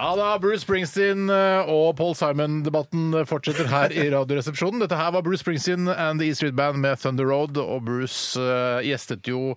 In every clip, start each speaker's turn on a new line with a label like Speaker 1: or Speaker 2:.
Speaker 1: Ja da, Bruce Springsteen eh, og Paul Simon-debatten fortsetter her i Radioresepsjonen. Dette her var Bruce Springsteen and The E Street Band med Thunder Road, og Bruce eh, gjestet jo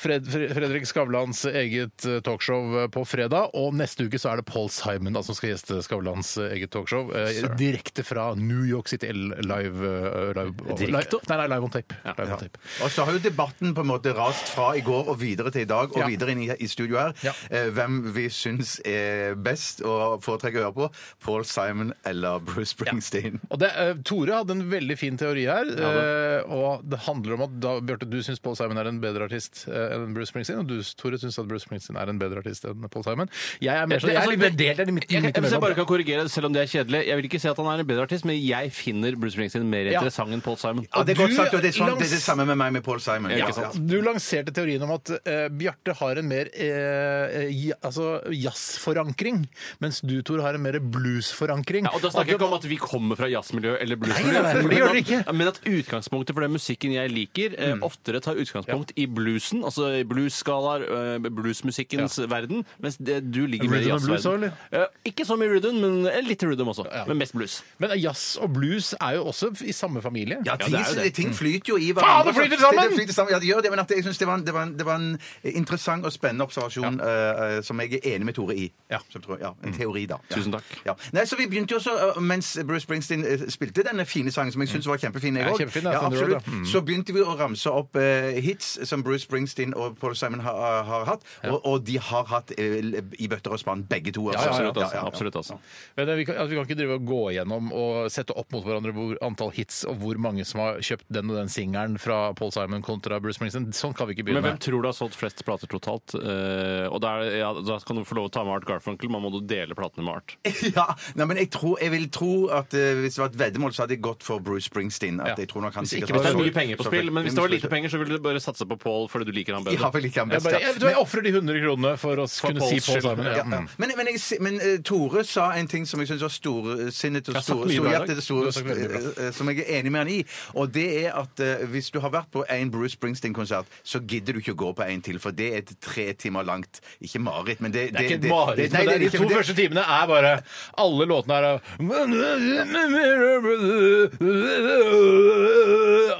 Speaker 1: Fred, Fre- Fredrik Skavlans eget eh, talkshow eh, på fredag, og neste uke så er det Paul Simon da, som skal gjeste Skavlans eh, eget talkshow, eh, direkte fra New York City L- live, eh, live
Speaker 2: Direkte?
Speaker 1: Nei, nei, live on tape. Live on tape.
Speaker 3: Og så har jo debatten på en måte rast fra i går og videre til i dag og
Speaker 1: Ja.
Speaker 3: videre inn i, i studio her.
Speaker 1: Ja.
Speaker 3: Eh, hvem vi syns er best og foretrekker å høre på. Paul Simon eller Bruce Springsteen.
Speaker 1: Og det, eh, Tore hadde en veldig fin teori her. eh, og det handler om at da, Bjarte, du syns Paul Simon er en bedre artist eh, enn Bruce Springsteen. Og du, Tore, syns at Bruce Springsteen er en bedre artist enn Paul Simon. Jeg er mer sånn, jeg er litt mer delt enn i midten.
Speaker 2: Jeg, jeg,
Speaker 1: midt
Speaker 2: hvis jeg bare
Speaker 1: imellom.
Speaker 2: kan korrigere, selv om det er kjedelig. Jeg vil ikke si at han er en bedre artist, men jeg finner Bruce Springsteen mer
Speaker 1: Ja.
Speaker 2: interessant enn Paul Simon.
Speaker 3: Ja, det er godt
Speaker 1: du
Speaker 3: sagt, og det er, sånn,
Speaker 1: langs-
Speaker 3: det er det samme med meg med Paul Simon.
Speaker 2: Ja, ikke
Speaker 1: Ja,
Speaker 2: sant?
Speaker 1: du lanserte teorien om at eh, Bjarte har en mer eh, ja, altså jazzforankring, mens du, Tore, har en mer bluesforankring.
Speaker 2: Ja, og Da snakker jeg ikke om at vi kommer fra jazzmiljø eller
Speaker 1: Nei, nei, nei,
Speaker 2: bluesmiljø,
Speaker 1: det gjør dere ikke.
Speaker 2: at- men at utgangspunktet for den musikken jeg liker, eh, oftere tar utgangspunkt i bluesen, altså i bluesskalaer, eh, bluesmusikkens verden, mens det, du ligger mer i
Speaker 1: Rhythm and blues også,
Speaker 2: jazzverden. Eh, Ikke så mye rhythm, men eh, litt rhythm også. Men mest blues.
Speaker 1: Men jazz og blues er jo også i samme familie.
Speaker 3: Ja, ting,
Speaker 2: det er jo det.
Speaker 3: ting flyter jo i
Speaker 1: Faen,
Speaker 3: hverandre. altså.
Speaker 1: det flyter sammen!
Speaker 3: Det, det flyter sammen. Ja, det gjør det, men at jeg synes det var, en, det, var en, det var en eh, interessant og spennende observasjon eh, eh, som jeg er enig med Tore i.
Speaker 1: Ja.
Speaker 3: Som tror, ja en teori, da. Ja.
Speaker 2: Tusen takk.
Speaker 3: Ja. Nei, så vi begynte jo også, eh, Mens Bruce Springsteen eh, spilte denne fine sangen, som jeg syns var kjempefin, jeg
Speaker 1: Ja,
Speaker 3: også.
Speaker 1: kjempefin, ja,
Speaker 3: ja,
Speaker 1: Thunder Road,
Speaker 3: absolutt, så begynte vi å ramse opp eh, hits som Bruce Springsteen og Paul Simon har, har hatt, og, og de har hatt eh, i bøtter og spann, begge to. altså.
Speaker 2: Absolutt,
Speaker 3: Ja, ja,
Speaker 2: altså.
Speaker 3: ja.
Speaker 2: Absolutt, altså.
Speaker 1: Men vi kan, altså, vi kan ikke drive og gå igjennom og sette opp mot hverandre hvor antall hits og hvor mange som har kjøpt den og den singelen fra Paul Simon kontra Bruce Springsteen. Sånn kan vi ikke
Speaker 2: Men
Speaker 1: begynne
Speaker 2: hvem
Speaker 1: med.
Speaker 2: tror du har solgt flest plater totalt? Eh, og da, er, det- ja, da kan du få lov å ta med Art Garfunkel, man må du dele platene med Art.
Speaker 3: Ja, nei, men jeg, tror, jeg vil tro at eh, hvis det var et veddemål, så hadde jeg gått for Bruce Springsteen. At
Speaker 1: Ja.
Speaker 3: jeg tror nok han
Speaker 1: Hvis
Speaker 3: sikkert
Speaker 1: ikke-
Speaker 2: Hvis det
Speaker 3: har-
Speaker 2: er mye penger på
Speaker 3: så-
Speaker 2: spill, men hvis det var
Speaker 3: Ja,
Speaker 2: lite penger, så ville du bare satse på Paul fordi du liker han
Speaker 3: Jeg har
Speaker 2: bedre.
Speaker 3: vel ikke han
Speaker 1: Jeg,
Speaker 3: best,
Speaker 1: bare,
Speaker 3: ja.
Speaker 1: jeg, tror jeg ofrer de hundre kronene for å kunne si
Speaker 2: Pauls
Speaker 1: Paul
Speaker 2: skyld.
Speaker 1: Simon. Ja.
Speaker 2: Ja,
Speaker 1: Mm.
Speaker 3: Men, men, jeg, si- men eh, Tore sa en ting som jeg syns var storsinnet og
Speaker 2: har sagt
Speaker 3: stor-
Speaker 2: mye bra
Speaker 3: storhjertet,
Speaker 2: i dag.
Speaker 1: Du har
Speaker 3: stor,
Speaker 1: sagt veldig bra.
Speaker 3: eh, som jeg er enig med han i. Og det er at eh, hvis du har vært på en Bruce Springsteen-konsert, så gidder du ikke å gå på en til, for det er et tre timer langt Ikke mareritt, men det
Speaker 1: Det er ikke et
Speaker 3: det-
Speaker 1: mareritt.
Speaker 3: nei,
Speaker 1: men det er De
Speaker 3: ikke,
Speaker 1: to
Speaker 3: men det-
Speaker 1: første timene er bare Alle låtene er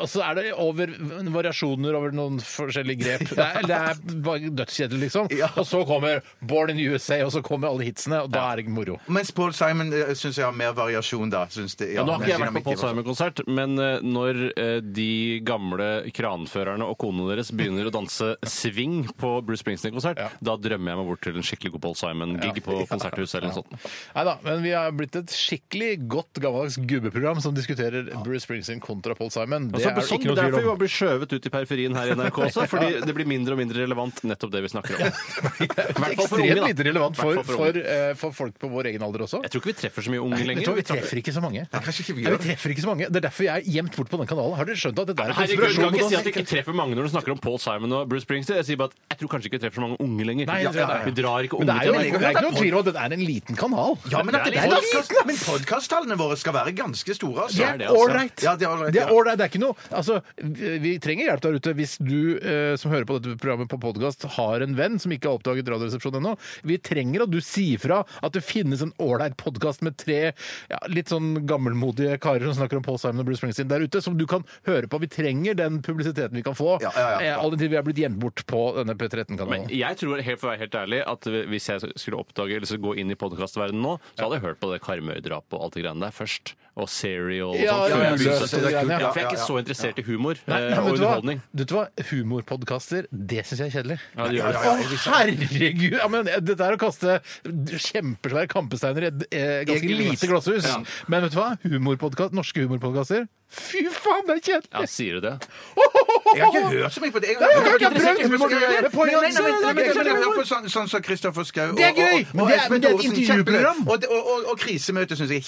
Speaker 1: Og så er det over variasjoner over noen forskjellige grep. Det er, det er bare dødskjedelig, liksom.
Speaker 3: Ja.
Speaker 1: Og så kommer Born in USA, og så kommer alle hitsene, og da er det ikke moro.
Speaker 3: Mens Paul Simon uh, syns jeg har mer variasjon, da. Synes det,
Speaker 2: Ja, nå har
Speaker 3: mer
Speaker 2: ikke jeg vært på
Speaker 3: dynamikk i
Speaker 2: Paul
Speaker 3: det.
Speaker 2: Simon-konsert, men eh, når eh, de gamle kranførerne og konene deres begynner å danse swing på Bruce Springsteen-konsert, da drømmer jeg meg bort til en skikkelig god Paul Simon-gig på konserthuset eller noe sånt.
Speaker 1: Nei da, men vi har blitt et skikkelig godt gammeldags gubbeprogram som diskuterer Bruce Springsteen kontra Paul Simon. Det er
Speaker 2: Altså,
Speaker 1: det
Speaker 2: sånn,
Speaker 1: ikke noe
Speaker 2: derfor
Speaker 1: tvil
Speaker 2: vi
Speaker 1: om.
Speaker 2: bare blir skjøvet ut i periferien her i NRK også, fordi det blir mindre og mindre relevant nettopp det vi snakker om. hvert fall for unge,
Speaker 1: Ekstremt
Speaker 2: da.
Speaker 1: lite relevant
Speaker 2: Hvert
Speaker 1: for,
Speaker 2: fall for
Speaker 1: for, eh, for folk på vår egen alder også.
Speaker 2: Jeg tror ikke vi treffer så mye unge
Speaker 1: Vet
Speaker 2: lenger.
Speaker 1: du hva, vi
Speaker 2: treffer-
Speaker 1: treffer ikke så mange.
Speaker 3: kanskje ikke vi
Speaker 1: Nei,
Speaker 3: gjør
Speaker 1: vi treffer ikke så mange. Det er derfor jeg er gjemt bort på den kanalen. Har dere skjønt at dette er en
Speaker 2: Herregud, du kan
Speaker 1: konspirasjon?
Speaker 2: ikke si at vi ikke treffer mange når du snakker om Paul Simon og Bruce Springsteen. Jeg sier bare at jeg tror kanskje ikke vi treffer så mange unge lenger.
Speaker 1: Nei, det tror jeg
Speaker 2: Ja,
Speaker 1: ikke.
Speaker 2: Vi drar ikke
Speaker 1: Men det er jo det
Speaker 2: unge til NRK.
Speaker 1: er ikke noen tvil om at det er en liten kanal.
Speaker 3: Ja, men, at
Speaker 2: Det
Speaker 3: det
Speaker 2: er
Speaker 3: er
Speaker 2: litt
Speaker 3: podcast, men podcasttallene våre skal være ganske store, altså.
Speaker 1: Det
Speaker 2: er det,
Speaker 1: er
Speaker 2: altså.
Speaker 1: ålreit.
Speaker 3: Ja, det er all right,
Speaker 1: Det
Speaker 3: ja.
Speaker 1: er all right, det er ikke noe Altså, vi vi trenger hjelp der ute hvis du eh, som hører på dette programmet på podkast, har en venn som ikke har oppdaget Radioresepsjonen ennå. Vi trenger at du sier fra at det finnes en ålreit podkast med tre ja, litt sånn gammelmodige karer som snakker om Paul Simon og Bruce Springsteen der ute, som du kan høre på. Vi trenger den publisiteten vi kan få,
Speaker 3: Ja, ja, ja.
Speaker 1: eh, all den tid vi er blitt gjemt bort på denne
Speaker 2: Men
Speaker 1: P13-kanalen.
Speaker 2: jeg tror, helt, for å være helt ærlig, at hvis jeg skulle oppdage eller skulle gå inn i podkastverdenen nå, så hadde jeg hørt på det Karmøy-drapet og alt det greiene der først. Og Serial og
Speaker 1: Ja,
Speaker 2: sånt. før jeg
Speaker 1: Ugløs
Speaker 2: begynte.
Speaker 1: og det greiene, ja.
Speaker 2: Ja, for jeg er ikke
Speaker 3: Ja, ja,
Speaker 2: så interessert i humor
Speaker 1: Nei, nei,
Speaker 2: eh, og
Speaker 1: vet du hva?
Speaker 2: underholdning.
Speaker 1: Vet du hva? Humorpodkaster, det syns jeg er kjedelig.
Speaker 2: Ja, det gjør det.
Speaker 1: Å, herregud! Ja, men, eh, dette er å kaste kjempesvære kampesteiner i et eh, ganske
Speaker 2: Eget glass.
Speaker 1: lite glasshus.
Speaker 2: Ja.
Speaker 1: Men vet du hva? Humorpodkast, norske humorpodkaster Fy faen, det er
Speaker 2: Ja,
Speaker 1: kjedelig!
Speaker 2: sier du det?
Speaker 3: Jeg har ikke hørt så mye på det. Jeg,
Speaker 1: jeg har ikke prøvd humor, du.
Speaker 3: Nei, nei,
Speaker 1: Det er på
Speaker 3: nei, nei,
Speaker 1: Jansen,
Speaker 3: men-
Speaker 1: det er
Speaker 3: men- men-
Speaker 1: ikke
Speaker 3: men jeg
Speaker 1: humor.
Speaker 3: hører på sånn, sånn som Kristoffer Schau og-
Speaker 1: Det er gøy!
Speaker 3: og- og
Speaker 1: Men det er, men det er et
Speaker 3: Thoresen,
Speaker 1: intervjuprogram.
Speaker 3: kjempegøy. Og, det- og, og, og krisemøte syns jeg er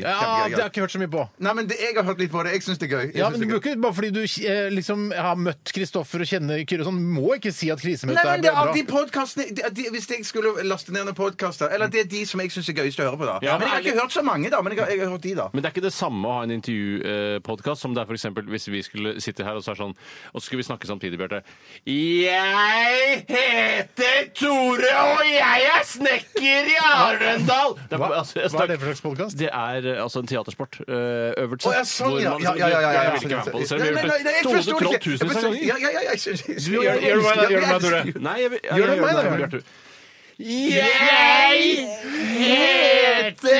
Speaker 1: Ja,
Speaker 3: kjempegøy,
Speaker 1: det har jeg ikke hørt så mye på.
Speaker 3: Nei, men det, jeg har hørt litt på det. Jeg syns det er gøy. Jeg
Speaker 1: Ja,
Speaker 3: synes
Speaker 1: men du
Speaker 3: det er gøy.
Speaker 1: bruker, Bare fordi du eh, liksom har møtt Kristoffer og kjenner Kyrre og sånn, må ikke si at krisemøtet er
Speaker 3: Nei, men det er
Speaker 1: bra.
Speaker 3: av de podcastene de, de, Hvis jeg skulle laste ned noen podkaster Eller det er de som jeg syns er gøyest å høre på, da.
Speaker 2: Ja,
Speaker 3: men jeg har
Speaker 2: men
Speaker 3: ikke hørt så mange, da. Men jeg har, jeg har hørt de, da.
Speaker 2: Men det er ikke det samme å ha en intervjupodkast som det er for eksempel hvis vi skulle sitte her og så er sånn, og så skulle vi snakke samtidig, Bjarte. Jeg heter Tore, og jeg er snekker i Arendal! Det
Speaker 1: Hva,
Speaker 2: altså,
Speaker 1: hva er
Speaker 2: jeg
Speaker 1: det
Speaker 2: snakker-
Speaker 1: for slags podkast?
Speaker 2: Det er eh, altså en teatersport. eh, Øvelse.
Speaker 3: Å, ja, sånn, ja.
Speaker 2: man-
Speaker 3: Ja,
Speaker 2: liksom
Speaker 3: ja, ja, ja, ja.
Speaker 2: Jeg vil ikke være med på det selv. Vi
Speaker 3: Nei, nei,
Speaker 2: har
Speaker 3: nei,
Speaker 2: gjort det
Speaker 3: jeg forstår det
Speaker 2: 212
Speaker 3: ikke.
Speaker 2: 000
Speaker 3: Jeg forstår-
Speaker 2: ganger.
Speaker 3: Ja, ja, ja, jeg synes- jeg
Speaker 1: Gjør
Speaker 3: synes-
Speaker 1: gjør du meg, da, gjør du meg, Tore?
Speaker 2: Nei, jeg vil jeg-
Speaker 1: Gjør det
Speaker 2: jeg
Speaker 1: meg,
Speaker 2: gjør
Speaker 1: da,
Speaker 2: det,
Speaker 1: Bjarte.
Speaker 2: Bjarte. Jeg heter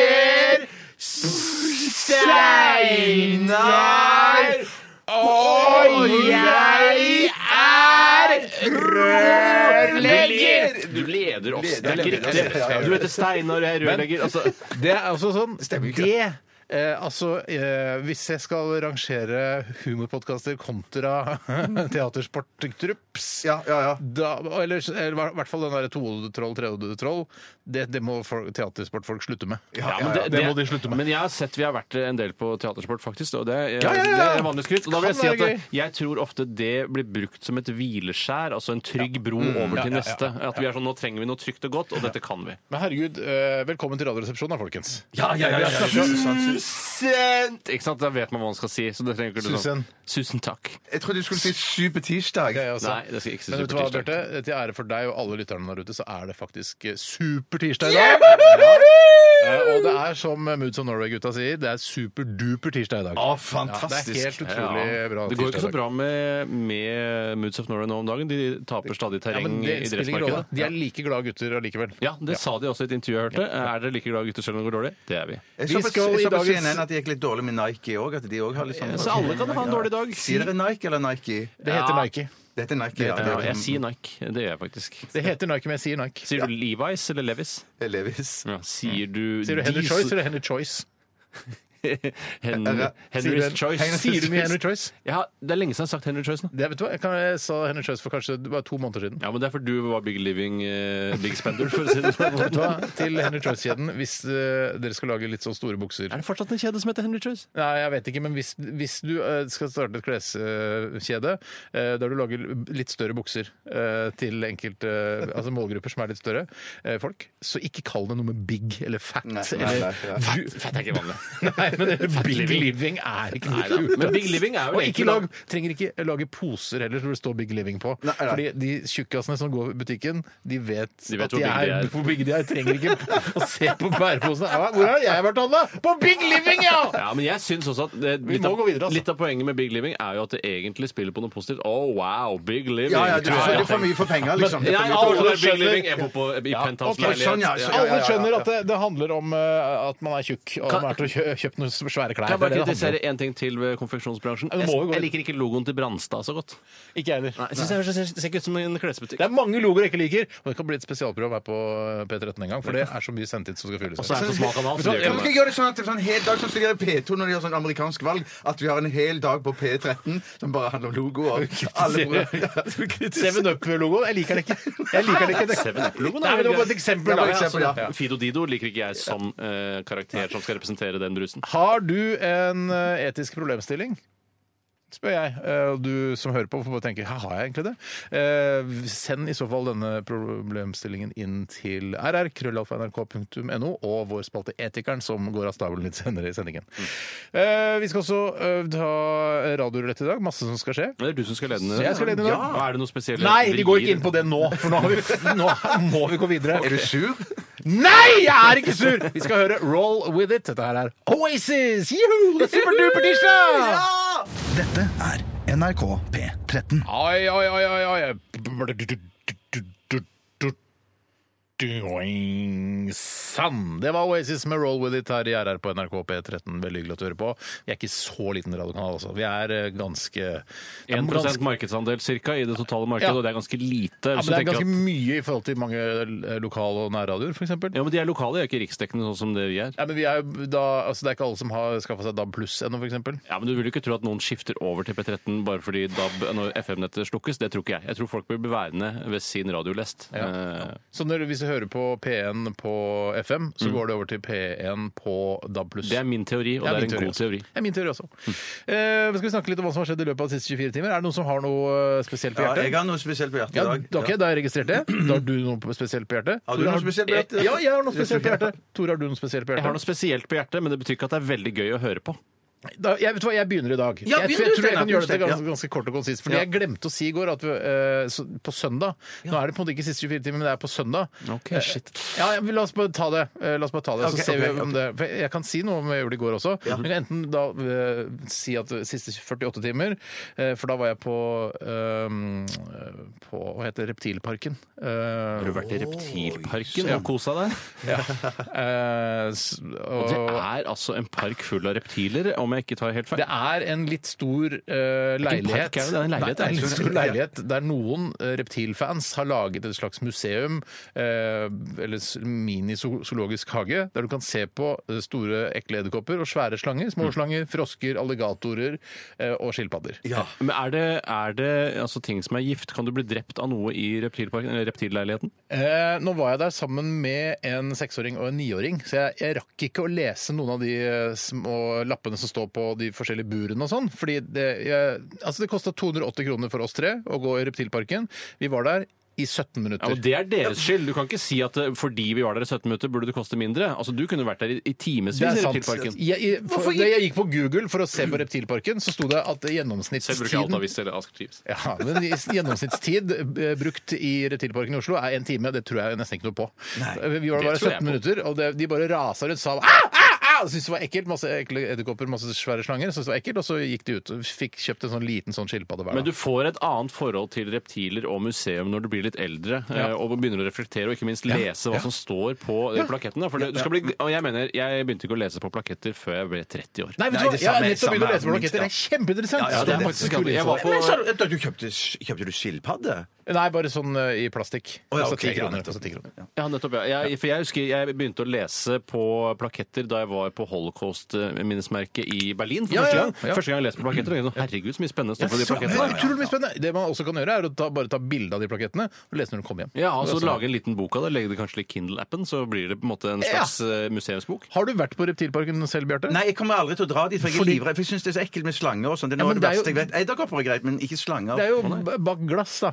Speaker 2: Steinar, og jeg er rørlegger! Du leder oss. Det er ikke riktig. Du heter Steinar, og jeg er rørlegger. Altså,
Speaker 1: Det er altså sånn
Speaker 3: Stemmer ikke.
Speaker 1: Det Eh, altså, eh, Hvis jeg skal rangere humorpodkaster kontra teatersporttrups
Speaker 3: Ja, ja, ja.
Speaker 1: da, eller, eller i hvert fall den derre tohodetroll, trehodetroll. Det, det må folk- teatersportfolk slutte med.
Speaker 2: Ja, men
Speaker 1: det, må de slutte med.
Speaker 2: Men jeg har sett vi har vært eh, en del på teatersport, faktisk. Og det, er-
Speaker 1: Ja, ja, ja.
Speaker 2: det er vanlig skryt. Og da vil jeg si
Speaker 1: Kan
Speaker 2: at
Speaker 1: være
Speaker 2: det- jeg tror ofte det blir brukt som et hvileskjær, altså en trygg bro
Speaker 1: Mm.
Speaker 2: over til neste. At vi er sånn nå trenger vi noe trygt og godt, og dette kan vi.
Speaker 1: Men herregud, eh, velkommen til Radioresepsjonen da, folkens.
Speaker 2: Ja, ja, ja,
Speaker 3: Susen.
Speaker 2: Sent! Ikke sant? Da vet man hva man skal si. Så det trenger ikke du
Speaker 1: Susen.
Speaker 2: sånn. Susen takk.
Speaker 3: Jeg trodde du skulle si supertirsdag.
Speaker 1: Det er jeg også.
Speaker 2: Nei, det skal jeg ikke si
Speaker 1: Eh, altså, Men vet du hva,
Speaker 2: supertirsdag.
Speaker 1: Bjarte? Til ære for deg og alle lytterne der ute, så er det faktisk eh, supertirsdag i dag. Ja. Eh, Og det er som Moods of Norway-gutta sier, det er superduper tirsdag i dag.
Speaker 3: Å,
Speaker 1: Ja, det er
Speaker 3: fantastisk.
Speaker 1: helt utrolig bra.
Speaker 2: Det går jo
Speaker 1: tirsdag i
Speaker 2: ikke så
Speaker 1: dag.
Speaker 2: bra med, med Moods of Norway nå om dagen. De taper stadig
Speaker 1: Ja, men
Speaker 2: terreng
Speaker 1: det
Speaker 2: i
Speaker 1: spiller ingen rolle.
Speaker 2: dressmarkedet.
Speaker 1: De er like glade gutter allikevel.
Speaker 2: Ja, det sa de også i et intervju jeg hørte. Er dere like glade gutter selv om det går dårlig? Det er vi.
Speaker 3: Jeg
Speaker 1: Vi
Speaker 3: så på,
Speaker 1: skal
Speaker 3: jeg
Speaker 1: i
Speaker 3: så på
Speaker 1: dagens-
Speaker 3: CNN at det gikk litt dårlig med Nike òg. At de også har litt sånn
Speaker 2: Så alle kan ha en dårlig dag.
Speaker 3: Sier dere Nike eller Nike?
Speaker 1: Det heter
Speaker 2: Ja.
Speaker 1: Nike.
Speaker 3: Det heter Nike, ja.
Speaker 2: Ja, jeg sier Nike. Det gjør jeg faktisk.
Speaker 1: Det heter Nike, men jeg sier Nike.
Speaker 2: Sier du Levi's eller Levis?
Speaker 3: Levis.
Speaker 2: Sier du
Speaker 1: Sier du Henry Choice, eller Henry Choice? Mm,
Speaker 2: Hen
Speaker 1: Sier
Speaker 2: Henry's
Speaker 1: du-
Speaker 2: Choice.
Speaker 1: Sier du mye Henry Choice?
Speaker 2: Ja, det er lenge siden jeg har sagt Henry Choice nå.
Speaker 1: Det, vet du hva? Jeg, kan, jeg sa Henry Choice for kanskje det var to måneder siden.
Speaker 2: Ja, men det er fordi du var big living eh, big spender, for å si det sånn.
Speaker 1: Vet du hva? Til Henry Choice-kjeden, hvis eh, dere skal lage litt så store bukser
Speaker 2: Er det fortsatt en kjede som heter Henry Choice?
Speaker 1: Nei, jeg vet ikke, men hvis, hvis du eh, skal starte et kleskjede eh, der du lager litt større bukser eh, til enkelte eh, altså målgrupper som er litt større eh, folk, så ikke kall det noe med big eller fat.
Speaker 3: Nei, nei,
Speaker 1: eller,
Speaker 3: nei, nei.
Speaker 1: Fat, fat er ikke vanlig. nei, men det, big living. er ikke noe
Speaker 2: Neida.
Speaker 1: kult.
Speaker 2: Men big living er jo
Speaker 1: Og ikke
Speaker 2: egentlig
Speaker 1: lag, trenger ikke lage poser heller hvor det står big living på.
Speaker 3: Nei, nei.
Speaker 1: Fordi de tjukkasene som går i butikken, de vet,
Speaker 2: De
Speaker 1: at
Speaker 2: vet
Speaker 1: de
Speaker 2: hvor big de
Speaker 1: er,
Speaker 2: er.
Speaker 1: hvor big de er. Trenger ikke å se på bæreposene. Ja, Hvor har jeg vært, Anna? På big living, ja!
Speaker 2: Ja, men jeg syns også at det,
Speaker 1: Vi
Speaker 2: litt,
Speaker 1: må
Speaker 2: av,
Speaker 1: gå videre, altså.
Speaker 2: litt av poenget med big living er jo at det egentlig spiller på noe positivt. Oh, wow, big living!
Speaker 3: Ja, ja, du får du får mye for penger, liksom.
Speaker 2: Nei,
Speaker 1: for-
Speaker 2: alle
Speaker 1: alle
Speaker 2: er big
Speaker 1: skjønner-
Speaker 2: living. Jeg bor på, i
Speaker 3: ok, sånn, ja,
Speaker 2: penthouse-leilighet.
Speaker 3: sånn,
Speaker 2: Ja.
Speaker 3: ja.
Speaker 1: Alle skjønner at det, det handler om eh, at man er tjukk og
Speaker 2: Kan-
Speaker 1: man er til å kjø kjøpe noen svære klær.
Speaker 2: Kan jeg
Speaker 1: Det er
Speaker 2: bare
Speaker 1: det det handler
Speaker 2: kritisere
Speaker 1: om.
Speaker 2: en ting til ved konfeksjonsbransjen?
Speaker 1: det
Speaker 2: Jeg,
Speaker 1: må jo gå.
Speaker 2: jeg liker ikke logoen til Branstad så godt.
Speaker 1: Ikke jeg heller.
Speaker 2: Nei, jeg synes jeg ser- ser ikke ut som en klesbutikk.
Speaker 1: Det er mange logoer jeg ikke liker, og det kan bli et spesialprogram her på P13 en gang, for det er så mye sendt inn som skal
Speaker 2: Og
Speaker 1: fylles.
Speaker 2: så er det så smal kanal. så
Speaker 3: Så,
Speaker 2: det gjør
Speaker 3: kan
Speaker 2: ikke
Speaker 3: vi
Speaker 2: noe.
Speaker 3: ikke gjøre det sånn at det er sånn hel dag sånn som de gjør i P2 når de har sånn amerikansk valg, at vi har en hel dag på P13 som bare handler om logoer. Alle
Speaker 1: Seven Up-logoen, jeg liker den ikke. Jeg liker den ikke. Det-
Speaker 2: 7-Up-logoen er
Speaker 1: Nei, men det var
Speaker 2: veldig
Speaker 1: bare et eksempel.
Speaker 3: Ja,
Speaker 1: Da.
Speaker 3: bare eksempel, ja.
Speaker 1: Ja.
Speaker 2: altså, Fido Dido liker ikke jeg som eh, karakter som skal representere den brusen.
Speaker 1: Har du en eh, etisk problemstilling? Spør jeg. Eh, Og du som hører på, får bare tenke «Hæ, har jeg egentlig det? Eh, Send i så fall denne problemstillingen inn til rr.krøllalfa.nrk.no og vår spalte Etikeren, som går av stabelen litt senere i sendingen.
Speaker 3: Mm.
Speaker 1: Eh, Vi skal også eh, ta radiorulett i dag. Masse som skal skje.
Speaker 2: Det er du som skal lede den.
Speaker 1: Jeg skal lede den,
Speaker 2: ja.
Speaker 1: ja.
Speaker 2: Er det noe spesielle
Speaker 1: Nei, vi går ikke
Speaker 2: vrier?
Speaker 1: inn på det nå, for nå, har vi, nå må vi gå videre.
Speaker 3: Er du sur?
Speaker 1: Nei, jeg er ikke sur! Vi skal høre Roll With It. Dette her er Oasis! Juhu! Det er superduper tirsdag!
Speaker 4: Dette er NRK P13.
Speaker 1: Oi, oi, oi, oi, oi. Sann! Det var Oasis med Roll With It her i RR på NRK P13. Veldig hyggelig at du hører på. Vi er ikke så liten radiokanal, altså. Vi er eh, ganske
Speaker 2: 1
Speaker 1: ganske-
Speaker 2: markedsandel cirka, i det totale markedet,
Speaker 1: Ja.
Speaker 2: og det er ganske lite.
Speaker 1: Ja, men det er
Speaker 2: hvis du tenker
Speaker 1: ganske
Speaker 2: at-
Speaker 1: mye i forhold til mange eh, lokal- og nærradioer, for eksempel.
Speaker 2: ja, men De er lokale, de er ikke riksdekkende sånn som det vi er.
Speaker 1: Ja, men vi er jo da, altså, det er ikke alle som har skaffa seg DAB pluss ennå, for eksempel.
Speaker 2: Ja, men Du vil jo ikke tro at noen skifter over til P13 bare fordi DAB når FM-nettet slukkes. Det tror ikke jeg. Jeg tror folk blir værende ved sin radiolest. Eh,
Speaker 1: Så når, hvis du hører på P1 på FM, så går det over til P1 på DAB+.
Speaker 2: Mm. Det er min teori, og
Speaker 1: Ja,
Speaker 2: det
Speaker 1: min
Speaker 2: er en god
Speaker 1: også.
Speaker 2: teori. altså. Mm.
Speaker 1: Det er min teori også. Eh, skal vi snakke litt om hva som har skjedd i løpet av de siste 24 timer? Er det noen som har noe eh, spesielt på
Speaker 3: Ja,
Speaker 1: hjertet?
Speaker 3: jeg har noe spesielt på hjertet i
Speaker 1: Ja,
Speaker 3: dag.
Speaker 1: da, ok, da har jeg registrert det. Da har du noe spesielt på hjertet.
Speaker 3: Har du
Speaker 1: Tore,
Speaker 3: noe spesielt på hjertet?
Speaker 1: Ja, jeg har noe spesielt på hjertet. Tore, har du noe spesielt på
Speaker 2: Jeg har noe
Speaker 1: hjertet?
Speaker 2: spesielt på hjertet, men det betyr ikke at det er veldig gøy å høre på.
Speaker 1: Da, jeg, vet du hva, jeg begynner i dag.
Speaker 3: Ja,
Speaker 1: jeg,
Speaker 3: begynner
Speaker 1: jeg tror
Speaker 3: du,
Speaker 1: jeg
Speaker 3: Steinar.
Speaker 1: kan gjøre dette
Speaker 3: Ja.
Speaker 1: ganske, ganske kort og konsist. Fordi jeg glemte å si i går at vi, eh, så, på søndag Nå er det på en måte ikke siste 24 timer, men det er på søndag.
Speaker 2: Ok.
Speaker 1: Eh, Ja, ja, men la oss bare ta det. Eh, La oss bare ta det,
Speaker 3: Ok,
Speaker 1: så ser
Speaker 3: ok,
Speaker 1: vi om det for Jeg kan si noe om hva jeg gjorde i går også. Men jeg kan enten da eh, si at det siste 48 timer eh, For da var jeg på, eh, på Hva heter det? Reptilparken. Eh,
Speaker 2: Har du vært i reptilparken
Speaker 1: Ja.
Speaker 2: og kosa deg?
Speaker 1: eh, s-
Speaker 2: Og
Speaker 1: og,
Speaker 2: det er altså en park full av reptiler, om jeg ikke tar helt feil.
Speaker 1: Det er en litt stor eh,
Speaker 2: en
Speaker 1: leilighet.
Speaker 2: park, er det? Det er en leilighet,
Speaker 1: Nei, det er en
Speaker 2: det er
Speaker 1: litt
Speaker 2: en
Speaker 1: stor leilighet der noen eh, reptilfans har laget et slags museum, eh, eller s- mini-zoologisk hage, der du kan se på eh, store, ekle edderkopper og svære slanger. Små slanger, frosker, alligatorer eh, og skilpadder.
Speaker 2: Men er det, er det altså, ting som er gift? Kan du bli drept av noe i reptilparken, eller reptilleiligheten?
Speaker 1: Eh, nå var jeg der sammen med en seksåring og en niåring, så jeg, jeg rakk ikke å lese noen av de eh, små lappene som står på de forskjellige burene og sånn. Fordi det, jeg, altså det kosta 280 kroner for oss tre å gå i reptilparken. Vi var der i 17
Speaker 2: Ja,
Speaker 1: minutter.
Speaker 2: men Det er deres skyld. Du kan ikke si at eh, fordi vi var der i 17 minutter, burde det koste mindre. Altså, Du kunne vært der i, i timevis i reptilparken.
Speaker 1: Jeg, jeg, for, da jeg gikk på Google for å se på reptilparken, så sto det at
Speaker 2: Selv bruker jeg
Speaker 1: gjennomsnittstiden
Speaker 2: Altavis eller Asker Chiefs.
Speaker 1: ja, men i s- Gjennomsnittstid eh, brukt i Reptilparken i Oslo er én time. Det tror jeg nesten ikke noe på. Eh, Vi var der
Speaker 2: det
Speaker 1: bare
Speaker 2: tror jeg
Speaker 1: 17
Speaker 2: på.
Speaker 1: minutter, og det, de bare rasa rundt sa ah, ah, ah! og syntes det var ekkelt. Masse ekle edderkopper, masse svære slanger. Syntes det var ekkelt, Og så gikk de ut og fikk kjøpt en sånn liten sånn skilpadde hver.
Speaker 2: Men
Speaker 1: dag.
Speaker 2: du får et annet forhold til reptiler og museum når du blir litt eldre, eh, og begynner å reflektere og ikke minst lese hva som står på eh, plakettene. For det, du skal bli, og jeg mener, jeg begynte ikke å lese på plaketter før jeg ble 30 år.
Speaker 1: Nei, vet
Speaker 3: Nei,
Speaker 1: du hva?
Speaker 3: det
Speaker 1: Jeg
Speaker 3: samme-
Speaker 1: har nettopp begynt å lese på
Speaker 3: samme er minst,
Speaker 1: blanketter. Det er kjempeinteressant!
Speaker 2: Ja, det er faktisk
Speaker 1: kul
Speaker 2: jeg var
Speaker 1: info.
Speaker 2: på-
Speaker 3: Men sa du, da, du kjøpte, kjøpte du skilpadde?
Speaker 1: Nei, bare sånn eh, i plastikk.
Speaker 3: Å ja,
Speaker 1: Kostet
Speaker 3: ok,
Speaker 1: ti
Speaker 3: ja,
Speaker 1: kroner,
Speaker 3: nettopp.
Speaker 1: kostet ti kroner.
Speaker 2: Ja, nettopp. Ja. Jeg, for jeg husker jeg begynte å lese på plaketter da jeg var på holocaust-minnesmerket i Berlin for
Speaker 1: Ja,
Speaker 2: første
Speaker 1: ja,
Speaker 2: gang.
Speaker 1: ja.
Speaker 2: Første gang jeg leste på plaketter, tenkte jeg sånn, herregud, så mye spennende står på de
Speaker 1: Så-
Speaker 2: plakettene.
Speaker 1: det er Utrolig mye spennende! Det man også kan gjøre, er å ta, bare ta bilde av de plakettene og lese når du kommer hjem.
Speaker 2: Ja, og så
Speaker 1: Altså-
Speaker 2: lage en liten bok av det. Legge det kanskje litt i Kindle-appen, så blir det på en måte en
Speaker 1: Ja.
Speaker 2: slags eh, museumsbok.
Speaker 1: Har du vært på Reptilparken selv, Bjarte?
Speaker 3: Nei, jeg kommer aldri til å dra dit, for jeg er
Speaker 1: Fordi-
Speaker 3: livredd. For jeg syns det er så ekkelt med slanger og sånn. Det er
Speaker 1: Ja,
Speaker 3: noe
Speaker 1: men
Speaker 3: av det
Speaker 1: det er jo-
Speaker 3: verste jeg vet. Edderkopper er greit, men ikke slanger.
Speaker 1: Det er jo b- bak glass, da.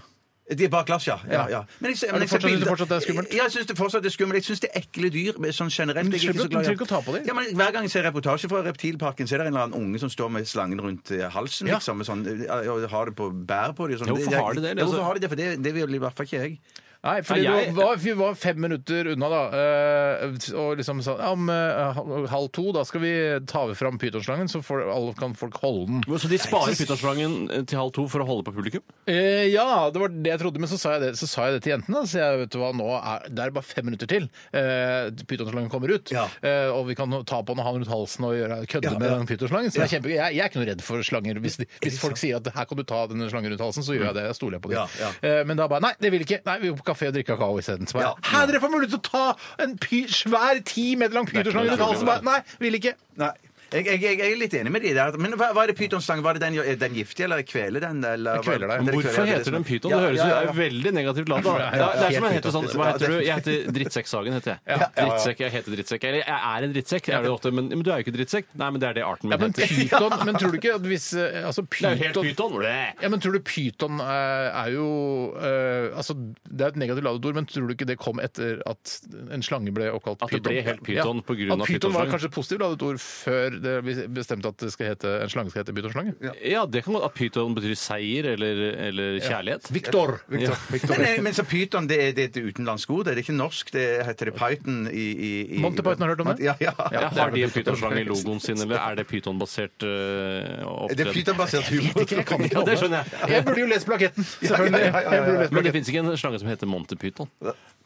Speaker 3: De er bak glass, ja. ja, ja. Men jeg, ser- men jeg ser
Speaker 1: fortsatt-
Speaker 3: bilder-
Speaker 1: du fortsatt det er skummelt?
Speaker 3: Ja, jeg syns det fortsatt er skummelt. Jeg syns det er ekle dyr men sånn generelt.
Speaker 1: Men du
Speaker 3: jeg er
Speaker 1: slipper-
Speaker 3: så glad i-
Speaker 1: du trenger ikke å ta på dem.
Speaker 3: Ja, men Hver gang jeg ser reportasje fra reptilparken, så er det en eller annen unge som står med slangen rundt eh, halsen
Speaker 1: Ja.
Speaker 3: liksom, med sånn, eh, og har det på bær på dem. Sånn.
Speaker 2: Ja, hvorfor har de det, eller?
Speaker 1: Altså-
Speaker 3: Ja, hvorfor har de det? For det, det vil i hvert fall ikke jeg.
Speaker 1: Nei, fordi du
Speaker 2: Nei, jeg-
Speaker 1: var, vi var fem minutter unna, da. eh, Og liksom sa ja, om eh, halv to, da skal vi ta fram pytonslangen, så får, alle kan folk holde den.
Speaker 2: Så de sparer pytonslangen til halv to for å holde på publikum?
Speaker 1: Eh, ja, det var det jeg trodde, men så sa jeg det, så sa jeg det til jentene. da. Så jeg, vet du hva, nå er det er bare fem minutter til uh, pytonslangen kommer ut.
Speaker 3: Ja.
Speaker 1: eh, og vi kan ta på den og ha den rundt halsen og gjøre, kødde
Speaker 3: Ja,
Speaker 1: med
Speaker 3: ja.
Speaker 1: den pytonslangen. Så det er kjempegøy. Jeg, jeg er ikke noe redd for slanger. Hvis, de, hvis folk sier at her kan du ta denne slangen rundt halsen, så gjør jeg det. Jeg stoler jeg på dem.
Speaker 3: Ja, ja.
Speaker 1: Eh, men da bare nei, det vil ikke. Nei, vi går på kafé og drikker kakao isteden. Så bare
Speaker 3: Ja.
Speaker 1: hæ, dere får mulighet til å ta en py, svær ti meter lang pytonslange rundt halsen? Bare, nei, vil ikke.
Speaker 3: Nei. Jeg, jeg, jeg, jeg er litt enig med de der. Men hva, hva er det pytonslangen? Var det den, er den giftig, eller kveler den?
Speaker 1: Den
Speaker 3: Eller,
Speaker 1: kveler deg.
Speaker 3: Den
Speaker 1: Men
Speaker 3: kveler,
Speaker 2: Hvorfor
Speaker 3: det er
Speaker 2: heter
Speaker 3: det
Speaker 2: den
Speaker 3: som-
Speaker 2: pyton?
Speaker 3: Ja,
Speaker 2: Det høres ut
Speaker 3: ja, ja,
Speaker 2: det
Speaker 3: ja.
Speaker 2: er veldig negativt ladet. da. Det er- det er som å hete sånn Hva heter du? Jeg heter Drittsekksagen, heter jeg.
Speaker 1: Ja.
Speaker 2: Drittsekk, jeg heter drittsekk. Eller jeg er en drittsekk, er det ofte. Men, men du er jo ikke drittsekk. Nei, men det er det arten
Speaker 1: Ja, men,
Speaker 2: min heter.
Speaker 1: pyton, men tror du ikke at hvis eh, altså,
Speaker 2: Det er jo helt
Speaker 1: pyton
Speaker 2: pyton. Bleh.
Speaker 1: Ja, men tror du pyton eh, er jo eh, Altså, det er et negativt ladet ord, men tror du ikke det kom etter at en slange ble oppkalt
Speaker 2: At det ble helt pyton på grunn av
Speaker 1: At pyton var
Speaker 2: pytonslangen?
Speaker 1: kanskje et positivt ladet ord før det vi bestemte at det skal hete, en slange skal hete pytonslange?
Speaker 2: Ja, det kan godt at pyton betyr seier eller, eller kjærlighet.
Speaker 1: Victor! Victor.
Speaker 3: Men, eh, men så pyton, det er, det er et utenlandsk ord? Det er ikke norsk, det heter det python i, i, i
Speaker 1: Monty Python, har du hørt om det?
Speaker 3: Ja, ja.
Speaker 2: Ja,
Speaker 1: det er
Speaker 2: har de en
Speaker 1: vel
Speaker 2: pytonslange i logoen sin, eller er det pytonbasert uh,
Speaker 3: Det er
Speaker 2: opptreden?
Speaker 3: pytonbasert humor.
Speaker 2: Ja, det skjønner jeg.
Speaker 1: Jeg burde jo lest plaketten! Selvfølgelig.
Speaker 3: ja, ja, ja, ja.
Speaker 1: Jeg burde lest
Speaker 2: Men det
Speaker 1: plaketten.
Speaker 2: fins ikke en slange som heter Monty Pyton.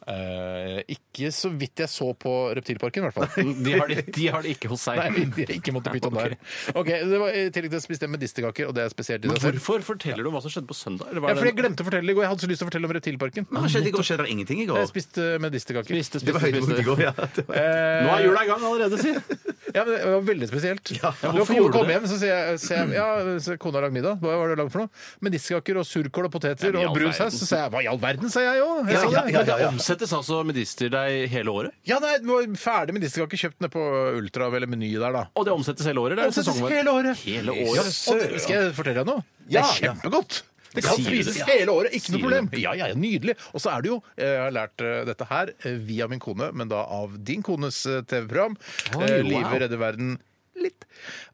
Speaker 1: Eh, ikke så vidt jeg så på Reptilparken, i hvert fall.
Speaker 2: De har det, de har det ikke hos seg.
Speaker 1: Nei, de er ikke måtte pyton der. Ok, det var I tillegg til å spise det med medisterkaker, og det er spesielt i
Speaker 2: Men
Speaker 1: seg selv.
Speaker 2: hvorfor forteller du hva som skjedde på søndag? Eller
Speaker 1: Ja,
Speaker 2: var
Speaker 1: fordi jeg
Speaker 2: det en-
Speaker 1: glemte å fortelle det i går. Jeg hadde så lyst til å fortelle om Reptilparken.
Speaker 3: Hva skjedde i går? Skjedde det ingenting i går?
Speaker 1: Jeg spiste medisterkaker. Eh,
Speaker 2: Spiste,
Speaker 3: Det
Speaker 2: spiste,
Speaker 3: var høydepunktet i
Speaker 2: spiste.
Speaker 3: går, ja. Det var-
Speaker 2: Nå er jula i gang allerede, si!
Speaker 1: Ja, men Det var veldig spesielt.
Speaker 2: Ja,
Speaker 1: du
Speaker 2: hvorfor
Speaker 1: kom,
Speaker 2: gjorde du
Speaker 1: kom
Speaker 2: det?
Speaker 1: hjem, så sier jeg, sier jeg ja, så kona har lagd middag. Hva var det lagd for noe? Medisterkaker og surkål og poteter
Speaker 2: Ja, men i all
Speaker 1: og brun saus.
Speaker 2: verden.
Speaker 1: Så sier jeg hva i all verden, sier jeg òg. Ja, ja, ja,
Speaker 2: Men Det omsettes altså medisterdeig hele året?
Speaker 1: nei, det var ferdig medisterkake kjøpt nede på Ultra eller Meny der, da.
Speaker 2: Og det omsettes hele året? Det er
Speaker 1: Omsettes
Speaker 2: sesongvare.
Speaker 1: hele året.
Speaker 2: Hele
Speaker 1: Ja,
Speaker 2: året.
Speaker 1: og det, skal jeg fortelle deg noe? Det
Speaker 2: Ja.
Speaker 1: er kjempegodt! Det kan
Speaker 2: Sier du det?
Speaker 1: spises hele året, ikke noe
Speaker 2: Sier du
Speaker 1: problem.
Speaker 2: det?
Speaker 1: Ja, ja, ja, Nydelig. Og så er det jo, eh, jeg har lært eh, dette her eh, via min kone, men da av din kones eh, TV-program,
Speaker 2: Oi,
Speaker 1: eh,
Speaker 2: wow.
Speaker 1: Livet redder verden litt,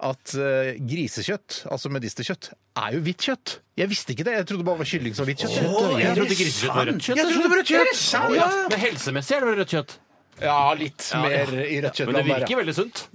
Speaker 1: at eh, grisekjøtt, altså medisterkjøtt, er jo hvitt kjøtt. Jeg visste ikke det. Jeg trodde det bare var kylling som var hvitt kjøtt.
Speaker 2: Jeg trodde grisekjøtt var rødt kjøtt.
Speaker 1: Jeg trodde det var rødt kjøtt! Ja,
Speaker 2: Å, ja. Men helsemessig er det vel rødt kjøtt?
Speaker 1: ja litt mer i rødt kjøtt.
Speaker 2: Men det virker veldig sunt.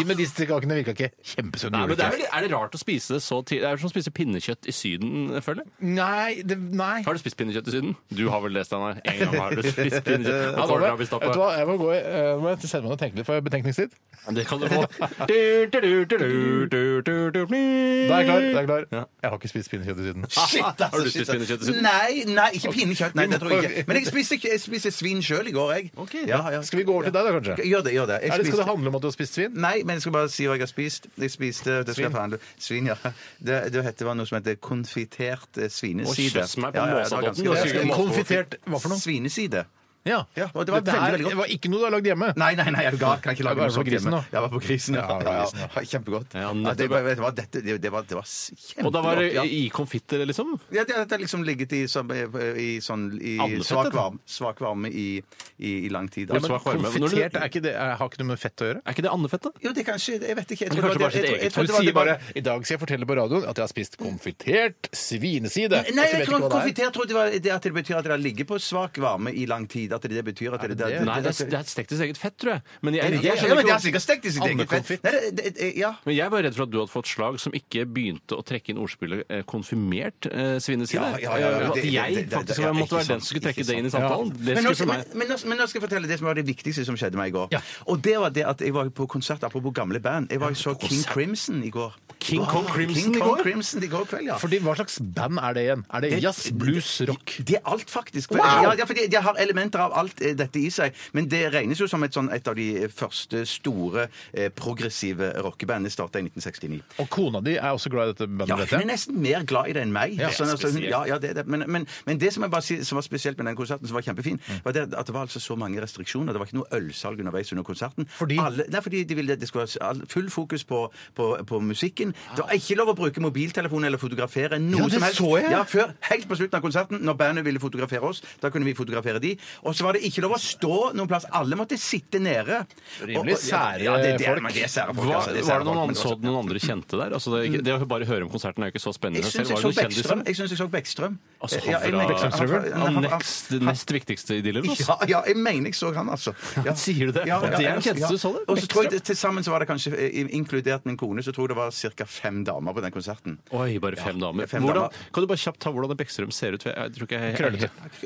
Speaker 1: De medisterkakene virka ikke kjempesunne.
Speaker 2: Nei,
Speaker 1: gjorde
Speaker 2: men det
Speaker 1: de
Speaker 2: er,
Speaker 1: ikke.
Speaker 2: vel, er det rart å spise det så tidlig? Det er jo som å spise pinnekjøtt i Syden, jeg føler jeg.
Speaker 1: Nei, det, nei.
Speaker 2: Har du spist pinnekjøtt i Syden? Du har vel det, Steinar. En gang har du spist pinnekjøtt.
Speaker 1: Ja,
Speaker 2: Og
Speaker 1: da må
Speaker 2: kålrabi
Speaker 1: jeg- vet
Speaker 2: stappe.
Speaker 1: du hva, jeg må gå i eh, Nå må jeg sette meg ned og tenke litt, for jeg har betenkningstid.
Speaker 2: Det kan du få. Du, du, du, du, du, du, du, du.
Speaker 1: Da er jeg klar. Da er jeg, klar.
Speaker 2: Ja.
Speaker 1: jeg har ikke spist pinnekjøtt i Syden.
Speaker 3: Shit, altså,
Speaker 2: Har du spist
Speaker 3: shit, altså.
Speaker 2: pinnekjøtt i Syden?
Speaker 3: Nei, nei, ikke pinnekjøtt. Nei, det tror jeg
Speaker 1: Vi må-
Speaker 3: ikke. Men jeg spiste, ikke- jeg spiste svin sjøl i går, jeg. Ja, ja.
Speaker 1: Skal vi gå over til deg, da, kanskje?
Speaker 3: Gjør det, gjør det. Jeg
Speaker 1: Er det, skal
Speaker 3: spiste-
Speaker 1: det handle om at du har spist svin?
Speaker 3: Nei, men jeg skal bare si hva jeg har spist. Jeg spiste det skal jeg forhandle. Svin, ja. Det, det het- det var noe som heter konfitert eh, svineside.
Speaker 2: Å, kjøss meg på
Speaker 3: Ja, ja, det var
Speaker 2: måsadodden.
Speaker 3: ganske
Speaker 2: Det er
Speaker 3: godt.
Speaker 2: sikkert mat-
Speaker 1: Konfitert hva for noe?
Speaker 3: Svineside.
Speaker 1: Ja.
Speaker 3: Ja, og
Speaker 1: det,
Speaker 3: det var
Speaker 1: var
Speaker 3: veldig, veldig godt.
Speaker 1: ikke noe du har lagd hjemme.
Speaker 3: Nei, nei, nei, jeg ga, kan ikke lage
Speaker 1: Var det
Speaker 3: noe
Speaker 1: på
Speaker 3: sånt
Speaker 1: grisen,
Speaker 3: hjemme.
Speaker 1: da?
Speaker 3: Jeg var på grisen, ja.
Speaker 1: Ja, på
Speaker 3: ja, ja.
Speaker 1: grisen, ja.
Speaker 3: Ja, Kjempegodt.
Speaker 2: Ja,
Speaker 3: Ja,
Speaker 2: nettopp.
Speaker 3: det, var- det, var dette, det, det, var, det var s- kjempegodt.
Speaker 2: Og da var det
Speaker 3: ja.
Speaker 2: i konfitter, liksom?
Speaker 3: Ja, det det har liksom ligget i, sånn- i, sånn, i
Speaker 2: Andefettet,
Speaker 3: svak
Speaker 2: da.
Speaker 3: varme, svak varme i, i, i lang tid. da.
Speaker 2: Ja, men-
Speaker 1: Men
Speaker 2: Svak varme. Når du-
Speaker 1: konfitert er ikke det, er, har ikke noe med fett å gjøre?
Speaker 2: Er ikke det andefettet?
Speaker 3: Jo, det er kanskje Jeg vet ikke. Jeg
Speaker 2: Det
Speaker 3: tror det
Speaker 2: er kanskje
Speaker 3: var-
Speaker 2: bare sitt
Speaker 3: jeg tror- jeg
Speaker 2: eget
Speaker 3: tror
Speaker 1: Du
Speaker 3: det var-
Speaker 1: sier
Speaker 3: det var-
Speaker 1: bare 'I dag skal jeg fortelle på radioen at jeg har spist konfitert svineside'.
Speaker 3: Nei,
Speaker 1: Og så
Speaker 2: altså,
Speaker 3: jeg
Speaker 1: vet du
Speaker 3: tror
Speaker 1: hva det er.
Speaker 3: konfitert trodde det var det at det betyr at det har ligget på svak varme i lang tid. At det, det betyr at det, det, det,
Speaker 2: Nei, det er, det er stekt i sitt eget fett, tror jeg. Men jeg, jeg,
Speaker 3: ja, men
Speaker 2: skjønner
Speaker 3: det er altså
Speaker 2: ikke
Speaker 3: sikkert stekt i sitt eget fett.
Speaker 1: Andekonfitt.
Speaker 3: Nei, det- det- Ja.
Speaker 2: men jeg var redd for at du hadde fått slag som ikke begynte å trekke inn ordspillet eh, 'konfirmert' eh, svineside.
Speaker 3: Ja, ja, ja, ja,
Speaker 2: At
Speaker 3: det- det-
Speaker 2: jeg
Speaker 3: det- det-
Speaker 2: faktisk
Speaker 3: ja, ikke
Speaker 2: måtte være
Speaker 3: sant,
Speaker 2: den som skulle trekke
Speaker 3: ikke
Speaker 2: det inn i
Speaker 3: sant.
Speaker 2: samtalen. Det
Speaker 3: Men nå,
Speaker 2: skuffer
Speaker 3: men,
Speaker 2: meg.
Speaker 3: men, nå, men nå skal jeg fortelle det som var det viktigste som skjedde meg i går. Og det var det at jeg var på konsert apropos gamle band. Jeg var jo så King Crimson i går.
Speaker 2: King Kong Crimson
Speaker 3: King
Speaker 2: i
Speaker 3: Kong
Speaker 2: går?
Speaker 3: Crimson i går kveld, ja.
Speaker 1: Fordi hva slags band er det igjen? Er det jazz, blues, rock?
Speaker 3: Det er alt, faktisk. Ja, ja, for de, de har elementer av alt eh, dette i seg. Men det regnes jo som et, sånn, et av de første store eh, progressive rockebandene starta i 1969.
Speaker 1: Og kona di er også glad i dette bandet?
Speaker 3: Ja,
Speaker 1: vet
Speaker 3: hun
Speaker 1: jeg.
Speaker 3: er nesten mer glad i det enn meg.
Speaker 1: Ja,
Speaker 3: sånn, altså, hun,
Speaker 2: spesielt.
Speaker 3: ja, ja, det, er det. Men, men, men det som, jeg bare, sier- som var spesielt med den konserten, som var kjempefin,
Speaker 1: Mm.
Speaker 3: var det at det var altså så mange restriksjoner. Det var ikke noe ølsalg underveis under konserten.
Speaker 1: Fordi?
Speaker 3: Alle, nei, fordi de ville, det skulle være all- full fokus på, på, på musikken. Det var ikke lov å bruke mobiltelefon eller fotografere noe
Speaker 1: Ah. Ja, det
Speaker 3: som helst.
Speaker 1: så jeg.
Speaker 3: Ja, før, helt på slutten av konserten, når bandet ville fotografere oss, da kunne vi fotografere de. Og så var det ikke lov å stå noen plass. Alle måtte sitte nede.
Speaker 1: Rimelig
Speaker 3: Og- og-
Speaker 1: sære
Speaker 3: ja, det, det,
Speaker 1: folk.
Speaker 3: men det er sære folk.
Speaker 2: Hva,
Speaker 3: altså, det er sære
Speaker 2: var det
Speaker 3: folk, men
Speaker 2: noen andre, så
Speaker 3: også-
Speaker 2: du noen andre kjente der? Altså, det, er ikke, det å bare høre om konserten er jo ikke så spennende. i
Speaker 3: Jeg syns
Speaker 2: seg selv.
Speaker 3: jeg,
Speaker 2: Var
Speaker 3: så
Speaker 2: det noen
Speaker 3: Bäckström.
Speaker 2: kjendiser?
Speaker 3: Jeg synes jeg så Beckstrøm.
Speaker 2: Altså,
Speaker 3: Ja, jeg mener-
Speaker 2: han
Speaker 3: han- han-
Speaker 2: fra
Speaker 3: han-
Speaker 2: han
Speaker 3: han-
Speaker 2: next, nest viktigste altså. i Dealer.
Speaker 3: Ja, ja, jeg mener jeg så han, altså. Ja.
Speaker 2: Sier du det? Det er den
Speaker 3: jeg-
Speaker 2: kjenteste du så det,
Speaker 3: Og så tror jeg
Speaker 2: Bäckström.
Speaker 3: det- Til sammen så var det kanskje, eh, inkludert min kone, så tror jeg det var ca. fem damer på den konserten.
Speaker 2: Oi, bare fem damer.
Speaker 3: fem
Speaker 2: hvordan,
Speaker 3: damer.
Speaker 2: Kan du bare kjapt ta hvordan Bekkstrøm ser ut? For Jeg jeg tror ikke jeg,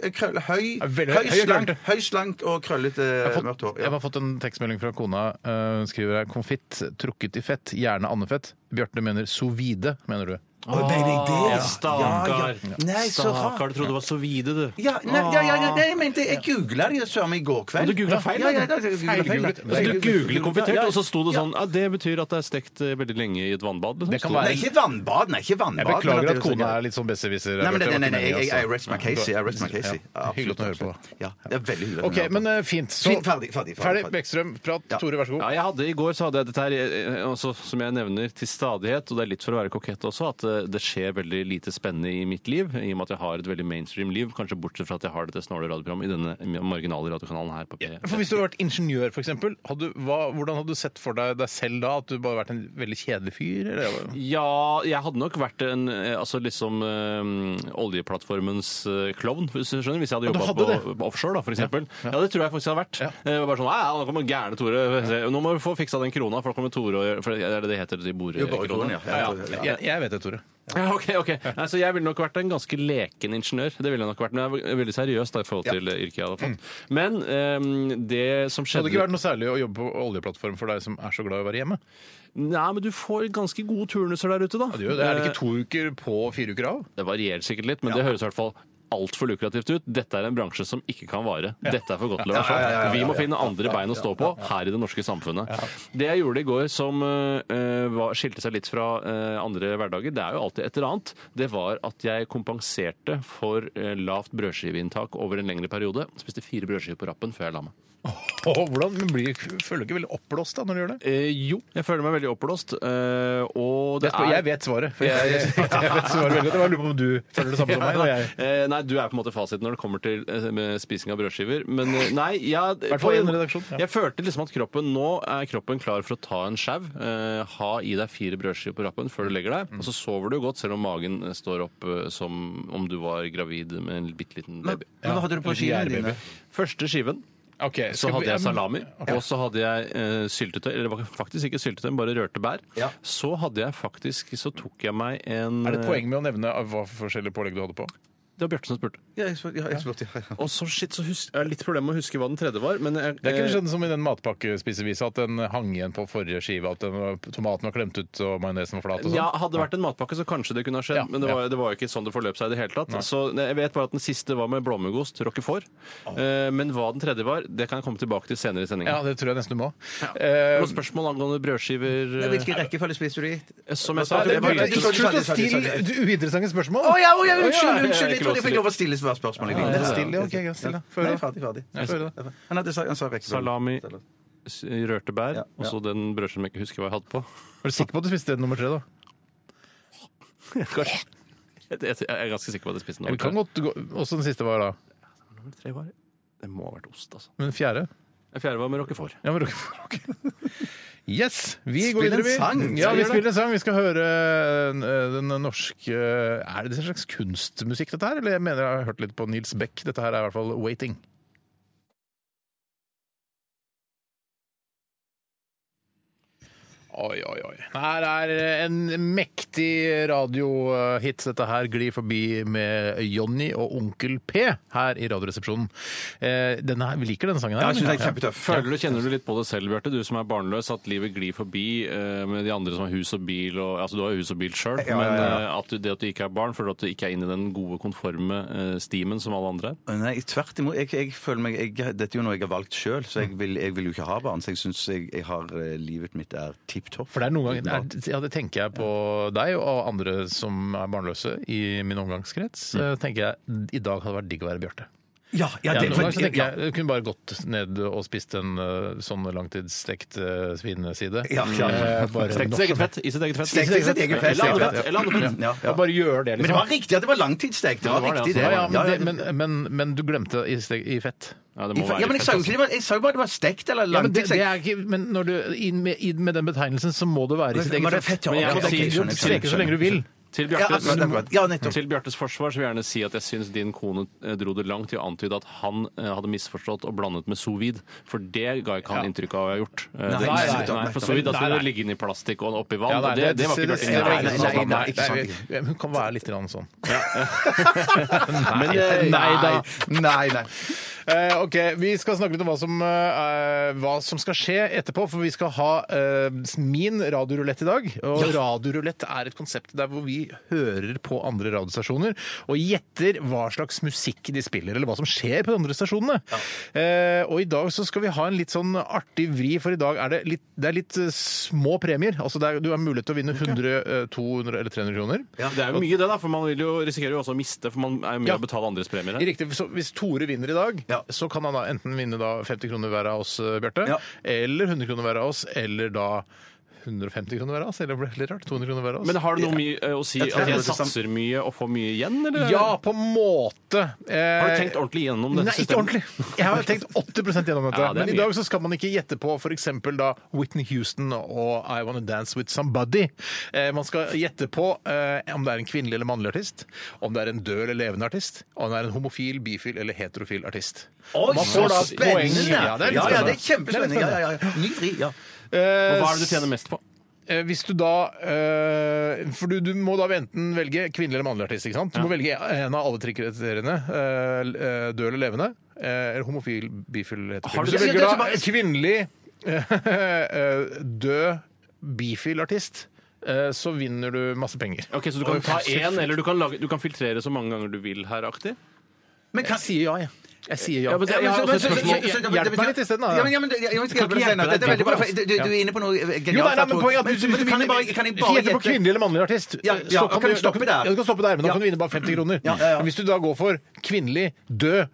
Speaker 1: Krøllete.
Speaker 3: Krøll, høy,
Speaker 1: Ja, veldig høy
Speaker 3: høy,
Speaker 1: og
Speaker 3: slank,
Speaker 1: krøllete.
Speaker 3: høy, slank og krøllete
Speaker 1: Jeg har
Speaker 3: mørkt hår.
Speaker 1: fått,
Speaker 3: Ja.
Speaker 1: jeg har fått en tekstmelding fra kona. eh, Hun skriver her 'konfitt trukket i fett', gjerne andefett. Bjarte mener sous vide, mener du.
Speaker 3: Å, nei, nei, det,
Speaker 2: Å,
Speaker 3: ja. Ja,
Speaker 2: Stakkar.
Speaker 3: ja. Nei, så rart.
Speaker 2: Stakkar, du trodde det var så vide, du.
Speaker 3: Ja, nei, ja, ja, ja, nei, jeg mente jeg googla det jo søren meg i går kveld.
Speaker 2: Og du googlet feil,
Speaker 3: Ja, ja,
Speaker 2: da?
Speaker 3: ja, jeg googlet feil,
Speaker 1: Feilgooglet.
Speaker 3: da.
Speaker 2: Så du
Speaker 3: Jeg
Speaker 2: googlet konfitert,
Speaker 3: Ja, ja.
Speaker 2: og så sto det sånn ja, Det betyr at det er stekt eh, veldig lenge i et vannbad. liksom.
Speaker 1: Det kan
Speaker 2: Sto
Speaker 3: Nei, ikke vannbad. Nei, ikke vannbad.
Speaker 1: Jeg
Speaker 3: men
Speaker 1: beklager
Speaker 3: det
Speaker 1: at
Speaker 3: jo så
Speaker 1: kona
Speaker 3: gøy.
Speaker 1: er litt sånn besserwisser.
Speaker 3: Nei,
Speaker 1: Bjarte,
Speaker 3: men nei,
Speaker 1: det var ikke
Speaker 3: nei, nei,
Speaker 1: meningen,
Speaker 3: jeg,
Speaker 1: altså.
Speaker 3: jeg, I rest my case. I rest my case.
Speaker 1: Ja, hyggelig at du hører på.
Speaker 3: Ja, det er veldig hyggelig. at
Speaker 1: OK,
Speaker 3: du hører på.
Speaker 1: men eh, fint. Så,
Speaker 3: Fint, ferdig, ferdig, ferdig, ferdig.
Speaker 1: Bekkstrøm, prat.
Speaker 3: Ja.
Speaker 1: Tore, vær så god.
Speaker 2: Ja, jeg hadde, I går så hadde jeg dette her, eh, eh, altså, som jeg nevner til stadighet, og det er litt for å være kokett også, at eh, det skjer veldig lite spennende i mitt liv, i og med at jeg har et veldig mainstream liv, kanskje bortsett fra at jeg har dette snåle radioprogrammet i denne marginale radiokanalen her på P.
Speaker 1: For Hvis du hadde vært ingeniør, for eksempel, hadde, du- hva, hvordan hadde du sett for deg deg selv da? At du bare vært en veldig kjedelig fyr? Eller?
Speaker 2: Ja, jeg hadde nok vært en eh, altså liksom eh, oljeplattformens eh, klovn, hvis du skjønner. Hvis jeg
Speaker 1: du
Speaker 2: hadde jobba
Speaker 1: hadde
Speaker 2: på,
Speaker 1: det?
Speaker 2: på offshore, da, for eksempel. Ja, det tror jeg faktisk jeg hadde vært. Eh, bare sånn, «Nei, Nå kommer gærne Tore. Nå må du få fiksa den krona, for nå kommer Tore og gjør for Det er det det heter, de bor
Speaker 3: Jo, bare kronen, ja. Ja, ja, ja.
Speaker 1: Jeg, jeg vet det, Tore.
Speaker 2: Ja, ok, ok. Nei, så jeg ville nok vært en ganske leken ingeniør. Det ville jeg nok vært, Men jeg er veldig seriøs da, i forhold til eh, yrket jeg hadde fått. Men ehm, det
Speaker 1: Mm. Det hadde
Speaker 2: som
Speaker 1: ikke
Speaker 2: skjedde
Speaker 1: vært noe særlig å jobbe på oljeplattform for deg som er så glad i å være hjemme.
Speaker 2: Nei, men du får ganske gode turnuser der ute, da.
Speaker 1: Det gjør jo det. Er det ikke to uker på fire uker av?
Speaker 2: Det varierer sikkert litt, men det høres i hvert fall altfor lukrativt ut. Dette er en bransje som ikke kan vare. Dette er for godt til å
Speaker 3: Ja,
Speaker 2: være
Speaker 3: ja, ja, ja,
Speaker 2: sånn.
Speaker 3: ja,
Speaker 2: Vi må
Speaker 3: ja,
Speaker 2: finne andre bein å stå på her i det norske samfunnet. Det jeg gjorde i går som eh, var, skilte seg litt fra eh, andre hverdager, det er jo alltid et eller annet, det var at jeg kompenserte for eh, lavt brødskiveinntak over en lengre periode. Spiste fire brødskiver på rappen før jeg la meg.
Speaker 1: Åh, hvordan, men blir, føler du ikke veldig oppblåst da når du gjør det?
Speaker 2: Eh, jo, jeg føler meg veldig oppblåst. eh, og det
Speaker 1: Jeg, spør,
Speaker 2: er
Speaker 1: jeg vet svaret. For jeg, jeg, jeg vet svaret veldig godt. Jeg bare lurer på om du føler det samme som meg. når jeg...
Speaker 2: Eh, nei, du er på en måte fasiten når det kommer til eh, med spising av brødskiver. Men eh, nei, jeg,
Speaker 1: hvert
Speaker 2: på
Speaker 1: fall i
Speaker 2: en-
Speaker 1: en redaksjon, ja.
Speaker 2: jeg følte liksom at kroppen nå er kroppen klar for å ta en sjau. Eh, ha i deg fire brødskiver på rappen før du legger
Speaker 1: Mm.
Speaker 2: deg. Og så sover du godt, selv om magen eh, står opp eh, som om du var gravid med en bitte liten baby.
Speaker 3: Men hva hadde du på skiene
Speaker 1: Gjærbaby.
Speaker 3: dine?
Speaker 2: Første skiven
Speaker 1: Ok,
Speaker 2: så
Speaker 1: skal vi-
Speaker 2: hadde jeg
Speaker 1: ja, men-
Speaker 2: salami, og så hadde jeg eh, syltetøy. Eller det var faktisk ikke syltetøy, men bare rørte bær.
Speaker 3: Ja.
Speaker 2: Så hadde jeg faktisk Så tok jeg meg en eh,
Speaker 1: Er det et poeng med å nevne av hva for forskjellige pålegg du hadde på?
Speaker 2: Det var Bjarte som spurte.
Speaker 3: Ja, jeg spurte, ja, jeg spurte, ja, ja.
Speaker 2: Og så shit, så husk, jeg har litt problemer med å huske hva den tredje var. Men jeg, eh,
Speaker 1: Det er ikke sånn som i den matpakkespisevisa at den hang igjen på forrige skive, at den var, tomaten var klemt ut og majonesen var flat og sånn.
Speaker 2: ja, Hadde det vært en matpakke, så kanskje det kunne ha skjedd.
Speaker 1: Ja,
Speaker 2: men det var, det var jo ikke sånn det forløp seg i det hele tatt. Så jeg vet bare at den siste var med blåmuggost, roquefort. Eh, men hva den tredje var, det kan jeg komme tilbake til senere i
Speaker 1: Ja,
Speaker 2: sendinga.
Speaker 1: det tror jeg nesten du må. Eh,
Speaker 2: Noen spørsmål angående brødskiver? eh,
Speaker 3: Hvilken rekkefølge spiste du de?
Speaker 2: Som
Speaker 3: Hva
Speaker 2: jeg
Speaker 3: sa
Speaker 2: sa,
Speaker 3: du? Hva
Speaker 2: jeg
Speaker 3: sa
Speaker 2: begynte
Speaker 3: du?
Speaker 1: Slutt å stille uinteressante spørsmål!
Speaker 3: Å ja, å ja, unnskyld!
Speaker 2: ja,
Speaker 3: unnskyld, Jeg
Speaker 2: ikke
Speaker 3: trodde jeg fikk
Speaker 2: lov
Speaker 3: lov å stille svar- spørsmål. Jeg
Speaker 1: Ja,
Speaker 3: likte det.
Speaker 1: stille, ok, greit, stille. Få høre.
Speaker 3: Nei, ferdig, ferdig.
Speaker 1: Ja, få høre da.
Speaker 3: Han hadde sagt, han sa rekkefølge.
Speaker 2: salami, s- rørte bær,
Speaker 3: Ja,
Speaker 2: og så den brødskiven jeg ikke husker hva jeg hadde på.
Speaker 1: Er du sikker på at du spiste nummer tre, da?
Speaker 2: Kanskje. Jeg, jeg, jeg er ganske sikker på at jeg spiste den.
Speaker 1: Vi kan godt gå Også den siste var da.
Speaker 2: Nummer tre var Det må ha vært ost, altså.
Speaker 1: Men fjerde?
Speaker 2: Den fjerde var med roquefort.
Speaker 1: Ja, men ok. Yes! Vi
Speaker 3: Spill
Speaker 1: går videre,
Speaker 3: en
Speaker 1: vi.
Speaker 3: sang.
Speaker 1: Ja,
Speaker 3: Skal vi
Speaker 1: vi
Speaker 3: gjøre
Speaker 1: spiller en sang. Vi skal høre eh, den norske Er det en slags kunstmusikk, dette her? Eller jeg mener jeg har hørt litt på Nils Beck. Dette her er i hvert fall 'Waiting'. Oi, oi, oi. Her er en mektig radiohit. Dette her glir forbi med Jonny og Onkel P her i Radioresepsjonen. Eh, Denne her, vi liker denne sangen her.
Speaker 3: Ja, jeg synes det er
Speaker 1: Ja.
Speaker 3: kjempetøff.
Speaker 2: Føler du, Kjenner du litt på det selv, Bjarte, du som er barnløs, at livet glir forbi eh, med de andre som har hus og bil og Altså, du har jo hus og bil sjøl,
Speaker 3: Ja, ja,
Speaker 2: men
Speaker 3: ja,
Speaker 2: eh, at du, det at du ikke er barn, føler du at du ikke er inne i den gode, konforme eh, stimen som alle andre er?
Speaker 3: Nei, tvert imot. Jeg, jeg føler meg, jeg, dette er jo noe jeg har valgt sjøl, så jeg vil, jeg vil jo ikke ha barn. Så jeg syns jeg, jeg har eh, livet mitt er tipp topp.
Speaker 1: For det er noen ganger, det er, ja, det tenker jeg på deg og andre som er barnløse i min omgangskrets. eh, tenker jeg, I dag hadde det vært digg å være Bjarte.
Speaker 3: Ja, ja,
Speaker 1: Ja,
Speaker 3: det,
Speaker 1: noen
Speaker 3: for,
Speaker 1: ganger så tenker
Speaker 3: ja,
Speaker 1: jeg, jeg kunne bare gått ned og spist en eh, sånn langtidsstekt eh, svineside.
Speaker 3: ja, ja.
Speaker 1: Eh, bare
Speaker 2: Stekt
Speaker 1: nok
Speaker 2: sitt eget
Speaker 1: som-
Speaker 2: fett. I sitt eget fett.
Speaker 3: Stekt i sitt eget fett,
Speaker 2: Eller andre
Speaker 3: ja.
Speaker 2: fett. Eller andre fett.
Speaker 3: Ja, ja.
Speaker 1: Og bare gjør det,
Speaker 3: Men det
Speaker 1: liksom.
Speaker 3: var riktig at det var langtidsstekt! Det var
Speaker 2: Ja, det var det,
Speaker 3: riktig,
Speaker 2: altså.
Speaker 1: Ja,
Speaker 3: det.
Speaker 1: ja,
Speaker 3: Ja,
Speaker 1: men,
Speaker 3: ja,
Speaker 1: det, men, men, men du glemte i, stek- i fett.
Speaker 2: Ja, det må
Speaker 3: Ja,
Speaker 2: være
Speaker 3: men jeg
Speaker 2: fett,
Speaker 3: sa jo
Speaker 2: altså.
Speaker 3: ikke det var, jeg sa jo bare det var stekt eller
Speaker 1: Ja, men, det, det
Speaker 3: langtidsstekt.
Speaker 1: er ikke, men når du, i, med, i, med den betegnelsen så må det være i sitt
Speaker 3: Men det
Speaker 1: eget
Speaker 3: er fett,
Speaker 1: fett.
Speaker 3: ja.
Speaker 1: Men jeg
Speaker 2: Ja,
Speaker 1: må
Speaker 2: ok,
Speaker 1: si,
Speaker 2: skjønner,
Speaker 1: du streker så
Speaker 3: skjønner,
Speaker 1: lenge du vil.
Speaker 2: Til
Speaker 3: Ja,
Speaker 2: Bjartes,
Speaker 3: akkurat, akkurat. Ja, nettopp.
Speaker 2: til Bjartes forsvar så vil jeg gjerne si at jeg syns din kone eh, dro det langt i å antyde at han eh, hadde misforstått og blandet med sous vide. For det ga ikke han inntrykk av å ha gjort. Eh, det-
Speaker 3: nei,
Speaker 1: nei,
Speaker 3: nei,
Speaker 2: for sous vide da
Speaker 1: nei,
Speaker 2: skulle
Speaker 1: nei.
Speaker 2: det ligge inni plastikk og oppi vann.
Speaker 1: Ja, nei,
Speaker 2: og det, det var ikke
Speaker 3: det
Speaker 2: Bjarte.
Speaker 3: var
Speaker 2: Nei,
Speaker 3: ikke
Speaker 2: nei,
Speaker 3: sant.
Speaker 2: nei, nei.
Speaker 3: ikke sant.
Speaker 1: nei, Hun kan være litt grann sånn.
Speaker 3: Men,
Speaker 1: eh, nei da.
Speaker 3: Nei, nei.
Speaker 1: Eh, ok, Vi skal snakke litt om hva som, eh, hva som skal skje etterpå, for vi skal ha eh, min radiorulett i dag. Og radiorulett er et konsept der hvor vi hører på andre radiostasjoner og gjetter hva slags musikk de spiller, eller hva som skjer på de andre stasjonene. Eh, og i dag så skal vi ha en litt sånn artig vri, for i dag er det litt, det er litt eh, små premier. Altså det er, du har mulighet til å vinne 100, eh, 200 eller 300 kroner.
Speaker 2: Det er jo mye det, da, for man vil jo, risikerer jo også å miste, for man er jo med
Speaker 1: Ja.
Speaker 2: å betale andres
Speaker 1: I
Speaker 2: premier. her.
Speaker 1: Riktig, så Hvis Tore vinner i dag,
Speaker 3: Ja.
Speaker 1: så kan han da enten vinne da 50 kroner hver av oss, eh, Bjarte,
Speaker 3: Ja.
Speaker 1: eller 100 kroner hver av oss, eller da 150 kroner hver av oss, eller ble det litt rart, 200 kroner hver av oss.
Speaker 2: Men har det noe mye eh, å si
Speaker 3: Jeg tror
Speaker 2: at
Speaker 3: det er
Speaker 2: jeg
Speaker 3: det samme.
Speaker 2: satser mye og får mye igjen, eller?
Speaker 1: ja, på en måte. Eh,
Speaker 2: Har du tenkt ordentlig gjennom dette
Speaker 1: Nei, ikke ordentlig. Jeg har tenkt 80 gjennom dette.
Speaker 2: Ja, det er
Speaker 1: men i
Speaker 2: mye.
Speaker 1: dag så skal man ikke gjette på f.eks. da Whitney Houston og I Wanna Dance With Somebody. Eh, man skal gjette på eh, om det er en kvinnelig eller mannlig artist, om det er en død eller levende artist, om det er en homofil, bifil eller heterofil artist.
Speaker 3: Oi,
Speaker 1: Man
Speaker 3: så
Speaker 1: får da poeng.
Speaker 3: spennende!
Speaker 1: Ja, det er Eh, litt
Speaker 3: ja, ja,
Speaker 1: spennende.
Speaker 3: det er kjempespennende. Ja, ja, ja. Ny vri, ja.
Speaker 2: Og Hva er det du tjener mest på?
Speaker 1: Eh, Hvis du da eh, For du, du må da enten velge kvinnelig eller mannlig artist. ikke sant? Du må velge en av alle tre kriteriene. eh, l- eh, Død eller levende. eh, Eller homofil, bifil, heterofil.
Speaker 2: Har du-
Speaker 1: Hvis du
Speaker 3: Ja, det
Speaker 1: velger
Speaker 3: er
Speaker 1: da
Speaker 3: så bare-
Speaker 1: kvinnelig eh, død bifil artist, eh, så vinner du masse penger.
Speaker 2: Ok, Så du kan ta én, eller du kan, lage, du kan filtrere så mange ganger du vil her, aktig?
Speaker 3: Men kan,
Speaker 1: Jeg sier ja, jeg. Jeg sier ja.
Speaker 2: Ja, men det-
Speaker 1: Ja,
Speaker 2: jeg
Speaker 1: men
Speaker 2: har også
Speaker 1: så-
Speaker 2: et
Speaker 1: så-
Speaker 2: spørsmål.
Speaker 1: så- så- Hjelp meg litt isteden, da.
Speaker 3: Ja, men, ja, men, ja, men, skal
Speaker 2: ikke
Speaker 3: hjelpe deg,
Speaker 2: hjelpe
Speaker 3: Steinar.
Speaker 2: deg,
Speaker 3: Dette er veldig
Speaker 2: hjelpe
Speaker 3: bra.
Speaker 2: deg,
Speaker 3: for Du, du er inne på noe genialt.
Speaker 1: Jo, nei, nei, men
Speaker 3: her,
Speaker 1: poenget er at
Speaker 3: men,
Speaker 1: du,
Speaker 3: men, kan jeg bare, kan jeg bare
Speaker 1: gjette på
Speaker 3: gjette?
Speaker 1: kvinnelig eller mannlig artist.
Speaker 3: Ja, ja,
Speaker 1: Så
Speaker 3: kan du stoppe
Speaker 1: da-
Speaker 3: der?
Speaker 1: Ja, du kan stoppe der, men da
Speaker 3: Ja.
Speaker 1: kan du vinne bare 50 kroner.
Speaker 3: Ja, ja, ja.
Speaker 1: Men Hvis du da går for kvinnelig, død,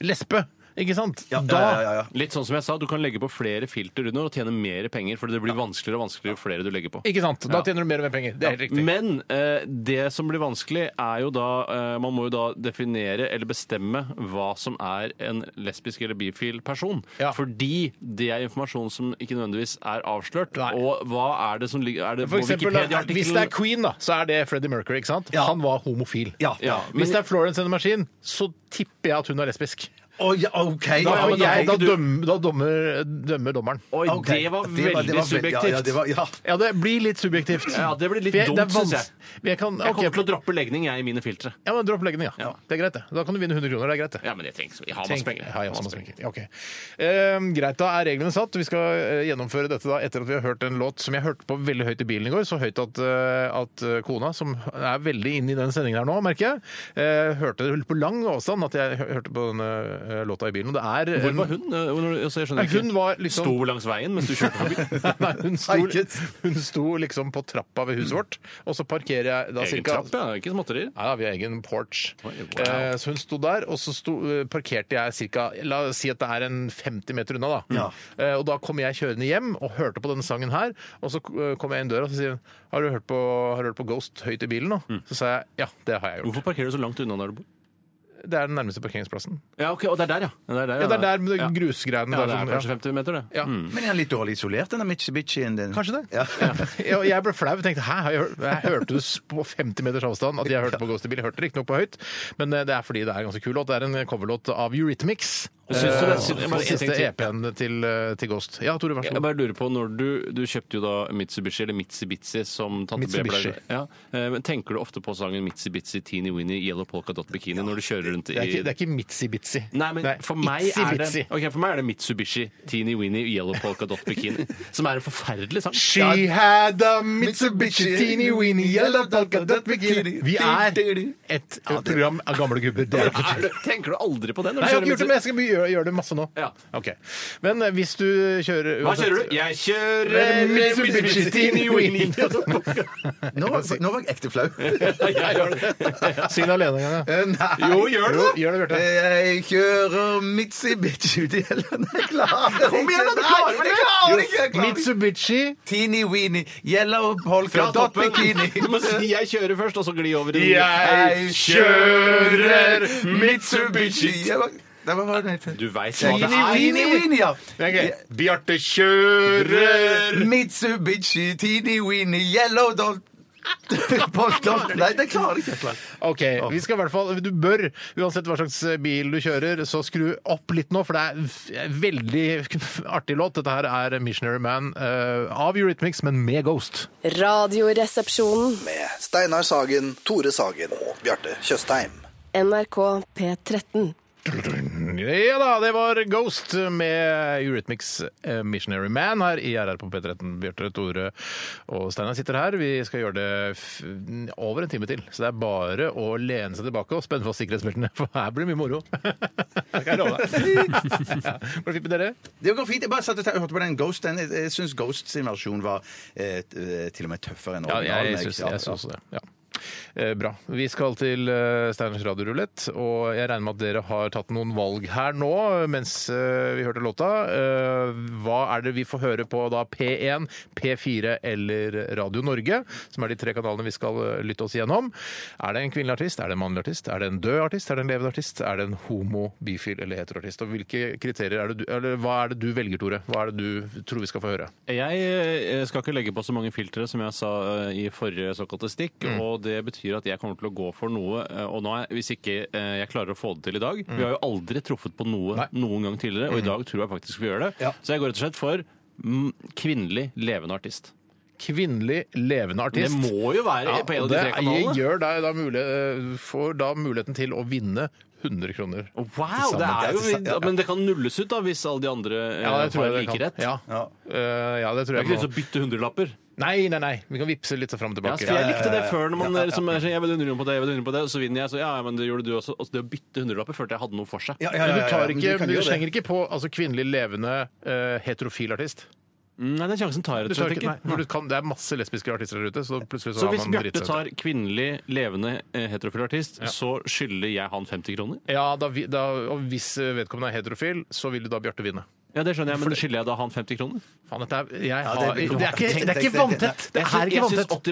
Speaker 1: lesbe, ikke sant?
Speaker 3: Ja,
Speaker 1: Da
Speaker 3: ja, ja, ja, ja.
Speaker 2: Litt sånn som jeg sa, du kan legge på flere filter under og tjene mer penger, for det blir vanskeligere og vanskeligere jo flere du legger på.
Speaker 1: Ikke sant? Da
Speaker 2: Ja.
Speaker 1: tjener du mer og mer penger. Det er helt riktig.
Speaker 2: Men eh, det som blir vanskelig, er jo da eh, Man må jo da definere eller bestemme hva som er en lesbisk eller bifil person.
Speaker 1: Ja.
Speaker 2: Fordi det er informasjon som ikke nødvendigvis er avslørt.
Speaker 1: Nei.
Speaker 2: Og hva er det som ligger Er det
Speaker 1: For eksempel, da, hvis det er
Speaker 2: Wikipedia-artikkelen?
Speaker 1: Queen, da, så er det Freddie Mercury. ikke sant?
Speaker 3: Ja.
Speaker 1: Han var homofil.
Speaker 3: Ja.
Speaker 2: Ja,
Speaker 1: Hvis det er Florence and the Machine, så tipper jeg at hun er lesbisk.
Speaker 3: Å, ja, OK.
Speaker 1: Da,
Speaker 3: Ja, men
Speaker 1: og jeg, da,
Speaker 3: ok.
Speaker 1: dømmer, da dommer, dømmer dommeren.
Speaker 2: Oi,
Speaker 3: Ok.
Speaker 2: det var
Speaker 3: Det
Speaker 2: veldig
Speaker 3: var- det var veldig- ja,
Speaker 2: subjektivt.
Speaker 3: Ja, det var, ja.
Speaker 1: Ja, det blir litt subjektivt.
Speaker 2: Ja, det blir litt
Speaker 1: For jeg-
Speaker 2: dumt,
Speaker 1: det er
Speaker 2: synes jeg.
Speaker 1: vans- Jeg kan,
Speaker 2: Jeg kommer
Speaker 1: ok,
Speaker 2: til å droppe legning, jeg, i mine filtre.
Speaker 1: ja, men Dropp leggene, ja.
Speaker 2: Ja.
Speaker 1: Det er greit, det. Da kan du vinne 100 kroner. Det er greit, det.
Speaker 2: Ja, men det trengs. Jeg har
Speaker 1: Tenk-
Speaker 2: masse penger.
Speaker 1: Ja, ja, masse penger. Ja, ok. Ehm, greit, da er reglene satt. Vi skal eh, gjennomføre dette da etter at vi har hørt en låt som jeg hørte på veldig høyt i bilen i går. Så høyt at, eh, at eh, kona, som er veldig inne i den sendingen her nå, merker jeg, eh, hørte det på lang avstand at jeg hø- hørte på denne eh, låta i bilen. Og det er
Speaker 2: Hvor var
Speaker 1: en-
Speaker 2: hun? Eh, når- altså, Jeg skjønner
Speaker 1: Nei,
Speaker 2: ikke.
Speaker 1: hun var liksom-
Speaker 2: Sto langs veien mens du kjørte forbi?
Speaker 1: Nei, hun sto,
Speaker 3: Haiket.
Speaker 1: hun sto liksom på trappa ved huset vårt, og så parkerer jeg da
Speaker 2: Egen
Speaker 1: cirka
Speaker 2: trapp, ja. Ikke småtterier.
Speaker 1: Ja, vi har egen porch.
Speaker 2: Oi, wow.
Speaker 1: eh, så hun sto der, og så sto, eh, parkerte jeg ca. La oss si at det er en 50 meter unna, da. Eh, og da kom jeg kjørende hjem og hørte på denne sangen her. Og så eh, kom jeg inn døra og så sier hun har du hørt på, har du hørt på Ghost høyt i bilen nå? Så sa jeg ja, det har jeg gjort.
Speaker 2: Mm. Hvorfor parkerer du så langt unna der du bor?
Speaker 1: Det er den nærmeste parkeringsplassen.
Speaker 2: Ja, ok, Og det er der, ja. Det er der,
Speaker 1: Ja, det er der med
Speaker 2: Ja.
Speaker 1: de grusgreiene.
Speaker 2: Ja,
Speaker 1: der
Speaker 2: det er
Speaker 1: som- ja.
Speaker 2: kanskje 50 meter, det.
Speaker 1: Ja.
Speaker 3: Men er han litt dårlig isolert, denne Mitsubishien din?
Speaker 1: Kanskje det.
Speaker 3: Ja.
Speaker 1: Ja, og jeg ble flau og tenkte hæ, har jeg, hørt, jeg hørte det på 50 meters avstand at jeg hørte på Ghost i Bill. Jeg hørte det riktignok på høyt, men eh, det er fordi det er en ganske kul låt. Det er en eh, coverlåt av Eurythmics.
Speaker 2: Syns du det?
Speaker 1: Eh,
Speaker 2: Syns- jeg
Speaker 1: fra
Speaker 2: bare- jeg
Speaker 1: siste
Speaker 2: tenkte-
Speaker 1: EP-en til, eh, til Ghost. Ja, Tore, vær så
Speaker 2: Jeg
Speaker 1: god.
Speaker 2: bare lurer på, når Du, du kjøpte jo da Mitsubishi, eller Mitsubishi som tante B
Speaker 1: Mitsubishi.
Speaker 2: pleier å- ja. eh, men Tenker du ofte på sangen Mitsubishi Teeny Weeny Yellow Polka Dot Bikini når du kjører rundt i
Speaker 1: Det er ikke, det er ikke Mitsi-Bitsi.
Speaker 2: Nei, men for meg, er det, ok, for meg er det Mitsubishi Teeny Weeny Yellow Polka Dot Bikini, som er en forferdelig sang.
Speaker 1: She had a Mitsubishi teeny weeny yellow polka dot bikini. Vi er et program av gamle gubber. Det er ikke
Speaker 2: Er det- Tenker du aldri på det? når du
Speaker 1: Nei, jeg har ikke gjort
Speaker 2: kjører
Speaker 1: det, men jeg skal be- gjøre, gjøre det masse nå.
Speaker 2: Ja.
Speaker 1: Ok. Men eh, hvis du kjører
Speaker 2: Hva kjører du? Jeg kjører Mitsubishi Teeny Weeny Yellow Polka
Speaker 3: Nå, var, nå var jeg ekte flau.
Speaker 2: Jeg gjør det.
Speaker 1: Syng det alene en gang, da.
Speaker 3: Eh, Nei.
Speaker 2: Jo, gjør det!
Speaker 1: Jo, gjør det, Bjarte.
Speaker 3: Jeg kjører Mitsubishi ut i hele Nei, jeg klarer det
Speaker 2: Kom igjen, da, du
Speaker 3: ikke.
Speaker 2: klarer
Speaker 3: Nei,
Speaker 2: det.
Speaker 3: Jeg klarer det ikke! Jeg klarer det ikke.
Speaker 1: Mitsubishi
Speaker 3: Teeny weeny, yellow polka dot bikini.
Speaker 2: Du må si 'jeg kjører' først, og så gli over i
Speaker 3: Jeg kjører Mitsubishi Jeg var- Nei, Hva var det den het?
Speaker 2: Du veit hva det
Speaker 1: Teeny
Speaker 2: er.
Speaker 3: Teeny weeny, ja.
Speaker 1: okay. Bjarte kjører
Speaker 3: Mitsubishi, teeny weeny, yellow dot Polka dot Nei, det klarer jeg ikke. Jeg klarer det ikke.
Speaker 1: OK. Vi skal i hvert fall, du bør, uansett hva slags bil du kjører, så skru opp litt nå, for det er v- en veldig artig låt. Dette her er Missionary Man eh, av Eurythmics, men med Ghost.
Speaker 5: Radioresepsjonen.
Speaker 6: Med Steinar Sagen, Tore Sagen og Bjarte Tjøstheim.
Speaker 5: NRK P13.
Speaker 1: Mm, Ja da, det var Ghost med Eurythmics eh, Missionary Man her i RR på P13. Bjarte, Tore og Steinar sitter her. Vi skal gjøre det f over en time til. Så det er bare å lene seg tilbake og spenne fast sikkerhetsbeltene, for her blir det mye moro. Det kan jeg love deg. Ja. Går det fint med dere?
Speaker 3: Det går fint. Jeg bare satt og te- hørte på den Ghost. Den, jeg- jeg syns Ghost sin versjon var eh, t- eh, til og med tøffere enn originalen. Ja, ja.
Speaker 1: også det. Ja. Eh, Bra. Vi skal til eh, Steiners radiorulett, og jeg regner med at dere har tatt noen valg her nå eh, mens eh, vi hørte låta. Eh, Hva er det vi får høre på da P1, P4 eller Radio Norge, som er de tre kanalene vi skal eh, lytte oss gjennom? Er det en kvinnelig artist, er det en mannlig artist, er det en død artist, er det en levende artist, er det en homo, bifil eller heteroartist? Og hvilke kriterier er det du, eller hva er det du velger, Tore? Hva er det du tror vi skal få høre?
Speaker 2: Jeg eh, skal ikke legge på så mange filtre som jeg sa eh, i forrige såkalte stikk, og det betyr at jeg kommer til å gå for noe, eh, og nå er, hvis ikke eh, jeg klarer å få det til i dag Vi har jo aldri truffet på noe
Speaker 1: Nei.
Speaker 2: noen gang tidligere, og i dag tror jeg faktisk vi gjør det.
Speaker 3: Ja.
Speaker 2: Så jeg går rett og slett for mm, kvinnelig levende artist.
Speaker 1: Kvinnelig levende artist.
Speaker 2: Det må jo være på en av de
Speaker 1: det
Speaker 2: tre kanalene.
Speaker 1: gjør deg da mulig- eh, får da muligheten til å vinne 100 kroner.
Speaker 2: Wow, det er jo, Men det kan nulles ut da hvis alle de andre eh, har like rett.
Speaker 1: Ja.
Speaker 3: Ja.
Speaker 1: Eh, ja, det sånn tror
Speaker 2: Jeg
Speaker 1: jeg.
Speaker 2: har ikke lyst til å bytte hundrelapper.
Speaker 1: Nei, nei, nei. Vi kan vippse litt fram og
Speaker 2: Ja,
Speaker 1: tilbake.
Speaker 2: for jeg likte det før. Når man liksom, er sånn, jeg vil undre på det, jeg vil undre på det, og så vinner jeg. Så ja, ja, men det gjorde du også. Og det å bytte hundrelapper følte jeg hadde noe for seg.
Speaker 1: Men du, tar
Speaker 3: men
Speaker 1: ikke,
Speaker 3: kan
Speaker 1: du,
Speaker 3: gjøre det.
Speaker 1: slenger ikke på altså, kvinnelig levende eh, heterofil artist?
Speaker 2: Mm, Nei, den sjansen tar jeg
Speaker 1: Du
Speaker 2: rett og
Speaker 1: tar
Speaker 2: slett
Speaker 1: ikke, nei,
Speaker 2: ikke.
Speaker 1: for du kan, det er masse lesbiske artister der ute, så plutselig så,
Speaker 2: Så hvis
Speaker 1: har man
Speaker 2: Bjarte
Speaker 1: dritt seg ut.
Speaker 2: tar kvinnelig levende eh, heterofil artist, så skylder jeg han 50 kroner?
Speaker 1: Ja, da, vi- da, og hvis eh, vedkommende er heterofil, så vil jo da Bjarte vinne.
Speaker 2: Ja, det skjønner jeg, men skylder jeg da han 50 kroner?
Speaker 1: Faen, dette er, jeg har, det,
Speaker 3: det blir
Speaker 1: er ikke, det er ikke
Speaker 3: komplisert.
Speaker 1: vanntett! Det
Speaker 2: Jeg
Speaker 1: er
Speaker 2: syns-
Speaker 1: ikke
Speaker 2: jeg syns
Speaker 1: vanntett.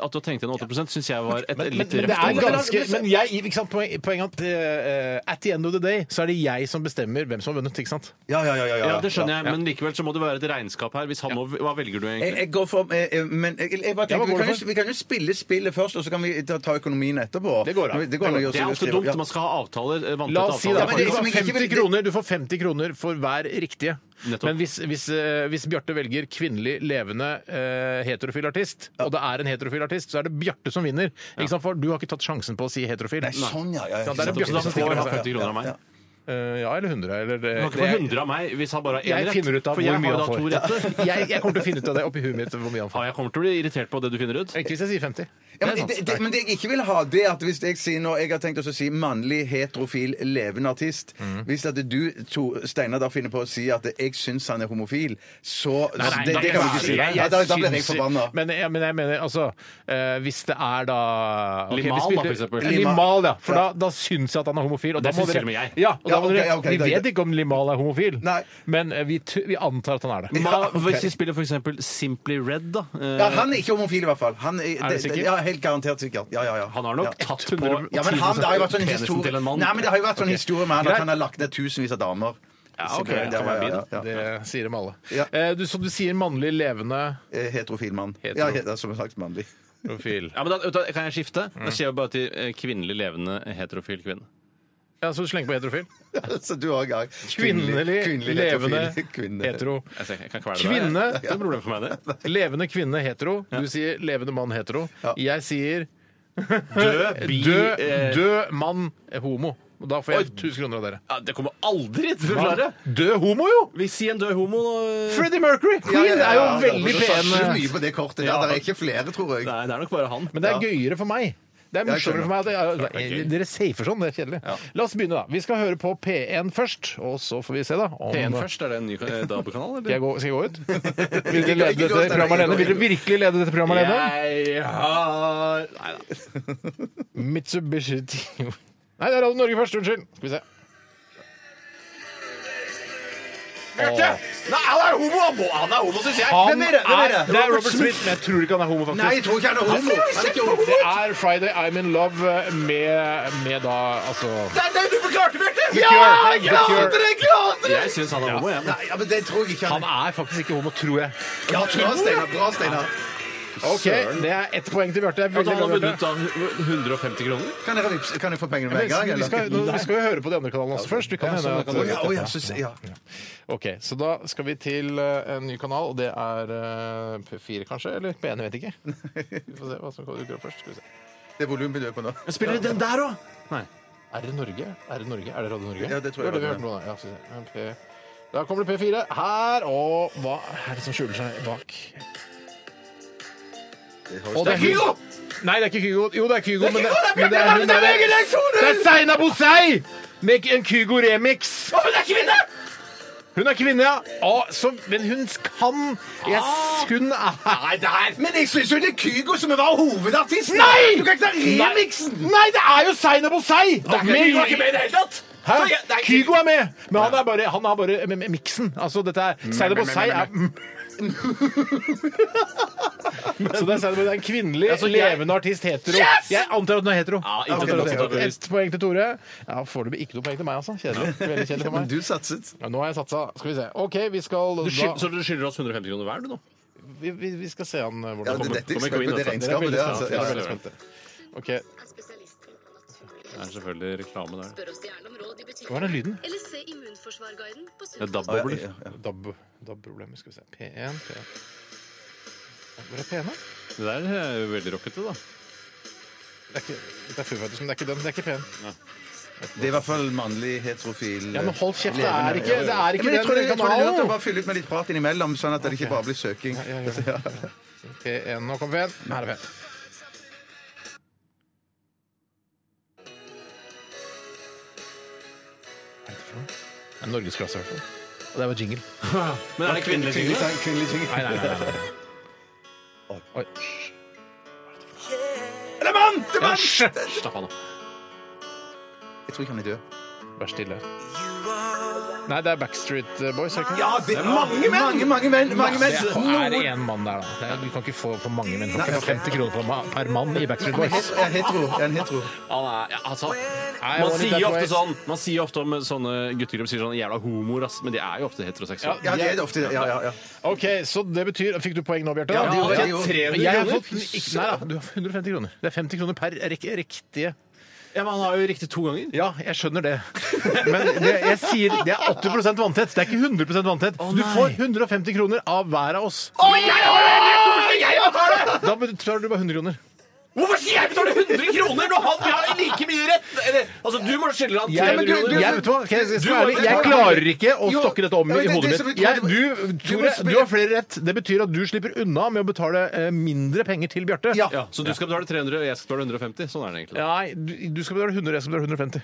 Speaker 2: 80 at du har tenkt gjennom 80 syns jeg var et
Speaker 1: Men, men,
Speaker 2: litt
Speaker 1: men det er
Speaker 2: røft overlegg.
Speaker 1: ganske Men jeg, ikke sant, poen- poenget at eh, at the end of the day så er det jeg som bestemmer hvem som har vunnet, ikke sant?
Speaker 3: Ja, ja, ja. ja, ja.
Speaker 2: Ja, det skjønner jeg, men likevel så må det være et regnskap her. Hvis han må, hva velger du
Speaker 3: Jeg,
Speaker 2: egentlig?
Speaker 3: jeg går for eh, eh, Men jeg, jeg bare
Speaker 1: Ja, hva går
Speaker 3: tenker, vi, kan
Speaker 1: du
Speaker 3: jo,
Speaker 1: for?
Speaker 3: vi kan jo spille spillet først, og så kan vi ta, ta økonomien etterpå.
Speaker 1: Det går an.
Speaker 3: Nå- Det, går an å gjøre sånn
Speaker 2: Det er
Speaker 3: så-
Speaker 2: ofte
Speaker 3: skrive-
Speaker 2: dumt.
Speaker 3: ja.
Speaker 2: Man skal ha avtaler. eh,
Speaker 1: La
Speaker 2: vanntette
Speaker 1: oss si
Speaker 2: avtaler.
Speaker 1: da,
Speaker 3: Ja, men
Speaker 1: du,
Speaker 3: det
Speaker 1: får
Speaker 3: som ikke-
Speaker 1: 50 kroner, du får 50 kroner for hver riktige.
Speaker 2: Nettopp.
Speaker 1: Men hvis, hvis, eh, hvis Bjarte velger kvinnelig levende eh, heterofil artist, og det er en heterofil artist, så er det Bjarte som vinner. Ikke sant? For du har ikke tatt sjansen på å si heterofil.
Speaker 3: Nei, sånn, ja. ja, ja.
Speaker 1: Ja, det er
Speaker 2: Så da
Speaker 1: Bjarte som
Speaker 2: får
Speaker 1: stikker
Speaker 2: han
Speaker 1: av.
Speaker 2: 50 kroner av meg.
Speaker 1: Eh, ja, eller 100, eller det,
Speaker 2: Du kan ikke få 100 av meg hvis han bare har én
Speaker 1: Jeg
Speaker 2: rett.
Speaker 1: finner ut av
Speaker 2: for
Speaker 1: hvor
Speaker 2: jeg
Speaker 1: mye
Speaker 2: har
Speaker 1: han
Speaker 2: da to
Speaker 1: får.
Speaker 2: retter.
Speaker 1: Jeg, jeg kommer til å finne ut av det oppi huet mitt hvor mye han
Speaker 2: Ja,
Speaker 1: får.
Speaker 2: jeg kommer til å bli irritert på det du finner ut.
Speaker 1: Ikke hvis jeg sier 50.
Speaker 3: Ja, men, det, det, men det jeg ikke vil ha, det er at hvis jeg sier nå Jeg har tenkt også å si mannlig, heterofil, levende artist. Hvis at du, to, Steinar, da finner på å si at jeg syns han er homofil, så så det,
Speaker 1: da
Speaker 3: det kan du
Speaker 1: jeg-
Speaker 3: ikke si.
Speaker 1: jeg- jeg
Speaker 3: Ja, da, da blir jeg
Speaker 1: syns-
Speaker 3: forbanna.
Speaker 1: Men, ja, men jeg mener, altså eh, Hvis det er da ok,
Speaker 2: Limahl,
Speaker 1: vi spilte-
Speaker 2: da, for eksempel.
Speaker 1: Limahl, ja. For
Speaker 3: Ja.
Speaker 1: da, da syns jeg at han er homofil. Og da
Speaker 2: Det
Speaker 1: må
Speaker 2: syns
Speaker 1: dere-
Speaker 2: til og med jeg.
Speaker 1: Ja, og da
Speaker 3: Ja,
Speaker 1: må
Speaker 3: ok,
Speaker 1: dere,
Speaker 3: ja, ok,
Speaker 1: vi
Speaker 3: da-
Speaker 1: vet ikke om Limahl er homofil,
Speaker 3: Nei.
Speaker 1: men eh, vi, tu- vi antar at han er det.
Speaker 2: Hva,
Speaker 3: Ja, ok.
Speaker 2: Hvis vi spiller f.eks. Simply Red, da. eh,
Speaker 3: Ja, han er ikke homofil, i hvert fall. Han er,
Speaker 1: du sikker?
Speaker 3: Ja, helt garantert sikker. Ja, ja, ja.
Speaker 2: Han har nok
Speaker 3: ja.
Speaker 2: tatt på
Speaker 1: 100
Speaker 3: ja, men han, det har jo vært sånn
Speaker 2: penisen
Speaker 3: historie
Speaker 2: altså. til en mann.
Speaker 3: Nei, men det har jo vært sånn historie med han
Speaker 1: Greit.
Speaker 3: at han har lagt ned tusenvis av damer.
Speaker 2: Ja, Ah,
Speaker 3: Så
Speaker 2: ok,
Speaker 3: det-
Speaker 2: det kan
Speaker 3: ja,
Speaker 2: være
Speaker 3: ja,
Speaker 2: bi,
Speaker 3: ja, ja.
Speaker 1: Det sier dem alle.
Speaker 3: Ja.
Speaker 1: Eh, du, så du sier mannlig levende
Speaker 3: Eh, Heterofil mann.
Speaker 1: Hetero.
Speaker 3: Ja, he- som sagt mannlig.
Speaker 1: profil.
Speaker 2: Ja, men da, vet du hva, Kan jeg skifte?
Speaker 3: Mm.
Speaker 2: Da sier jeg bare til eh, kvinnelig levende heterofil kvinne.
Speaker 1: Ja, så du slenger på heterofil.
Speaker 3: Så du òg er
Speaker 1: Kvinnelig, levende
Speaker 3: heterofil kvinne.
Speaker 1: hetero.
Speaker 2: Jeg ser- jeg kan kvele deg.
Speaker 1: Kvinne.
Speaker 2: Det er ikke noe problem for meg, det.
Speaker 1: Levende kvinne hetero. Du sier levende mann hetero. Jeg sier
Speaker 2: Død, bi,
Speaker 1: død,
Speaker 2: eh,
Speaker 1: død mann er homo. Og da får jeg 1000 kroner av dere.
Speaker 2: Ja, ah, det kommer aldri til å klare!
Speaker 1: Død homo, jo!
Speaker 2: Vi sier en død homo eh. og
Speaker 1: Freddie Mercury! Queen er jo veldig
Speaker 3: Du satser
Speaker 1: pen.
Speaker 3: mye på det kortet. Ja, det er ikke flere, tror jeg.
Speaker 2: Nei, det er nok bare han.
Speaker 1: Men det er gøyere for meg. Det er morsommere for meg. at jeg-
Speaker 2: det er gøy.
Speaker 1: dere safer sånn. Det er kjedelig. La oss begynne, da. Vi skal høre på P1 først, og så får vi se, da. om-
Speaker 2: P1 først, er det en ny eh, DAB-kanal,
Speaker 1: Skal jeg
Speaker 2: eller?
Speaker 1: gå, skal jeg gå ut? Vil dere lede
Speaker 3: Ikke gå ut,
Speaker 1: dette
Speaker 3: nei,
Speaker 1: programmet
Speaker 3: ikke gå
Speaker 1: alene?
Speaker 3: ut.
Speaker 1: Vil dere virkelig lede dette programmet alene?
Speaker 2: Jeg har Nei da.
Speaker 1: Mitsubishi Trio Nei, det er Radio Norge først. Unnskyld. Skal vi se. Bjarte!
Speaker 2: Nei, han er homo! Han må- Han er homo, syns jeg!
Speaker 1: Han
Speaker 3: Hvem er det? Hvem er det?
Speaker 1: Det er Robert Smith, men jeg tror ikke han er homo, faktisk.
Speaker 3: Nei, jeg tror ikke han er homo. Han er ikke homo.
Speaker 1: Det er Friday I'm in love med, med da altså
Speaker 3: Nei, nei, du forklarte, Bjarte! Ja,
Speaker 1: Cure.
Speaker 3: jeg
Speaker 1: The Cure.
Speaker 3: klarte det! Jeg klarte det!
Speaker 2: Jeg syns han er homo, jeg.
Speaker 3: Nei, ja, men det tror jeg ikke
Speaker 1: Han
Speaker 3: han er.
Speaker 1: er faktisk ikke homo, tror jeg.
Speaker 3: Ja, bra, Steinar. Bra, Steinar.
Speaker 1: Ok, Det er ett poeng til Bjarte. Jeg er
Speaker 2: Men
Speaker 1: veldig
Speaker 2: han har
Speaker 1: glad,
Speaker 2: vunnet
Speaker 1: Bjarte.
Speaker 2: da 150 kroner.
Speaker 3: Kan jeg, vips- kan jeg få pengene med en gang?
Speaker 1: Men Vi skal,
Speaker 3: eller?
Speaker 1: nå, vi skal jo høre på de andre kanalene også først. Det sånn kan hende
Speaker 3: Å ja, å
Speaker 1: at
Speaker 3: ja, så, ja.
Speaker 1: Ok, Så da skal vi til eh, en ny kanal, og det er eh, P4 kanskje? Eller P1, jeg vet ikke. Vi får se hva som dukker opp først. Skal vi se.
Speaker 3: Det er volumet du er på nå.
Speaker 2: Spiller den der òg? Nei.
Speaker 1: Er det Norge? Er det Norge? Er det Radio Norge?
Speaker 3: Ja, det tror jeg
Speaker 1: Det vi
Speaker 3: Radio
Speaker 1: hørte nå, da. Ja, skal vi se. P- da kommer det P4 her, og hva er det som skjuler seg bak? Og det er Kygo! Nei, det er ikke Kygo. Jo, det er Kygo, men det, men det er hun der. Det er Seina Bosei med en Kygo-remix. Hun er kvinne! Hun er kvinne, ja. Å, så, men hun kan yes, Hun er
Speaker 3: Men jeg syns jo det er Kygo som var hovedartisten!
Speaker 1: Nei!
Speaker 3: Du kan ikke ta remixen!
Speaker 1: Nei, det er jo Seina Bosei! Det er
Speaker 2: Kygo
Speaker 1: ikke
Speaker 2: er ikke med i det hele tatt!
Speaker 1: Hæ? Kygo er med, men han er bare, han er bare med, med miksen. Altså, dette er Seide Bosei er Så det er, Seide Bosei, det er en kvinnelig,
Speaker 2: Altså, jeg-
Speaker 1: levende artist hetero. Jeg antar at hun er hetero.
Speaker 2: Ja, ikke
Speaker 1: Antar
Speaker 2: sant,
Speaker 1: at hun er
Speaker 2: ikke sant,
Speaker 1: hetero.
Speaker 2: bevisst.
Speaker 1: Ett poeng til Tore. Ja, Foreløpig ikke noe poeng til meg, altså. Kjedelig. Veldig kjedelig for
Speaker 3: Men
Speaker 1: meg.
Speaker 3: du satset.
Speaker 1: Ja, nå har jeg satsa. Skal vi se. OK, vi skal
Speaker 2: Du skyld,
Speaker 1: da,
Speaker 2: så du skylder oss 150 kroner hver, du nå?
Speaker 1: vi, vi, vi skal se an eh,
Speaker 3: Ja,
Speaker 1: hvordan det
Speaker 3: det,
Speaker 1: kommer.
Speaker 3: dette
Speaker 2: Kom
Speaker 3: er
Speaker 2: ikke
Speaker 3: ikke
Speaker 2: inn,
Speaker 3: det
Speaker 2: altså.
Speaker 3: regnskapet, det. Altså.
Speaker 1: Jeg
Speaker 3: Ja,
Speaker 1: er veldig
Speaker 3: ja,
Speaker 1: spent. OK.
Speaker 2: Det er selvfølgelig reklame der.
Speaker 1: Hva er den lyden?
Speaker 2: Det er DAB-bobler.
Speaker 3: ja, ja.
Speaker 1: DAB- DAB-problemet. Skal vi se. P1, P1 Hvor er P1, da?
Speaker 2: Det der er jo veldig rockete, da.
Speaker 1: liksom. Det er ikke, det er Foo Fighters, men det er ikke den. Det er ikke pen.
Speaker 3: Det er i hvert fall mannlig heterofil
Speaker 1: Ja, men hold kjeft, det er
Speaker 3: levende.
Speaker 1: ikke- det er ikke den
Speaker 3: Ja, men jeg tror jeg tror det er lurt
Speaker 1: kanalen.
Speaker 3: å bare fylle ut med litt prat innimellom, sånn at det ikke bare blir søking. Ja.
Speaker 1: P1 nå kom P1. Her er P1. Hva er dette for noe? Det er Norgesklasse, i hvert fall. Og det var jingle.
Speaker 2: Men er det kvinnelig
Speaker 3: Kvinnelig
Speaker 2: jingle?
Speaker 3: sang, kvinnelig sang.
Speaker 1: Nei, nei, nei. nei. Oi.
Speaker 3: Det er mann! Det
Speaker 1: Ja,
Speaker 3: er mann!
Speaker 1: sj!
Speaker 2: Slapp av nå.
Speaker 3: Jeg tror ikke han er død.
Speaker 1: Vær stille. Nei, det er Backstreet eh, Boys. er det ikke?
Speaker 3: Ja, det er mange menn! Mange, mange menn! Mange
Speaker 1: Det er,
Speaker 3: menn.
Speaker 1: er det én mann der, da? Det er- Du kan ikke få for mange menn. Du kan ikke få 50 kroner per ma- per mann i Backstreet Boys.
Speaker 3: Jeg er hetero. Jeg er en hetero.
Speaker 2: Han er, ja, altså,
Speaker 1: I
Speaker 2: man
Speaker 1: want it
Speaker 2: sier
Speaker 1: that
Speaker 2: jo ofte
Speaker 1: way.
Speaker 2: sånn Man sier ofte om sånne guttegrupper sier sånn jævla homoer, ass, men de er jo ofte heteroseksuelle.
Speaker 3: Ja, det er det ofte. Ja, ja, ja.
Speaker 1: OK, så det betyr Fikk du poeng nå, Bjarte?
Speaker 3: Ja, det gjorde jeg.
Speaker 1: ok.
Speaker 3: jo.
Speaker 1: Men jeg har fått
Speaker 2: kroner?
Speaker 1: ikke, Nei da, du har 150 kroner. Det er 50 kroner per rekke, riktige
Speaker 2: Ja, men han har jo riktig to ganger.
Speaker 1: Ja, jeg skjønner det. Men det, jeg sier det er 80 vanntett. Det er ikke 100 vanntett. du får 150 kroner av hver av oss. Da betaler du bare 100 kroner.
Speaker 2: Hvorfor skal jeg
Speaker 3: sånn
Speaker 2: betale 100 kroner når han har like mye rett? Eller, altså, du må skylde han
Speaker 1: Jeg,
Speaker 2: 300 kroner.
Speaker 1: jeg, vet du hva? Ok, jeg, skal
Speaker 2: Du-
Speaker 1: være ærlig. jeg klarer ikke å
Speaker 3: Jo,
Speaker 1: stokke dette om
Speaker 3: ja, men
Speaker 1: i
Speaker 3: det-
Speaker 1: hodet
Speaker 3: det som
Speaker 1: mitt.
Speaker 3: vi
Speaker 1: Jeg,
Speaker 3: trodde-
Speaker 1: du,
Speaker 3: Du
Speaker 1: Tore,
Speaker 3: må
Speaker 1: du
Speaker 3: spille-
Speaker 1: har flere rett. Det betyr at du slipper unna med å betale eh, mindre penger til Bjarte.
Speaker 3: Ja.
Speaker 2: Ja, så du skal betale 300, og jeg skal betale 150? Sånn er det egentlig.
Speaker 1: Nei, du, du skal betale 100, jeg skal betale 150.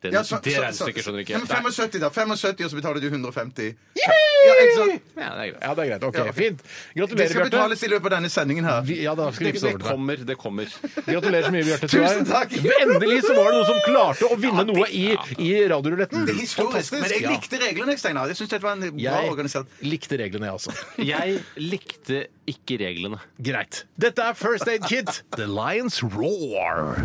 Speaker 2: Det,
Speaker 3: Ja, så-
Speaker 2: det
Speaker 3: så-
Speaker 2: regnestykket skjønner ikke
Speaker 3: Ja, men
Speaker 2: jeg.
Speaker 3: 75, da. 75, og så betaler du 150. Ja, ikke sant?
Speaker 2: Ja, det er greit.
Speaker 1: Ja, det er greit. Ok,
Speaker 3: Ja.
Speaker 1: Fint.
Speaker 3: Det
Speaker 1: Gratulerer,
Speaker 3: skal
Speaker 1: Bjarte.
Speaker 3: betales i løpet av denne sendingen her.
Speaker 1: Vi- Ja, da skal vi
Speaker 2: Det,
Speaker 1: vippse over
Speaker 2: det
Speaker 1: til deg.
Speaker 2: kommer, det kommer.
Speaker 1: Gratulerer så mye, Bjarte. til
Speaker 3: Tusen
Speaker 1: deg.
Speaker 3: takk!
Speaker 1: Endelig så var det noen som klarte å vinne noe i, i radioruletten.
Speaker 3: Det er historisk, men jeg likte reglene, Steinar. Jeg synes dette var en bra
Speaker 1: Jeg
Speaker 3: organisert
Speaker 1: likte reglene, jeg også.
Speaker 2: Jeg likte ikke reglene.
Speaker 1: Greit. Dette er First Aid Kit, The Lions Roar.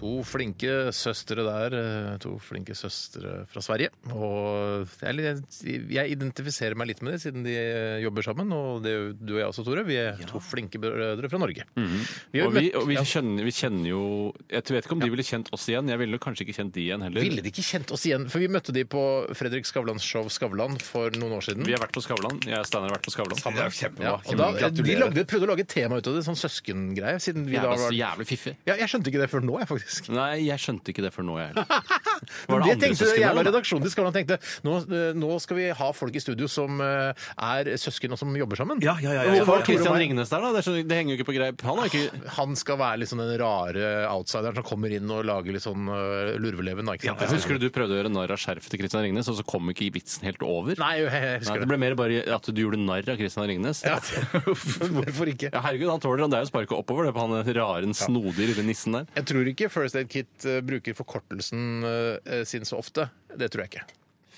Speaker 1: To flinke søstre der. eh, To flinke søstre fra Sverige. Og jeg, er litt- jeg identifiserer meg litt med det, siden de eh, jobber sammen. Og det, gjør du og jeg også, Tore. Vi er to flinke brødre fra Norge.
Speaker 3: Mhm.
Speaker 1: Vi har
Speaker 2: Og vi,
Speaker 1: møtt-
Speaker 2: og vi,
Speaker 1: ja.
Speaker 2: kjenner, vi kjenner jo Jeg vet ikke om de ville kjent oss igjen. Jeg ville kanskje ikke kjent de igjen heller.
Speaker 1: Ville de ikke kjent oss igjen? For vi møtte de på Fredrik Skavlans show Skavlan for noen år siden.
Speaker 2: Vi har vært på Skavlan. Jeg og Steinar har vært på Skavlan.
Speaker 3: Det er kjempebra.
Speaker 1: Ja, og da, de lagde, prøvde å lage et tema ut av det, sånn søskengreie. Siden vi
Speaker 2: Jeg
Speaker 1: da
Speaker 2: var så
Speaker 1: var
Speaker 2: jævlig fiffig.
Speaker 1: ja, jeg skjønte ikke det før nå, jeg, faktisk.
Speaker 2: Nei, jeg skjønte ikke det før nå, jeg heller.
Speaker 1: Men
Speaker 2: Var
Speaker 1: det
Speaker 2: andre
Speaker 1: tenkte
Speaker 2: søsken
Speaker 1: den jævla
Speaker 2: der, da?
Speaker 1: redaksjonen til Skavlan tenkte. Nå, eh, nå skal vi ha folk i studio som eh, er søsken og som jobber sammen.
Speaker 3: Ja, ja, ja, ja,
Speaker 2: Hvorfor
Speaker 3: ja,
Speaker 2: var Christian Ringnes der, da? Det, skjønner- det henger jo ikke på greip. Han har ikke
Speaker 1: Han skal være litt sånn den rare outsideren som kommer inn og lager litt sånn eh, lurveleven. da, Ikke sant?
Speaker 2: Jeg husker du du prøvde å gjøre narr av skjerfet til Christian Ringnes, og så kom ikke vitsen helt over?
Speaker 1: Nei, jeg- jeg
Speaker 2: Nei,
Speaker 1: husker
Speaker 2: det
Speaker 1: det.
Speaker 2: ble mer bare at du gjorde narr av Christian Ringnes. Ja.
Speaker 1: Hvorfor ikke?
Speaker 2: herregud, han tåler han. Det er jo sparket oppover, det på han raren, snodige lille nissen der.
Speaker 1: Jeg tror ikke First Aid Kit eh, bruker forkortelsen eh, sin så ofte. Det tror jeg ikke.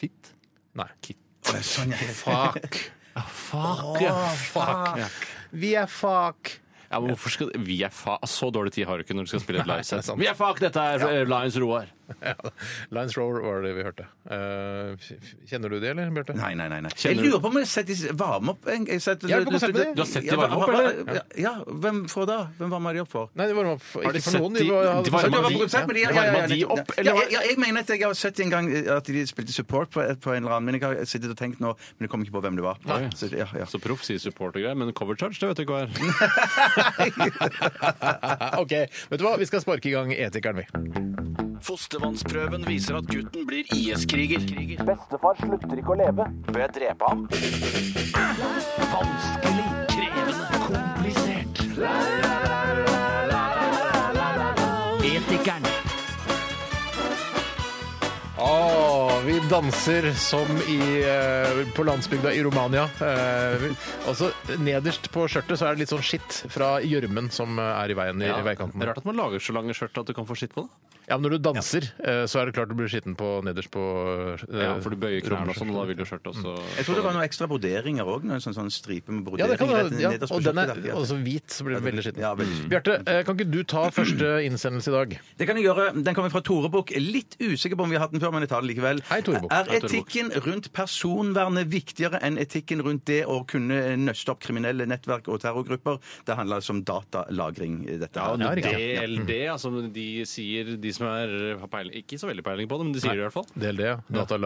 Speaker 2: Fitt.
Speaker 1: Nei.
Speaker 3: Sånn, ja.
Speaker 1: Fuck.
Speaker 2: Fuck,
Speaker 1: Å, fuck. Vi er fuck.
Speaker 2: Ja, men hvorfor skal Vi er fa... Så dårlig tid har du ikke når du skal spille et
Speaker 1: det er
Speaker 2: livesett.
Speaker 1: sant.
Speaker 2: Vi er fuck, dette er eh, Lions Roar.
Speaker 1: Ja. Lions Roar var det vi hørte. Eh, kjenner du det, eller, Bjarte?
Speaker 3: Nei, nei, nei. nei. Jeg
Speaker 2: Kjenner du-
Speaker 3: lurer på om jeg har sett de varme opp en- jeg har sett-
Speaker 1: Jeg er på konsert med de.
Speaker 2: Du har sett de
Speaker 3: Ja,
Speaker 2: varme opp,
Speaker 3: hva- hva-
Speaker 2: eller?
Speaker 3: Ja, ja, hvem får da? Hvem varmer de opp for?
Speaker 1: Nei, det var for,
Speaker 2: Har de
Speaker 1: ikke for
Speaker 2: sett
Speaker 1: noen.
Speaker 2: de-
Speaker 1: var-
Speaker 2: de
Speaker 3: Ja,
Speaker 2: var-
Speaker 3: du har vært på
Speaker 2: de-
Speaker 3: konsert med de, ja,
Speaker 2: ja.
Speaker 3: ja, ja,
Speaker 2: Varmer de
Speaker 3: nettopp.
Speaker 2: opp, eller
Speaker 3: Ja,
Speaker 2: var-
Speaker 3: ja, jeg mener at jeg har sett en gang eh, at de spilte support på, på en eller annen, men jeg har sittet og tenkt nå, men jeg kom ikke på hvem det var. Så, ja, ja.
Speaker 2: Så proff sier support og greier, men cover charge, det vet du ikke hva er.
Speaker 1: OK, vet du hva? Vi skal sparke i gang Etikeren, vi.
Speaker 7: Fostervannsprøven viser at gutten blir IS-kriger.
Speaker 8: Bestefar slutter ikke å leve. Bør jeg drepe ham?
Speaker 7: Vanskelig, krevende, komplisert. Etikeren.
Speaker 1: Å, vi danser som i, eh, på landsbygda i Romania. Eh, vi- og så nederst på skjørtet så er det litt sånn skitt fra gjørmen som eh, er i veien i, i veikanten.
Speaker 2: Det er rart at man lager så lange skjørt at du kan få skitt på det.
Speaker 1: Ja, men når du danser, eh, så er det klart du blir skitten på nederst på eh,
Speaker 2: Ja, for du bøyer knærne og
Speaker 1: romskjørtet.
Speaker 2: sånn, og da vil jo skjørtet
Speaker 1: Mm.
Speaker 2: også
Speaker 3: Jeg tror det var noen ekstra broderinger òg. Noen sånn, sånn stripe med
Speaker 1: Ja, det
Speaker 3: brodering
Speaker 1: kan du.
Speaker 3: rett
Speaker 1: Ja,
Speaker 3: nederst på
Speaker 1: og den er
Speaker 3: skjortet der.
Speaker 1: også hvit, så blir den veldig skitten.
Speaker 3: Ja, veldig skitten.
Speaker 1: Bjarte, eh, kan ikke du ta første innsendelse i dag?
Speaker 3: Det kan jeg gjøre. Den kommer fra Tore Bukk. Litt usikker på om vi har hatt den før, men jeg tar den likevel.
Speaker 1: Hei, Tore Bukk.
Speaker 3: Er
Speaker 2: Hei, Tore Bukk.
Speaker 3: etikken rundt personvernet viktigere enn etikken rundt det å kunne nøste opp kriminelle nettverk og terrorgrupper? Det handler altså om datalagring. Dette her.
Speaker 2: Ja,
Speaker 1: riktig. Mm.
Speaker 2: DLD, altså de sier de som som er, har peiling, ikke så veldig peiling på det, men de sier det i hvert fall.
Speaker 1: DLD,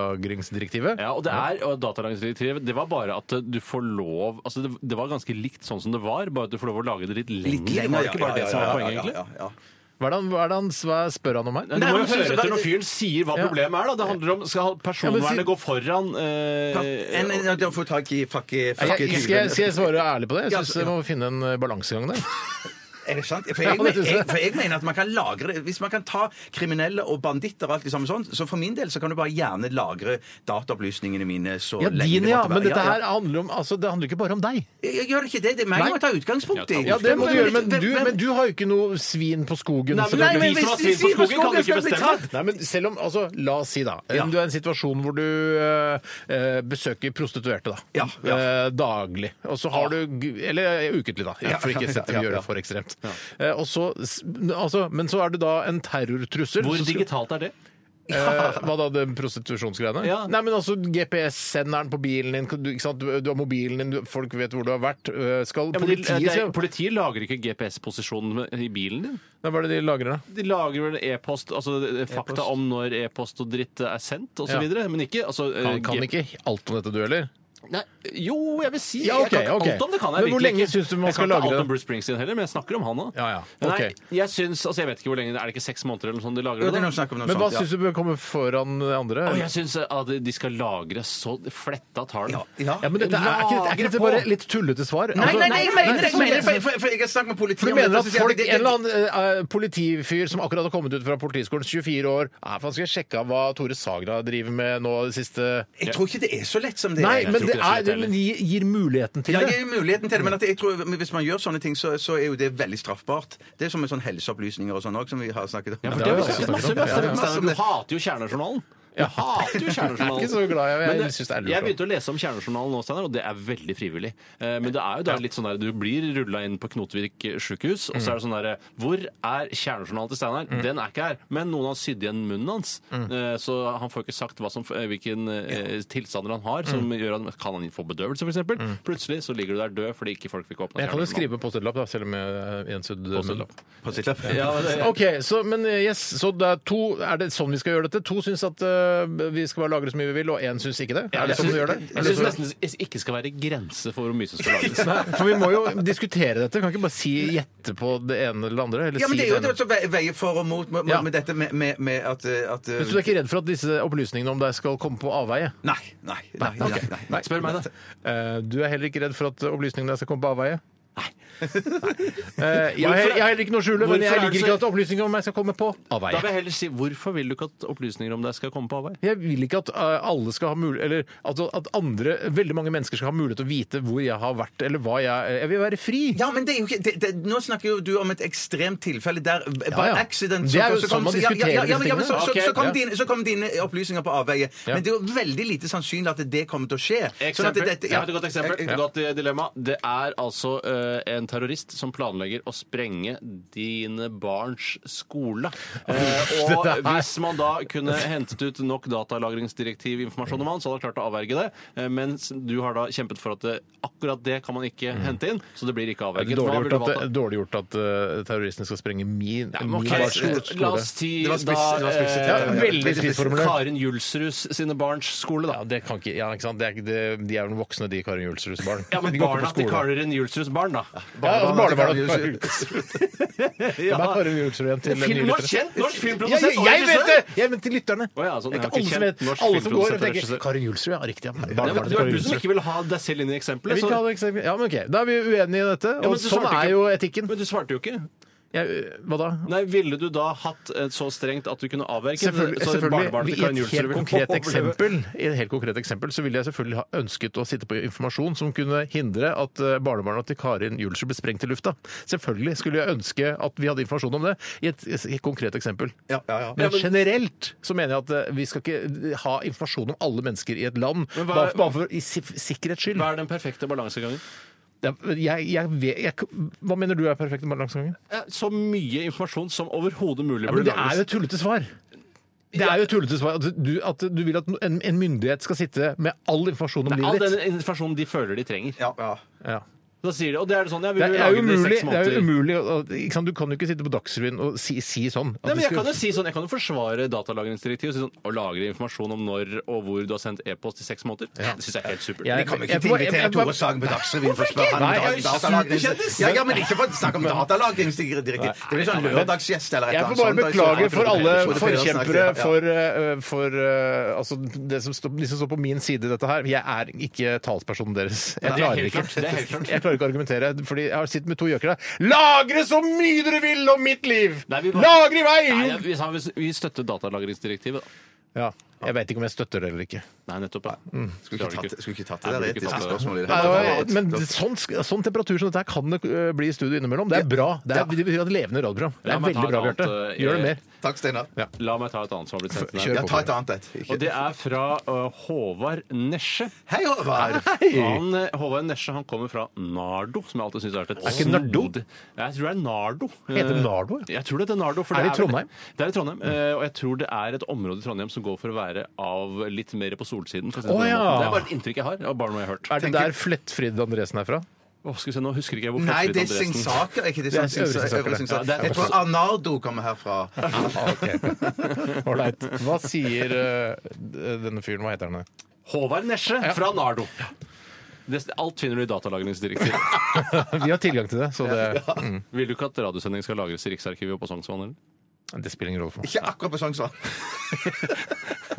Speaker 1: datalagringsdirektivet.
Speaker 2: Ja, og det er, og datalagringsdirektivet, det var bare at du får lov altså det, det var ganske likt sånn som det var, bare at du får lov å lage det litt lenger. var det ikke bare det som var poenget, egentlig?
Speaker 1: Hva er det han- hva er det han hva spør han om her?
Speaker 2: Du må jo
Speaker 1: men-
Speaker 2: høre etter når fyren sier hva
Speaker 1: Ja.
Speaker 2: problemet er. da. Det handler om skal
Speaker 1: Ja, men
Speaker 2: personvernet
Speaker 1: si-
Speaker 2: gå foran eh,
Speaker 3: En, en, en, får tak i
Speaker 1: Jeg,
Speaker 3: fucke, fucke
Speaker 1: skal, jeg, skal jeg svare ærlig på det? Jeg syns vi må finne en eh, balansegang der.
Speaker 3: Er det sant? For
Speaker 1: Ja,
Speaker 3: jeg,
Speaker 1: det synes jeg.
Speaker 3: jeg, for jeg mener at man kan lagre Hvis man kan ta kriminelle og banditter og alt det samme sånn, så for min del så kan du bare gjerne lagre dataopplysningene mine så
Speaker 1: Ja,
Speaker 3: lenge
Speaker 1: din,
Speaker 3: det
Speaker 1: ja.
Speaker 3: måtte
Speaker 1: Men
Speaker 3: være.
Speaker 1: dette her handler om altså, Det handler ikke bare om deg.
Speaker 3: Jeg, jeg gjør ikke det. Det er meg
Speaker 1: Nei.
Speaker 3: du må ta utgangspunkt i.
Speaker 1: Ja, det må du gjøre, men du, men du har jo ikke noe svin på skogen.
Speaker 2: Nei, men-
Speaker 1: selvfølgelig.
Speaker 2: Nei, men- hvis de sier på skogen, kan ikke bestemme.
Speaker 1: Nei, men selv om, altså, La oss si, da.
Speaker 3: Ja.
Speaker 1: Du er i en situasjon hvor du eh, eh, besøker prostituerte da.
Speaker 3: Ja, ja.
Speaker 1: Eh, daglig. Og så har du gu- Eller eh, ukentlig, da. Ja, for ikke å sette-
Speaker 3: ja, ja.
Speaker 1: gjøre det for ekstremt. Eh, og så, s- altså, men så er du da en terrortrussel.
Speaker 2: Hvor
Speaker 1: så skal-
Speaker 2: digitalt er det?
Speaker 1: Eh, hva da, den prostitusjonsgreiene?
Speaker 2: Ja.
Speaker 1: Nei, men altså GPS-senderen på bilen din, du, ikke sant? Du, du har mobilen din, du, folk vet hvor du har vært. Eh, Skal
Speaker 2: Ja, men de,
Speaker 1: politiet
Speaker 2: det er,
Speaker 1: se-
Speaker 2: politiet lager ikke GPS-posisjonen i bilen din.
Speaker 1: Nei, Hva er det de lagrer, da?
Speaker 2: De lager vel e-post, altså fakta om når e-post og dritt er sendt osv.,
Speaker 1: Ja.
Speaker 2: videre men ikke altså, eh,
Speaker 1: Han kan
Speaker 2: G-
Speaker 1: ikke alt om dette, du heller?
Speaker 2: Nei, jo, jeg vil si
Speaker 1: Ja, ok,
Speaker 2: Jeg kan ikke
Speaker 1: ok.
Speaker 2: alt om det, kan
Speaker 1: Men
Speaker 2: jeg
Speaker 1: hvor
Speaker 2: virkelig
Speaker 1: lenge
Speaker 2: ikke.
Speaker 1: synes du man
Speaker 2: Jeg
Speaker 1: skal
Speaker 2: kan ikke
Speaker 1: lagre det?
Speaker 2: alt om Bruce Springsteen heller, men jeg snakker om han nå.
Speaker 1: Ja, ja, ok.
Speaker 2: Nei, jeg syns Altså, jeg vet ikke hvor lenge det er, det ikke seks måneder eller noe sånt de
Speaker 3: Jo,
Speaker 2: lagrer
Speaker 3: det er
Speaker 2: det? da?
Speaker 3: noe snakk om noe
Speaker 1: Men hva
Speaker 3: sånt,
Speaker 1: syns du bør komme foran de andre?
Speaker 2: Å, jeg syns at de skal lagre så fletta tall.
Speaker 3: Ja. Ja.
Speaker 1: Ja, men dette er, er, ikke, er ikke dette bare litt tullete svar?
Speaker 3: Nei,
Speaker 1: Altså-
Speaker 3: nei, nei, jeg mener det! Jeg mener det, for- for- for jeg har snakket med
Speaker 1: For du
Speaker 3: politiet om
Speaker 1: mener
Speaker 3: dette.
Speaker 1: at
Speaker 3: så sier jeg
Speaker 1: folk, en
Speaker 3: det- det-
Speaker 1: eller annen eh, politifyr som akkurat har kommet ut fra politiskolen, 24 år ja, faen, Skal jeg sjekke av hva Tore Sagra driver med nå det siste
Speaker 3: Jeg tror ikke det er så lett som det
Speaker 1: Nei, men det
Speaker 3: er.
Speaker 2: tror ikke det er så
Speaker 1: er,
Speaker 2: lett heller.
Speaker 1: men de gir muligheten til
Speaker 3: Ja, det
Speaker 1: det.
Speaker 3: er jo muligheten til det, men at jeg tror, men hvis man gjør sånne ting, så, så er jo det veldig straffbart. Det er som med sånne helseopplysninger og sånn òg, som vi har snakket om.
Speaker 2: Ja, for
Speaker 1: det har
Speaker 2: det har
Speaker 1: vi
Speaker 2: vi
Speaker 1: også
Speaker 2: snakket
Speaker 1: snakket
Speaker 2: masse,
Speaker 1: om.
Speaker 2: masse,
Speaker 1: Ja, ja.
Speaker 2: masse om. Du hater jo kjernejournalen. Du hater jo kjernejournalen.
Speaker 1: Jeg er ikke så glad i det. Jeg
Speaker 2: Men
Speaker 1: synes det er lurt,
Speaker 2: jeg
Speaker 1: da.
Speaker 2: begynte å lese om kjernejournalen nå, Steinar, og det er veldig frivillig. Eh, Men det er jo da litt sånn der du blir rulla inn på Knotvik sjukehus, og så er det sånn derre Hvor er kjernejournalen til Steinar?
Speaker 1: Mm.
Speaker 2: Den er ikke her. Men noen har sydd igjen munnen hans, Eh, så han får ikke sagt hva som, eh, hvilken eh, tilstander han har, som
Speaker 1: Mm.
Speaker 2: gjør at Kan han få bedøvelse, f.eks.? Plutselig så ligger du der død fordi ikke folk fikk åpna
Speaker 1: Jeg kan jo skrive på post-it-lapp, da, selv om jeg er ensudd.
Speaker 2: Post-it-lapp.
Speaker 3: Ja.
Speaker 2: Ja, det,
Speaker 1: OK, så, men eh, yes, så det er, to, er det sånn vi skal gjøre dette? To syns at eh, vi skal bare lagre så mye vi vil, og én syns ikke det? Er det
Speaker 2: Jeg
Speaker 1: sånn vi
Speaker 2: synes-
Speaker 1: gjør det?
Speaker 2: Jeg syns nesten det ikke skal være grense for hvor mye som skal lages.
Speaker 1: Nei, for vi må jo diskutere dette. Kan ikke bare si gjette på det ene eller det andre. Eller
Speaker 3: Ja, men
Speaker 1: si
Speaker 3: det er jo
Speaker 1: ene.
Speaker 3: det som ve- veier for og mot med,
Speaker 1: Ja.
Speaker 3: med dette med, med, med at, eh, at eh,
Speaker 1: Men Så du er ikke redd for at disse opplysningene om deg skal komme på avveie?
Speaker 3: Nei, nei, nei, nei, nei, nei.
Speaker 2: Spør meg, da.
Speaker 1: Eh, Du er heller ikke redd for at opplysningene der skal komme på avveie? Nei. Eh, Jeg
Speaker 2: Hvorfor
Speaker 1: har
Speaker 2: er-
Speaker 1: jeg har heller ikke noe å skjule,
Speaker 2: Hvorfor
Speaker 1: men
Speaker 2: er
Speaker 1: jeg
Speaker 2: det
Speaker 1: liker
Speaker 2: så-
Speaker 1: ikke at opplysninger om meg skal komme på
Speaker 2: Da vil
Speaker 1: avveie.
Speaker 2: jeg heller si hvorfor vil du ikke at opplysninger om deg skal komme på avveie?
Speaker 1: Jeg vil ikke at eh, alle skal ha mulighet Eller at, at andre, veldig mange mennesker skal ha mulighet til å vite hvor jeg har vært, eller hva jeg Jeg vil være fri.
Speaker 3: Ja, men det er jo ikke, det, det, Nå snakker jo du om et ekstremt tilfelle der eh, by
Speaker 1: ja.
Speaker 3: accident
Speaker 1: Det er jo
Speaker 3: så- så kom-
Speaker 1: sånn man
Speaker 3: ja, ja, ja,
Speaker 1: diskuterer
Speaker 3: ja,
Speaker 1: disse
Speaker 3: ja, men så- så-
Speaker 1: tingene.
Speaker 3: så
Speaker 1: Ok,
Speaker 3: kom
Speaker 1: ja.
Speaker 3: dine- Så kom dine opplysninger på avveie. Men det er jo veldig lite sannsynlig at det kommer til å skje. Sånn at
Speaker 2: Eksempel.
Speaker 3: dette-
Speaker 2: Jeg
Speaker 3: ja.
Speaker 2: vet et godt eksempel. Et godt eh, dilemma. Det er altså eh, en terrorist som planlegger å sprenge dine barns skole. Eh, og
Speaker 1: Det der-
Speaker 2: hvis man da kunne hentet ut nok datalagringsdirektivinformasjon om han, så hadde han klart å avverge det. Eh, mens du har da kjempet for at det, akkurat det kan man ikke hente inn, så det blir ikke
Speaker 1: Det Mm. er
Speaker 2: avverget.
Speaker 1: dårlig
Speaker 2: Hva
Speaker 1: gjort
Speaker 2: ville du
Speaker 1: at,
Speaker 2: valgt da?
Speaker 1: dårlig gjort at eh, terroristene skal sprenge min,
Speaker 2: Ja, men
Speaker 1: min
Speaker 2: ok, eh,
Speaker 1: barns skole.
Speaker 2: La oss si
Speaker 3: Det var
Speaker 2: da
Speaker 3: spiss- det var spisset,
Speaker 2: eh,
Speaker 1: ja,
Speaker 3: ja, ja.
Speaker 1: veldig spissformulert.
Speaker 2: Karin Julsrus sine barns skole,
Speaker 1: Ja,
Speaker 2: da.
Speaker 1: det kan ikke, ja, ikke sant? Det er, ikke- det, de er jo voksne, de Karin Julsruds barn.
Speaker 2: Ja, men
Speaker 1: De går ikke
Speaker 2: barna
Speaker 1: på
Speaker 2: til
Speaker 1: skolen.
Speaker 2: Karin Julsrus barn, da.
Speaker 1: Ja, altså barnebarna til
Speaker 3: Karin
Speaker 1: Karin Julsrud. Det er Karin Julsrud igjen til nye
Speaker 2: Film,
Speaker 1: lyttere.
Speaker 2: norsk kjent norsk
Speaker 1: Jeg,
Speaker 2: filmprodusent
Speaker 1: jeg,
Speaker 2: og
Speaker 1: vet
Speaker 2: regissør!
Speaker 1: det! Jeg mente lytterne.
Speaker 2: Å ja, sånn,
Speaker 1: Det er
Speaker 2: ja,
Speaker 1: ikke
Speaker 2: ok,
Speaker 1: alle som
Speaker 2: kjent
Speaker 1: vet.
Speaker 2: norsk
Speaker 1: Alle som går og
Speaker 2: filmprodusent og
Speaker 1: tenker
Speaker 2: regissør.
Speaker 1: Karin Julsrud, ja, riktig. Ja.
Speaker 2: Ja, men
Speaker 1: Barnebarnet til
Speaker 2: Du er
Speaker 1: Karin
Speaker 2: du som
Speaker 1: Julsrud.
Speaker 2: ikke vil ha deg selv inn i eksempelet.
Speaker 1: Jeg vil
Speaker 2: så-
Speaker 1: ikke ha det eksempelet. Ja, men ok. Da er vi uenige i dette.
Speaker 2: Ja,
Speaker 1: Og
Speaker 2: men du
Speaker 1: sånn
Speaker 2: svarte
Speaker 1: er
Speaker 2: ikke.
Speaker 1: jo etikken.
Speaker 2: Men du svarte jo ikke.
Speaker 1: Jeg, hva da?
Speaker 2: Nei, Ville du da hatt eh, så strengt at du kunne avverget
Speaker 1: Selvfølgelig,
Speaker 2: så barnebarnet
Speaker 1: selvfølgelig
Speaker 2: til
Speaker 1: i
Speaker 2: Karin
Speaker 1: et
Speaker 2: Julsrud
Speaker 1: helt
Speaker 2: ville
Speaker 1: konkret
Speaker 2: overleve?
Speaker 1: eksempel I et helt konkret eksempel så ville jeg selvfølgelig ha ønsket å sitte på informasjon som kunne hindre at eh, barnebarna til Karin Julsrud ble sprengt i lufta. Selvfølgelig skulle jeg ønske at vi hadde informasjon om det i et, i et konkret eksempel.
Speaker 3: Ja, ja, ja.
Speaker 1: Men generelt så mener jeg at eh, vi skal ikke ha informasjon om alle mennesker i et land
Speaker 2: Men
Speaker 1: bare,
Speaker 2: hva-
Speaker 1: bare for i si- sikkerhets skyld.
Speaker 2: Hva er den perfekte balansegangen?
Speaker 1: Det er- Jeg, jeg vet, jeg, hva mener du er perfekt balansegangen?
Speaker 2: Eh, Så mye informasjon som overhodet mulig
Speaker 1: Ja,
Speaker 2: burde
Speaker 1: men det er jo et tullete svar. Det er jo et tullete svar at du, at du vil at en, en myndighet skal sitte med all informasjon om
Speaker 2: All
Speaker 1: livet
Speaker 2: den
Speaker 1: ditt.
Speaker 2: informasjonen de føler de trenger.
Speaker 3: Ja, ja.
Speaker 1: Ja.
Speaker 2: Da sier de, og det er det sånn, jeg
Speaker 1: Det
Speaker 2: vil
Speaker 1: er,
Speaker 2: jo
Speaker 1: det er
Speaker 2: lage det i
Speaker 1: umulig.
Speaker 2: seks
Speaker 1: Det er jo
Speaker 2: måneder.
Speaker 1: umulig å- å- ikke sant? Du kan jo ikke sitte på Dagsrevyen og si, si sånn. at
Speaker 2: Nei,
Speaker 1: det
Speaker 2: men jeg
Speaker 1: skal-
Speaker 2: kan jo si sånn, jeg kan jo forsvare datalagringsdirektivet og si sånn, å lagre informasjon om når og hvor du har sendt e-post i seks måneder. Det syns jeg er helt supert.
Speaker 1: Jeg-
Speaker 3: Vi kommer
Speaker 1: jeg-
Speaker 3: ikke til å
Speaker 1: jeg-
Speaker 3: invitere
Speaker 1: jeg-
Speaker 3: Tore Sagen på Dagsrevyen for å spørre
Speaker 1: Nei,
Speaker 3: han
Speaker 1: jeg er
Speaker 3: om
Speaker 1: jo
Speaker 3: datalagringsdirektivet. Ja, ja, men ikke for å snakke om datalagringsdirektivet. Det blir sånn lørdagsgjest eller et
Speaker 1: Jeg
Speaker 3: eller
Speaker 1: får
Speaker 3: annet
Speaker 1: bare
Speaker 3: sånt, da, i
Speaker 1: beklage
Speaker 3: så fall.
Speaker 1: for alle
Speaker 3: Frode Pedersen,
Speaker 1: forkjempere
Speaker 3: ja.
Speaker 1: for, eh, for eh, altså, det som står, de som står på min side i dette her. Jeg er ikke talspersonen deres. Jeg
Speaker 2: Nei, det er
Speaker 1: klarer
Speaker 2: helt
Speaker 1: ikke
Speaker 2: klart, det er helt klart.
Speaker 1: Jeg klarer ikke å argumentere, fordi jeg har sittet med to gjøker der. Lagre så mye dere vil om mitt liv!
Speaker 2: Nei, vi bare-
Speaker 1: Lagre i
Speaker 2: Nei,
Speaker 1: vei!
Speaker 2: jeg- vi, sa- vi- vi støtter datalagringsdirektivet. da.
Speaker 1: Ja, jeg veit ikke om jeg støtter det eller ikke.
Speaker 2: Nei, nettopp. Ja.
Speaker 3: Skulle ikke
Speaker 2: Klarer
Speaker 3: tatt- Skulle ikke tatt
Speaker 2: Nei,
Speaker 3: det der
Speaker 2: burde ikke
Speaker 3: etiske
Speaker 2: tatt det.
Speaker 3: spørsmålet. i det
Speaker 1: Nei,
Speaker 3: hele tatt.
Speaker 1: det var- men sånn, sk- sånn temperatur som dette her kan det eh, bli i studio innimellom. Det er bra. Det, er, det betyr at det er levende radioprogram. Det
Speaker 2: La
Speaker 1: er
Speaker 2: meg ta
Speaker 1: veldig
Speaker 2: et
Speaker 1: bra,
Speaker 2: annet,
Speaker 1: Bjarte.
Speaker 2: eh,
Speaker 1: Gjør det mer.
Speaker 3: Takk, Steinar.
Speaker 2: La meg ta et annet som har blitt sendt.
Speaker 1: Kjør
Speaker 2: inn her.
Speaker 3: Ja, ta et annet et.
Speaker 2: Og det er fra eh, Håvard Nesje.
Speaker 3: Hei, Håvard!
Speaker 2: Han, eh, Håvard Nesje han kommer fra Nardo, som jeg alltid syns er et
Speaker 1: Er ikke Nardo?
Speaker 2: Jeg tror det er Nardo.
Speaker 1: Heter det
Speaker 2: Eh,
Speaker 1: Nardo, ja?
Speaker 2: Jeg tror det heter Nardo. for
Speaker 1: Er det i
Speaker 2: vel-
Speaker 1: Trondheim?
Speaker 2: Det er i Trondheim. eh, Og jeg tror det er et område i Trondheim som går for å være av litt mer på solsiden. For å si det, på
Speaker 1: Å,
Speaker 2: den
Speaker 1: ja.
Speaker 2: måten. det er bare et inntrykk jeg har, og bare noe jeg har hørt.
Speaker 1: Er det der Flettfrid Andresen er fra?
Speaker 2: Åh, skal vi se, nå husker ikke jeg hvor
Speaker 3: Nei,
Speaker 2: Fredrik
Speaker 3: det er
Speaker 2: Andresen-
Speaker 3: Singsaker, er ikke det
Speaker 1: Det er
Speaker 3: sant? Singsaker,
Speaker 1: Øvre Singsaker.
Speaker 3: Øvre
Speaker 2: Ja, det er-
Speaker 3: Jeg tror Arnardo kommer herfra.
Speaker 1: Ah, Ålreit. Hva sier eh, denne fyren? Hva heter han?
Speaker 2: Håvard Nesje fra Nardo. Det, alt finner du i datalagringsdirektivet.
Speaker 1: Vi har tilgang til det, så det, mm,
Speaker 2: Vil du ikke at radiosending skal lagres i Riksarkivet og på Sognsvann? eller?
Speaker 1: det spiller ingen rolle for meg.
Speaker 3: Ikke akkurat på Sognsvann.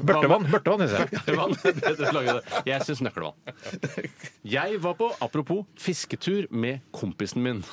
Speaker 1: Børtevann! Børtevann heter jeg.
Speaker 2: Nøkkelvann. Dere lager det. Jeg syns nøkkelvann. Jeg var på, apropos, fisketur med kompisen min.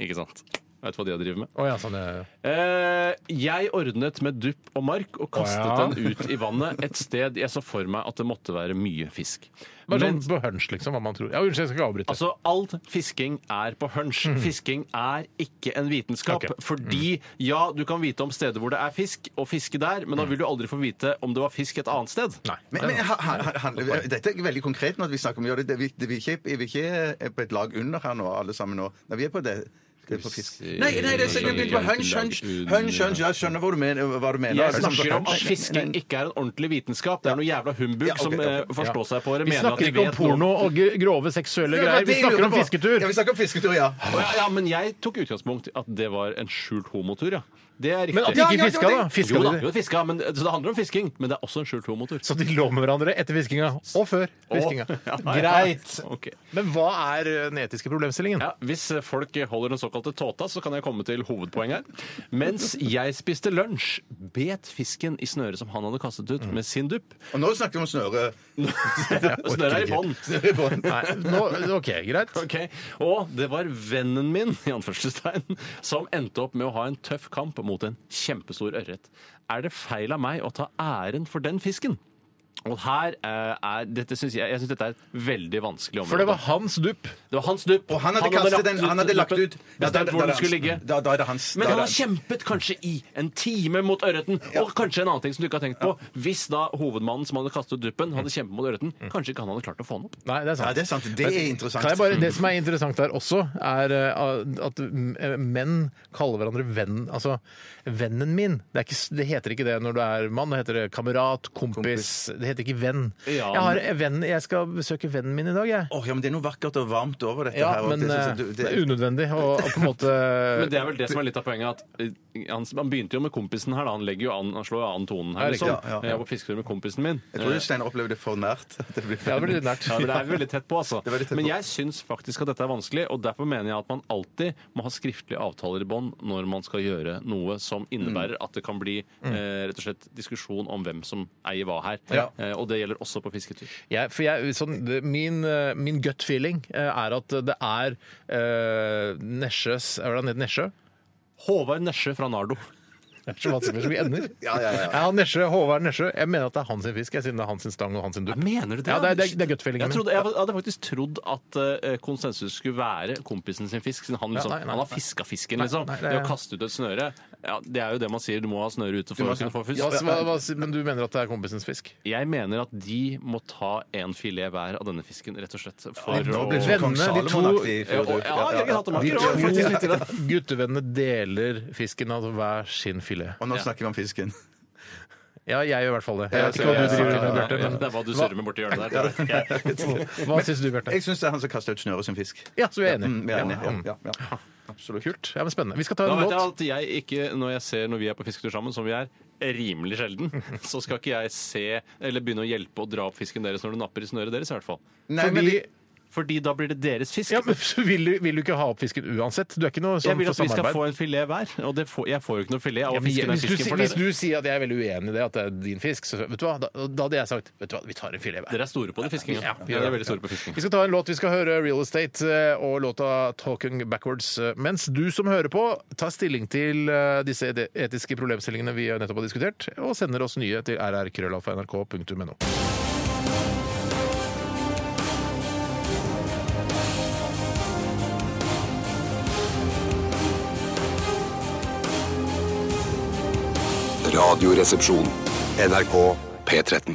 Speaker 2: Ikke sant? Vet du hva de har drevet med?
Speaker 1: Å ja, sånn, ja, ja.
Speaker 2: Eh, jeg ordnet med dupp og mark og kastet
Speaker 1: Å, ja.
Speaker 2: den ut i vannet et sted jeg så for meg at det måtte være mye fisk.
Speaker 1: Bare
Speaker 2: Men
Speaker 1: sånn på hunch, liksom, hva man tror. Ja, Unnskyld, jeg skal ikke avbryte.
Speaker 2: Altså, All fisking er på hunch. Fisking er ikke en vitenskap.
Speaker 1: Mm. Ok. Mm.
Speaker 2: Fordi, ja, du kan vite om steder hvor det er fisk, og fiske der, men da vil du aldri få vite om det var fisk et annet sted.
Speaker 1: Mm. Nei.
Speaker 3: Men, men, ha, ha, ha- handler, vi- dette er veldig konkret nå at vi snakker om å gjøre det. Vi, det vi, er ikke, vi er ikke på et lag under her nå, alle sammen nå. Nei, vi er på det. Det er på fisk.
Speaker 2: se.
Speaker 3: Nei, nei, det er sikkert vi er på hunch, hunch, hunch, hunch. Jeg skjønner hva du mener. Hva du mener.
Speaker 2: Jeg
Speaker 1: sånn
Speaker 2: snakker om at
Speaker 3: Nei, nei,
Speaker 2: fisking
Speaker 3: nei.
Speaker 2: ikke er en ordentlig vitenskap. Det er noe jævla humbug
Speaker 3: Ja, ok,
Speaker 2: som eh, forstår seg på det.
Speaker 1: Vi snakker ikke om porno og gr- grove seksuelle
Speaker 3: Det var
Speaker 1: greier.
Speaker 3: det
Speaker 1: Vi
Speaker 3: jeg
Speaker 1: snakker
Speaker 3: lurte
Speaker 1: om
Speaker 3: på.
Speaker 1: fisketur.
Speaker 3: Ja, vi snakker om fisketur, ja.
Speaker 2: Ja, ja, men jeg tok utgangspunkt i at det var en skjult homotur, ja. Det er riktig.
Speaker 1: Men at de ikke fiska, da?
Speaker 2: jo
Speaker 1: Fiska
Speaker 2: da,
Speaker 1: de
Speaker 2: jo, fiska, men, så det handler om fisking, men det er også en skjult homotur.
Speaker 1: Så de lå med hverandre etter fiskinga. Og før fiskinga.
Speaker 2: Å, ja, nei,
Speaker 1: Greit.
Speaker 2: ok.
Speaker 1: Men hva er eh, den etiske problemstillingen?
Speaker 2: Ja, Hvis eh, folk holder den såkalte tåta, så kan jeg komme til hovedpoenget her. Mens jeg spiste lunsj, bet fisken i snøret som han hadde kastet ut
Speaker 1: Mm.
Speaker 2: med sin dupp.
Speaker 3: Og nå snakker vi om snøre.
Speaker 2: Snøret er i bånn.
Speaker 3: Snøre i bånd.
Speaker 1: Nei, nå, OK, greit.
Speaker 2: Ok, Og det var vennen min i anførselstegn, som endte opp med å ha en tøff kamp mot en kjempestor ørret. Er det feil av meg å ta æren for den fisken? Og her eh, er, dette synes jeg, jeg syns dette er et veldig vanskelig område.
Speaker 1: For det var hans dupp.
Speaker 2: Det var hans dupp.
Speaker 3: Og han hadde kastet den. Han hadde lagt ut. Ja, da- da-
Speaker 2: Bestemt hvor
Speaker 3: da-
Speaker 2: den skulle ligge.
Speaker 3: Da, da er det hans. Da
Speaker 2: Men
Speaker 3: er
Speaker 2: han
Speaker 3: det
Speaker 2: har kjempet kanskje i en time mot ørreten, og kanskje en annen ting som du ikke har tenkt på. Hvis da hovedmannen som hadde kastet duppen, hadde kjempet mot ørreten,
Speaker 3: Mm.
Speaker 2: kanskje ikke han hadde klart å få den opp.
Speaker 1: Nei, det er sant.
Speaker 3: Ja, det er sant. Det er interessant.
Speaker 1: Kan jeg bare, det som er interessant der også, er eh, at m- eh, menn kaller hverandre venn. Altså, vennen min. Det, er ikke, s- det heter ikke det når du er mann. Det heter det kamerat, kompis. Det heter ikke venn.
Speaker 2: Ja,
Speaker 1: jeg, har en venn, jeg skal besøke vennen min i dag, jeg.
Speaker 3: Åh, ja, men Det er noe vakkert og varmt over dette.
Speaker 1: Ja,
Speaker 3: her, og
Speaker 1: men
Speaker 3: det,
Speaker 1: eh,
Speaker 3: synes jeg- du-
Speaker 1: det er unødvendig å å på en måte
Speaker 2: Men det er vel det som er litt av poenget. at eh, Han, han begynte jo med kompisen her. da, Han, legger jo an, han slår jo an tonen her.
Speaker 1: Ja, riktig,
Speaker 2: Liksom.
Speaker 3: ja, ja.
Speaker 2: Jeg var på fisketur med kompisen min.
Speaker 3: Jeg tror Steinar opplevde det for nært. Det blir
Speaker 1: Ja, det blir litt nært.
Speaker 2: Ja, men det er veldig tett på, altså.
Speaker 3: er veldig tett
Speaker 2: Men
Speaker 3: på.
Speaker 2: jeg syns faktisk at dette er vanskelig, og derfor mener jeg at man alltid må ha skriftlige avtaler i bånd når man skal gjøre noe som innebærer at det kan bli eh, rett og slett diskusjon om hvem som eier hva her.
Speaker 1: Ja.
Speaker 2: Eh, og det gjelder også på fisketur.
Speaker 1: Jeg, for jeg, sånn, det, min, eh, min gut feeling eh, er at det er uh, Nesjes Er det han heter Nesje?
Speaker 2: Håvard Nesje fra Nardo.
Speaker 1: Det er så vanskelig som vi ender.
Speaker 3: Ja, ja, ja.
Speaker 1: Ja, Nesje, Håvard Nesje. Jeg mener at det er hans sin fisk, jeg, siden det er hans sin stang og hans sin dupp.
Speaker 2: Mener du det?
Speaker 1: Ja, det er, det er, det er gut feelingen
Speaker 2: Jeg,
Speaker 1: min.
Speaker 2: trodde, jeg hadde faktisk trodd at eh, konsensus skulle være kompisen sin fisk. Siden han, liksom,
Speaker 1: nei, nei,
Speaker 2: han har
Speaker 1: nei.
Speaker 2: fiska fisken, liksom.
Speaker 1: nei, det
Speaker 2: det,
Speaker 1: er-
Speaker 2: å kaste ut et snøre, ja, det er jo det man sier. Du må ha snøret ute for å kunne få
Speaker 1: Ja,
Speaker 2: fisk.
Speaker 1: så hva, hva, men du mener at det er kompisens fisk?
Speaker 2: Jeg mener at de må ta en filet hver av denne fisken, rett og slett. For
Speaker 3: Da
Speaker 2: å
Speaker 3: blir det
Speaker 1: Vennene,
Speaker 3: Kong
Speaker 1: de to-
Speaker 3: Salomon-aktig
Speaker 2: Ja,
Speaker 3: fjordtur.
Speaker 2: ja, jeg har hatt det
Speaker 1: De
Speaker 2: mange år, faktisk.
Speaker 1: to guttevennene deler fisken av hver sin filet.
Speaker 3: Og nå snakker vi om fisken.
Speaker 1: Ja, jeg gjør i hvert fall det. Jeg vet
Speaker 3: Ja,
Speaker 1: ikke hva du
Speaker 3: så-
Speaker 1: driver med,
Speaker 2: Ja,
Speaker 1: Bjarte.
Speaker 2: Det er hva du surrer med borti hjørnet der. det vet jeg.
Speaker 1: Men hva syns du, Bjarte?
Speaker 3: Jeg syns det er han som kaster ut snøret som fisk.
Speaker 1: Ja, så vi er
Speaker 3: Mm, vi er
Speaker 1: enige.
Speaker 3: enige.
Speaker 1: Ja,
Speaker 3: Ja, ja, ja. Absolutt.
Speaker 1: Kult. Ja, men spennende. Vi skal ta
Speaker 2: Da
Speaker 1: en
Speaker 2: vet jeg
Speaker 1: låt.
Speaker 2: at jeg ikke, når jeg ser når vi er på fisketur sammen, som vi er rimelig sjelden, så skal ikke jeg se eller begynne å hjelpe å dra opp fisken deres når du napper i snøret deres, i hvert fall.
Speaker 3: Nei, men
Speaker 1: Fordi
Speaker 3: de-
Speaker 2: Fordi da blir det deres fisk.
Speaker 1: ja, men så vil, du, vil du ikke ha opp fisken uansett? Du er ikke noe sånn
Speaker 2: jeg vil
Speaker 1: for
Speaker 2: at vi skal
Speaker 1: samarbeid?
Speaker 2: få en filet hver, og det får, jeg får jo ikke noe filet av
Speaker 1: Ja,
Speaker 2: å
Speaker 1: men
Speaker 2: fiske den
Speaker 1: hvis, du,
Speaker 2: fisken
Speaker 1: si-
Speaker 2: for
Speaker 1: hvis
Speaker 2: dere.
Speaker 1: du sier at jeg er veldig uenig i det, at det er din fisk, så vet du hva, da, da hadde jeg sagt vet du hva, vi tar en filet hver.
Speaker 2: Dere er store på det fiskinga.
Speaker 1: Ja, vi
Speaker 2: Dere
Speaker 1: gjør
Speaker 2: er
Speaker 1: det.
Speaker 2: veldig store på fisking.
Speaker 1: Vi skal ta en låt. Vi skal høre Real Estate eh, og låta 'Talking Backwards'. eh, Mens du som hører på, tar stilling til eh, disse eti- etiske problemstillingene vi nettopp har diskutert, og sender oss nye til rrkrøllalfa.nrk.no.
Speaker 9: Radioresepsjon. NRK P13.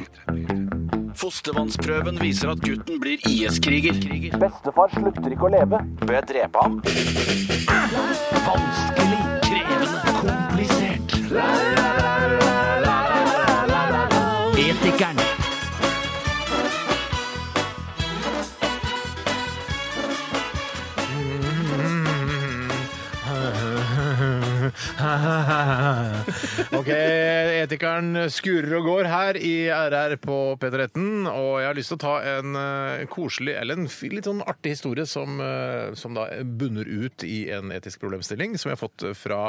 Speaker 7: Fostervannsprøven viser at gutten blir IS-kriger.
Speaker 8: Bestefar slutter ikke å leve. Bør jeg drepe ham?
Speaker 7: Vanskelig, krevende, komplisert. Etikeren.
Speaker 1: OK, etikeren skurer og går her i RR på P13. Og jeg har lyst til å ta en eh, koselig, eller en f- litt sånn artig historie som, eh, som da bunner ut i en etisk problemstilling, som jeg har fått fra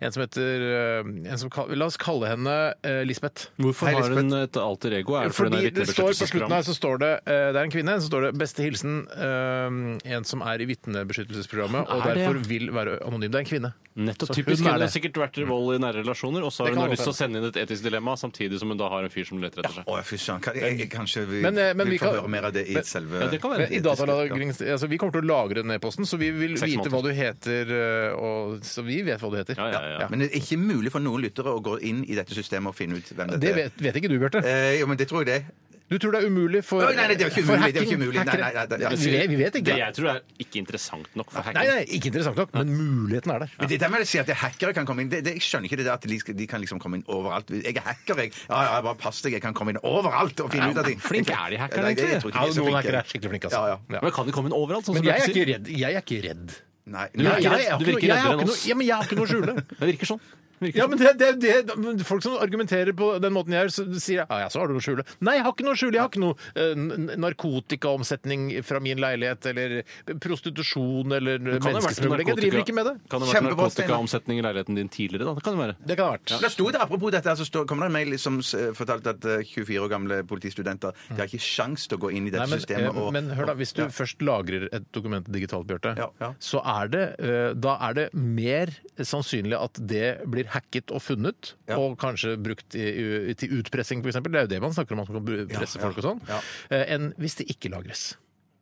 Speaker 1: en som heter eh, en som, kal- La oss kalle henne eh, Lisbeth.
Speaker 2: Hvorfor
Speaker 1: Hei,
Speaker 2: har
Speaker 1: Lisbeth.
Speaker 2: hun et alter ego? Er det fordi hun
Speaker 1: Fordi
Speaker 2: er
Speaker 1: det står på slutten her så står det eh, Det er en kvinne, så står det 'Beste hilsen eh, en som er i vitnebeskyttelsesprogrammet og
Speaker 2: Er det, ja?
Speaker 1: derfor vil være anonym'. Det er en kvinne.
Speaker 2: Nettopp
Speaker 1: Så
Speaker 2: typisk
Speaker 1: hun er
Speaker 2: henne. Hun har
Speaker 1: det.
Speaker 2: sikkert vært i vold i nære relasjoner, og så
Speaker 1: Det
Speaker 2: har hun
Speaker 1: kan
Speaker 2: har
Speaker 1: godt
Speaker 2: lyst til å sende inn et etisk dilemma, samtidig som hun da har en fyr som leter etter seg.
Speaker 3: Å, fy søren. Kan- jeg- jeg- Kanskje vi,
Speaker 1: Men, eh, men
Speaker 3: vi
Speaker 1: vi
Speaker 3: får
Speaker 1: kan-
Speaker 3: høre mer av det i
Speaker 1: men-
Speaker 3: selve
Speaker 2: Ja, det kan være.
Speaker 1: Men I datalagring, altså Vi kommer til å lagre den e-posten, så vi vil
Speaker 2: Seks
Speaker 1: vite
Speaker 2: måneder.
Speaker 1: hva du heter. eh, Og, så vi vet hva du heter.
Speaker 2: Ja, ja, ja.
Speaker 3: Men det er ikke mulig for noen lyttere å gå inn i dette systemet og finne ut hvem dette
Speaker 1: Det
Speaker 3: er.
Speaker 1: vet, vet ikke du, Bjarte.
Speaker 3: Eh, jo, men det tror jeg det.
Speaker 1: Du tror det er umulig for,
Speaker 3: Oi, nei, nei, det er ikke
Speaker 1: for
Speaker 3: umulig, det er ikke
Speaker 1: hacking-
Speaker 3: umulig. Nei, nei, nei,
Speaker 1: hackere.
Speaker 3: det er-
Speaker 1: Ja, vi, vet- vi vet
Speaker 2: Det
Speaker 1: ikke.
Speaker 2: jeg tror er ikke interessant nok
Speaker 1: Nei,
Speaker 2: for hacking.
Speaker 1: nei, ikke interessant nok, men muligheten er der.
Speaker 3: Men det er der med å si at det er hackere kan komme inn. Det, det, jeg skjønner ikke det der at de, skal, de kan liksom komme inn overalt. Jeg er hacker, jeg. Ja, ja, bare pass deg, jeg kan komme inn overalt og finne ut av ting.
Speaker 2: flink er de hackerne,
Speaker 3: Nei, det- jeg
Speaker 2: egentlig?
Speaker 3: tror ikke
Speaker 1: Ja,
Speaker 3: de er så
Speaker 1: noen
Speaker 3: flinke.
Speaker 1: hackere er skikkelig flinke,
Speaker 3: Ja, ja.
Speaker 1: altså. Ja.
Speaker 2: Men kan det komme inn overalt? Sånn som
Speaker 1: Men jeg er
Speaker 2: Bjarte sier?
Speaker 1: ikke redd. Jeg er ikke redd.
Speaker 3: Nei,
Speaker 2: er
Speaker 3: nei,
Speaker 2: ikke
Speaker 1: Jeg-
Speaker 2: redd.
Speaker 1: jeg har
Speaker 2: Du
Speaker 1: ikke
Speaker 2: virker
Speaker 1: noe- jeg har
Speaker 2: reddere enn
Speaker 1: ikke noe-
Speaker 2: oss.
Speaker 1: Ja, men jeg har ikke noe å skjule.
Speaker 2: Det virker sånn. Det virker
Speaker 1: Ja, men det, det, det, men Folk som argumenterer på den måten jeg gjør, så sier jeg, «Ah, ja, ja, så har du noe å skjule. Nei, jeg har ikke noe å skjule. Jeg har ikke noe eh, n- narkotikaomsetning fra min leilighet, eller prostitusjon, eller
Speaker 2: Kan det ha vært
Speaker 1: menneskesmugling. Jeg driver ikke med det.
Speaker 2: narkotika- Kan det ha vært
Speaker 3: Kjempebra, Steinar.
Speaker 2: narkotikaomsetning i leiligheten din tidligere? da? Det kan det være.
Speaker 1: Det kan det ha vært.
Speaker 3: Da sto det, Apropos dette, her, så står- kommer det en mail som s- fortalte at eh, 24 år gamle politistudenter de har ikke sjans til å gå inn i dette
Speaker 1: Nei, men,
Speaker 3: systemet.
Speaker 1: eh,
Speaker 3: Og,
Speaker 1: men hør da, Hvis du
Speaker 3: Ja.
Speaker 1: først lagrer et dokument digitalt, Bjarte,
Speaker 3: Ja, ja.
Speaker 1: så er det, eh, da er det mer sannsynlig at det blir hacket og funnet,
Speaker 3: Ja.
Speaker 1: og kanskje brukt i, i, til utpressing, f.eks. Det er jo det man snakker om, at man kan bru- presse
Speaker 3: ja,
Speaker 1: folk og sånn,
Speaker 3: ja.
Speaker 1: eh, enn hvis det ikke lagres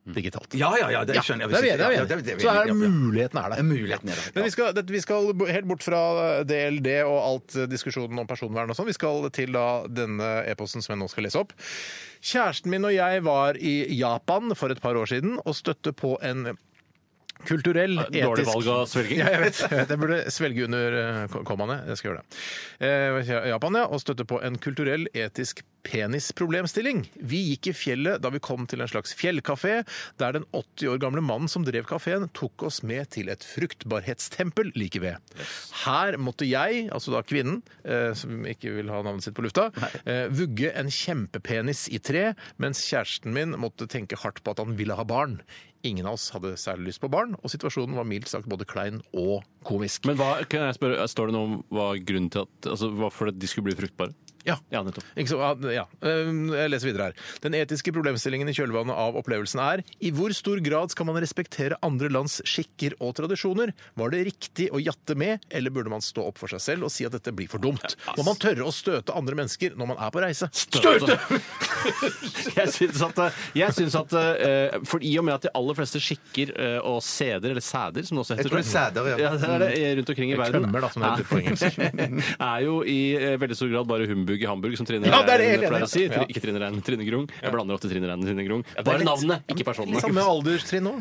Speaker 1: digitalt.
Speaker 3: Ja, ja, ja, det
Speaker 1: Ja,
Speaker 3: skjønner jeg.
Speaker 1: der er vi enige, der er vi
Speaker 3: Ja,
Speaker 1: enige.
Speaker 3: det- det-
Speaker 1: Så er det
Speaker 3: ja, ja.
Speaker 1: muligheten er der.
Speaker 3: Muligheten er der, ja.
Speaker 1: Men vi skal, det, vi skal bo- helt bort fra DLD og alt eh, diskusjonen om personvern og sånn. Vi skal til da denne e-posten som jeg nå skal lese opp. Kjæresten min og jeg var i Japan for et par år siden og støtte på en kulturell,
Speaker 2: Dårlig
Speaker 1: etisk
Speaker 2: valg av svelging.
Speaker 1: ja, jeg vet, jeg vet. Jeg burde svelge under eh, ko- kommaene. Jeg skal gjøre det. Eh, Japan, ja. Og støtte på en kulturell, etisk penisproblemstilling. Vi gikk i fjellet da vi kom til en slags fjellkafé, der den 80 år gamle mannen som drev kafeen, tok oss med til et fruktbarhetstempel like ved. Her måtte jeg, altså da kvinnen, eh, som ikke vil ha navnet sitt på lufta, eh, vugge en kjempepenis i tre, mens kjæresten min måtte tenke hardt på at han ville ha barn. Ingen av oss hadde særlig lyst på barn, og situasjonen var mildt sagt både klein og komisk.
Speaker 2: Men hva, kan jeg spørre, står det noe om hva grunnen til at altså, Hvorfor de skulle bli fruktbare?
Speaker 1: ja.
Speaker 2: Ja, nettopp.
Speaker 1: Ikke så, ja. Um, Jeg leser videre her. Den etiske problemstillingen i kjølvannet av opplevelsen er i hvor stor grad skal man respektere andre lands skikker og tradisjoner? Var det riktig å jatte med, eller burde man stå opp for seg selv og si at dette blir for dumt? Må man tørre å støte andre mennesker når man er på reise?
Speaker 2: Støte! Jeg syns at, jeg synes at eh, For i og med at de aller fleste skikker eh, og seder, eller sæder som det også heter
Speaker 3: Jeg tror det er sæder, ja.
Speaker 2: ja. det er det, eh, rundt omkring i verden
Speaker 1: Tømmer, da, som det heter på engelsk.
Speaker 2: er jo i eh, veldig stor grad bare humbug i Hamburg, som Trine
Speaker 1: Ja, det er det jeg
Speaker 2: Rein
Speaker 1: er enig
Speaker 2: pleier
Speaker 1: i.
Speaker 2: å si. Tri-
Speaker 1: Ja.
Speaker 2: Ikke Trine Rein, Trine Grung. Jeg blander ofte Trine Rein og Trine Grung. Bare navnet, ikke personene.
Speaker 1: Samme alderstrinn nå.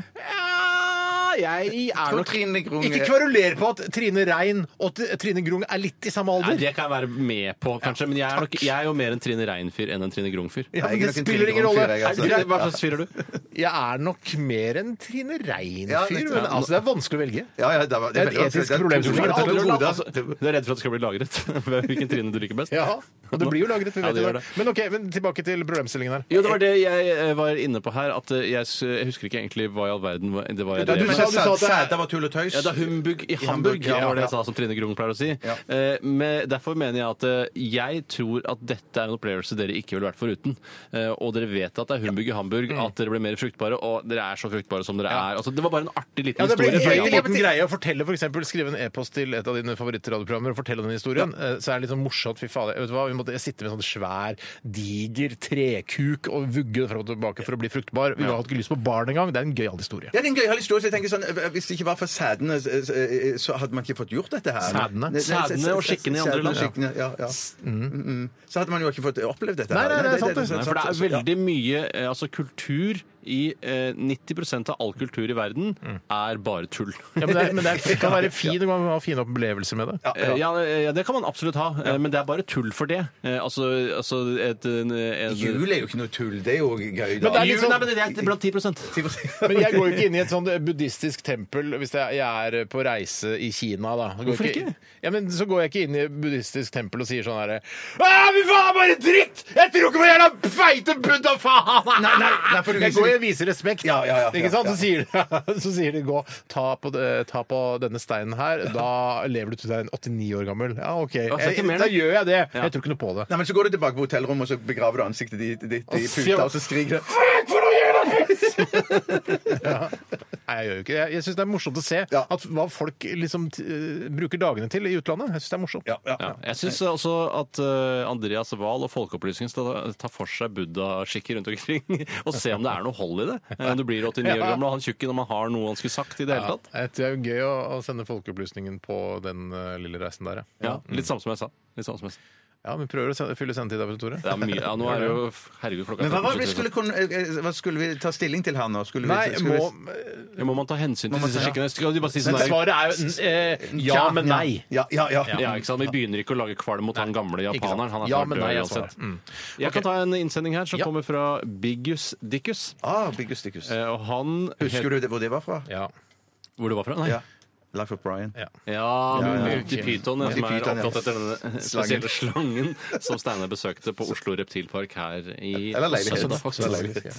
Speaker 2: Ja,
Speaker 1: jeg er
Speaker 3: tror
Speaker 1: nok
Speaker 3: Trine Grung
Speaker 1: Ikke
Speaker 3: er-
Speaker 1: kveruler på at Trine Rein og T- Trine Grung er litt i samme
Speaker 2: Nei,
Speaker 1: alder.
Speaker 2: det kan jeg være med på, kanskje, men jeg er, nok, jeg er jo mer en Trine Rein-fyr enn en Trine Grung-fyr.
Speaker 1: Ja, men
Speaker 3: Jeg er
Speaker 1: det
Speaker 3: nok en
Speaker 1: spiller
Speaker 3: Trine
Speaker 1: ingen
Speaker 3: Grung-fyr,
Speaker 1: rolle.
Speaker 3: jeg, altså.
Speaker 1: Er det
Speaker 2: Hva
Speaker 1: greit?
Speaker 2: slags fyr er du?
Speaker 1: Jeg er nok mer en Trine
Speaker 3: Ja,
Speaker 1: Rein-fyr.
Speaker 3: litt, ja.
Speaker 1: men altså, det er vanskelig å velge.
Speaker 3: Ja, ja, det, var,
Speaker 1: Det er et
Speaker 3: veldig
Speaker 1: etisk
Speaker 3: vanskelig.
Speaker 1: problem
Speaker 3: Det
Speaker 1: som
Speaker 3: er
Speaker 1: slår
Speaker 3: to
Speaker 1: deg til
Speaker 3: hoder.
Speaker 1: hodet.
Speaker 2: Altså, Du er redd for at det skal bli lagret? Hvilken Trine du liker best?
Speaker 1: Ja, og det blir jo lagret. Vi
Speaker 2: Ja,
Speaker 1: vet jo
Speaker 2: det gjør
Speaker 1: det.
Speaker 2: det.
Speaker 1: Men ok, men tilbake til problemstillingen her.
Speaker 2: Jo, det var det jeg eh, var inne på her. At eh, jeg, s- jeg husker ikke egentlig hva i all verden hva- det var jeg
Speaker 1: Ja, du
Speaker 3: Du
Speaker 2: drev med.
Speaker 1: sa-
Speaker 3: sa
Speaker 1: du sa at det-
Speaker 3: sæta var tull og tøys.
Speaker 2: Ja, det er humbug i Hamburg,
Speaker 3: Hamburg,
Speaker 2: ja,
Speaker 3: ja,
Speaker 2: var det jeg
Speaker 3: ja.
Speaker 2: sa, som Trine Grung pleier å si.
Speaker 3: Ja.
Speaker 2: Eh, men derfor mener jeg at eh, jeg tror at dette er en opplevelse dere ikke ville vært foruten. Eh, og dere vet at det er humbug i Hamburg, at dere ble mer fruktbare, og dere er så fruktbare som dere er. Altså, det var bare en artig liten
Speaker 1: Ja, det blir
Speaker 2: historie. fra
Speaker 1: en
Speaker 2: Japan.
Speaker 1: liten greie å fortelle, for eksempel, Skrive en e-post til et av dine favorittradioprogrammer og fortelle den historien. eh, Så er det litt sånn morsomt. Fy fader. Vet du hva? Vi måtte sitte med en sånn svær, diger trekuk og vugge det fram og tilbake for å bli fruktbar. Vi hadde ikke lyst på barn engang. Det er en gøyal historie.
Speaker 3: Ja, det er en gøyal historie. så jeg tenker sånn, eh, Hvis det ikke var for sædene, eh, eh, så hadde man ikke fått gjort dette her.
Speaker 1: Sædene?
Speaker 3: Nei, nei,
Speaker 2: Sædene og skikkene i
Speaker 3: sædene
Speaker 2: andre
Speaker 3: og
Speaker 2: land, ja.
Speaker 3: skikkene, Ja, ja. Mm, mm. Så hadde man jo ikke fått opplevd dette.
Speaker 1: Nei,
Speaker 3: her.
Speaker 1: nei, det er sant, det.
Speaker 2: Nei, for det er veldig mye eh, altså kultur i eh, 90 av all kultur i verden
Speaker 1: Mm.
Speaker 2: er bare tull.
Speaker 1: Ja, men det, er, men det, er, det kan være fin, du kan ha fine opplevelser med det.
Speaker 3: Ja,
Speaker 2: Eh,
Speaker 3: ja.
Speaker 2: Ja, eh, ja, det kan man absolutt ha, eh, men det er bare tull for det. Eh, Altså, altså et, en, en,
Speaker 3: Jul er jo ikke noe tull. Det er jo gøy,
Speaker 1: Men
Speaker 3: da.
Speaker 1: det er litt
Speaker 2: Jul,
Speaker 1: sånn-
Speaker 2: nei, men det er blant 10
Speaker 1: Men jeg går jo ikke inn i et sånt buddhistisk tempel hvis jeg- jeg er på reise i Kina, da. Går
Speaker 2: Hvorfor ikke?
Speaker 1: Ja, men Så går jeg ikke inn i et buddhistisk tempel og sier sånn herre Fy faen, bare dritt! Jeg tror ikke på jævla feite buddha, faen!
Speaker 3: Nei, nei, nei, for du
Speaker 1: jeg
Speaker 3: viser-
Speaker 1: går og viser respekt.
Speaker 3: Ja, ja, ja,
Speaker 1: ikke
Speaker 3: ja,
Speaker 1: sant?
Speaker 3: ja.
Speaker 1: Så, sier de, så sier de gå, ta på, det- ta på denne steinen her. Da lever du til du er en 89 år gammel. Ja, OK.
Speaker 2: så det er ikke mer,
Speaker 1: da
Speaker 2: det.
Speaker 1: gjør jeg det. Jeg tror ikke noe på det.
Speaker 3: Nei, men Så går du tilbake på hotellrommet og så begraver du ansiktet ditt ditt i
Speaker 1: sier
Speaker 3: puta,
Speaker 1: man-
Speaker 3: og så skriker du
Speaker 1: Nei, jeg gjør jo ikke det. Jeg syns det er morsomt å se
Speaker 3: Ja.
Speaker 1: at hva folk liksom t eh, bruker dagene til i utlandet. Jeg syns det er morsomt.
Speaker 3: Ja, ja.
Speaker 2: Ja. Jeg syns også at eh, Andreas Wahl og Folkeopplysningen skal ta- ta for seg buddha-skikker rundt omkring og se om det er noe hold i det. Eh, Om du blir 89 år
Speaker 1: Ja.
Speaker 2: gammel og han tjukken, om han har noe han skulle sagt i det hele tatt.
Speaker 1: Jeg tror det er jo gøy å, å sende folkeopplysningen på den eh, lille reisen der, ja.
Speaker 2: Ja, litt samme som jeg sa. Litt samme som jeg sa.
Speaker 1: Ja, vi prøver å sende, fylle sendetida på Tore.
Speaker 2: Det er mye. Ja, nå er det jo Herregud, klokka
Speaker 3: Men
Speaker 2: er
Speaker 3: hva, var det
Speaker 2: 13.00.
Speaker 3: vi skulle, kunne- eh, hva skulle vi ta stilling til her nå? Skulle vi,
Speaker 1: Nei,
Speaker 3: skulle vi-
Speaker 1: må,
Speaker 2: Ja, Må man ta hensyn til disse skikkene? Skal de bare si sånn
Speaker 1: men
Speaker 2: der-
Speaker 1: svaret er jo eh, ja, men nei.
Speaker 3: Ja, ja, ja.
Speaker 2: Ja, ikke sant? Vi begynner ikke å lage kvalm mot han gamle japaneren. Han er
Speaker 1: Ja,
Speaker 2: snart
Speaker 1: men
Speaker 2: død
Speaker 1: nei, jeg
Speaker 2: uansett.
Speaker 1: svarer. Mm.
Speaker 2: Jeg kan ta en innsending her som
Speaker 1: Ja.
Speaker 2: kommer fra Biggus Dickus.
Speaker 3: Ah, Biggus Dickus.
Speaker 2: Eh, Og han
Speaker 3: Husker du det, hvor det var fra?
Speaker 1: Ja.
Speaker 2: Hvor det var fra? Nei.
Speaker 3: Ja. Life of Brian.
Speaker 2: Ja, Monty Python, ja,
Speaker 3: Monty
Speaker 2: som er
Speaker 3: Python, ja.
Speaker 2: opptatt etter denne spesielle slangen som Steinar besøkte på Oslo Reptilpark her i
Speaker 3: Eller leilighet.
Speaker 2: Søndag.
Speaker 3: Eller leilighet.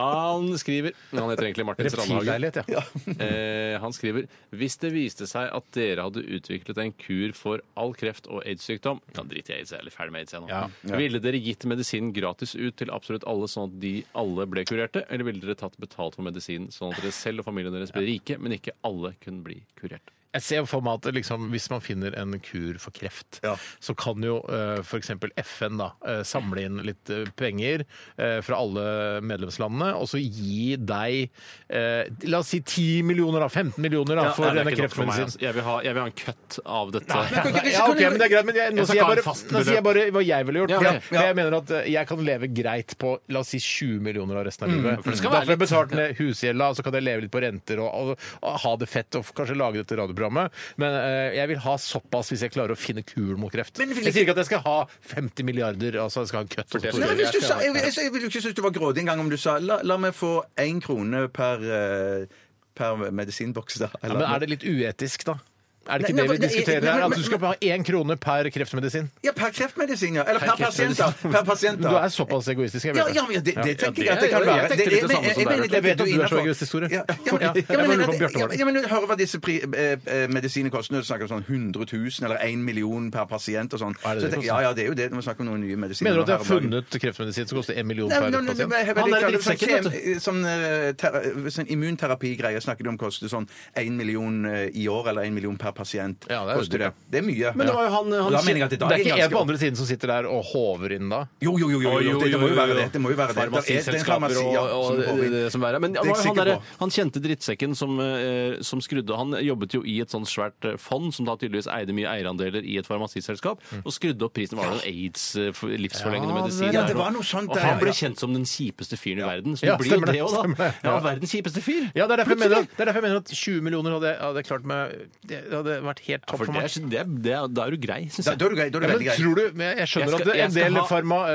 Speaker 2: Han skriver Han heter egentlig Martin Strandhagen.
Speaker 1: Reptilleilighet, ja.
Speaker 2: Eh, han skriver Hvis det viste seg at dere hadde utviklet en kur for all kreft og aids-sykdom Ja, drit i aids, jeg er litt ferdig med aids jeg nå.
Speaker 1: Ja.
Speaker 2: Ville dere gitt medisin gratis ut til absolutt alle, sånn at de alle ble kurerte? Eller ville dere tatt betalt for medisin, sånn at dere selv og familien deres ble rike, men ikke alle kunne bli kurert?
Speaker 1: Jeg ser for meg at liksom, hvis man finner en kur for kreft,
Speaker 3: Ja.
Speaker 1: så kan jo eh, for f.eks. FN da, eh, samle inn litt eh, penger eh, fra alle medlemslandene, og så gi deg eh, la oss si 10 millioner, da, 15 millioner da,
Speaker 2: Ja,
Speaker 1: for
Speaker 2: nei, det er
Speaker 1: denne
Speaker 2: ikke nok for meg,
Speaker 1: kreftmedisinen.
Speaker 2: altså. Jeg vil ha, jeg vil ha en cut av dette.
Speaker 1: Ja, ok, men det er greit, men jeg, nå,
Speaker 2: Jeg
Speaker 1: sier
Speaker 2: skal ikke
Speaker 1: jeg,
Speaker 2: ha en
Speaker 1: bare,
Speaker 2: fast
Speaker 1: nå sier jeg bare hva jeg ville gjort.
Speaker 2: Ja,
Speaker 1: for
Speaker 2: ok.
Speaker 1: jeg- for jeg mener at eh, jeg kan leve greit på la oss si 20 millioner av resten av livet.
Speaker 2: Mm. for det skal
Speaker 1: da
Speaker 2: være
Speaker 1: får jeg
Speaker 2: litt-
Speaker 1: betalt ned husgjelda, og så kan jeg leve litt på renter og, og, og ha det fett og kanskje lage dette radioprogrammet. Men eh, jeg vil ha såpass hvis jeg klarer å finne kuren mot kreft. Jeg sier ikke at jeg skal ha 50 milliarder, altså jeg skal ha en køtt. og så-
Speaker 3: Nei, men hvis du sa, jeg, jeg, jeg ville jo ikke synes du var grådig engang om du sa la, la meg få én krone per, eh, per medisinboks, da.
Speaker 1: Ja, men er det litt uetisk, da? Er det ikke det
Speaker 3: Nei, nei,
Speaker 1: vi
Speaker 3: men-
Speaker 1: diskuterer
Speaker 3: nei,
Speaker 1: her?
Speaker 3: men-
Speaker 1: At du skal ha én krone per kreftmedisin?
Speaker 3: Ja, per kreftmedisin, ja. Eller per, pasient, da. Per
Speaker 1: Du
Speaker 3: pasient, da.
Speaker 1: er såpass egoistisk, jeg
Speaker 3: ja,
Speaker 1: vet det.
Speaker 3: ja, men det, det tenker
Speaker 2: det-
Speaker 3: jeg at det
Speaker 2: jeg
Speaker 3: kan være.
Speaker 2: tenkte litt det
Speaker 3: jeg-
Speaker 2: samme som
Speaker 3: jeg- jeg
Speaker 2: deg,
Speaker 3: mener
Speaker 2: Bjørte.
Speaker 3: det-
Speaker 1: Jeg vet at du er så
Speaker 3: innenfor.
Speaker 1: egoistisk, Tore.
Speaker 3: Ja, ja, men-
Speaker 1: Ja, jeg
Speaker 3: ja, men-
Speaker 1: lurer på om Bjørte var det.
Speaker 3: ja, men Hører hva disse pri, eh, eh, medisinene koster når du snakker om sånn 100 000 eller 1 million per pasient og sånn.
Speaker 1: Er det
Speaker 3: Så jeg
Speaker 1: det
Speaker 3: tenker, Ja, ja, det er jo det når vi snakker om noen nye medisiner.
Speaker 1: Mener du at de har
Speaker 3: her om dagen.
Speaker 1: funnet kreftmedisin som koster én million
Speaker 3: Nei,
Speaker 1: per
Speaker 3: men nå- nå-
Speaker 1: pasient?
Speaker 3: nå- jeg vet
Speaker 2: Han er
Speaker 3: ikke,
Speaker 2: litt
Speaker 3: sånn
Speaker 2: drittsekken,
Speaker 3: kem- Sånn, eh, ter- sånn immunterapi-greier snakker de om koster sånn 1 million eh, i år eller 1 million per pasient.
Speaker 1: Ja, det er jo
Speaker 3: koster
Speaker 1: dyrt, ja.
Speaker 3: det. Det er mye.
Speaker 2: Men det var jo han, han
Speaker 3: Da mener jeg at det da
Speaker 1: Det er
Speaker 3: er
Speaker 1: ikke
Speaker 3: ganske-
Speaker 1: en på andre siden som sitter der og håver inn da?
Speaker 3: Jo, jo, jo, jo, jo, det, det må jo være det. Det må jo være det. Det er- det. er en
Speaker 2: Farmasiselskaper
Speaker 3: farmasi,
Speaker 2: og,
Speaker 3: ja,
Speaker 2: og
Speaker 3: som
Speaker 2: det,
Speaker 3: går inn.
Speaker 2: det som er her. Men
Speaker 3: Det er jeg
Speaker 2: han, var han,
Speaker 3: sikker
Speaker 2: derre-
Speaker 3: på.
Speaker 2: han kjente drittsekken som, eh, som skrudde Han jobbet jo i et sånt svært eh, fond som da tydeligvis eide mye eierandeler i et farmasiselskap, og skrudde opp prisen. Var det en aids, eh, for- livsforlengende
Speaker 1: Ja,
Speaker 2: medisin?
Speaker 1: det- Ja,
Speaker 3: Mm.
Speaker 2: der,
Speaker 3: det var
Speaker 2: og-
Speaker 3: noe sånt
Speaker 2: Og
Speaker 3: der,
Speaker 2: han
Speaker 3: ja.
Speaker 2: ble kjent som den kjipeste fyren i verden. Så
Speaker 1: Ja,
Speaker 2: det blir jo
Speaker 1: stemmer det,
Speaker 2: det òg,
Speaker 1: stemmer
Speaker 2: da.
Speaker 1: det, ja.
Speaker 2: Ja, verdens kjipeste fyr.
Speaker 1: Ja, det er derfor jeg mener
Speaker 2: Plutselig.
Speaker 1: at, det er derfor jeg mener at 20 millioner hadde, hadde jeg klart meg Det hadde vært helt
Speaker 2: Ja,
Speaker 1: topp
Speaker 2: for
Speaker 1: for
Speaker 2: det
Speaker 1: meg.
Speaker 2: er, det, er- det er, da er du grei, syns
Speaker 3: Da
Speaker 2: jeg.
Speaker 3: da er du grei. Da er du
Speaker 1: Ja, men
Speaker 3: veldig grei.
Speaker 1: tror du, men jeg skjønner
Speaker 2: Jeg skal-
Speaker 1: at det,
Speaker 2: jeg
Speaker 1: en
Speaker 2: skal
Speaker 1: del eh,
Speaker 2: ha-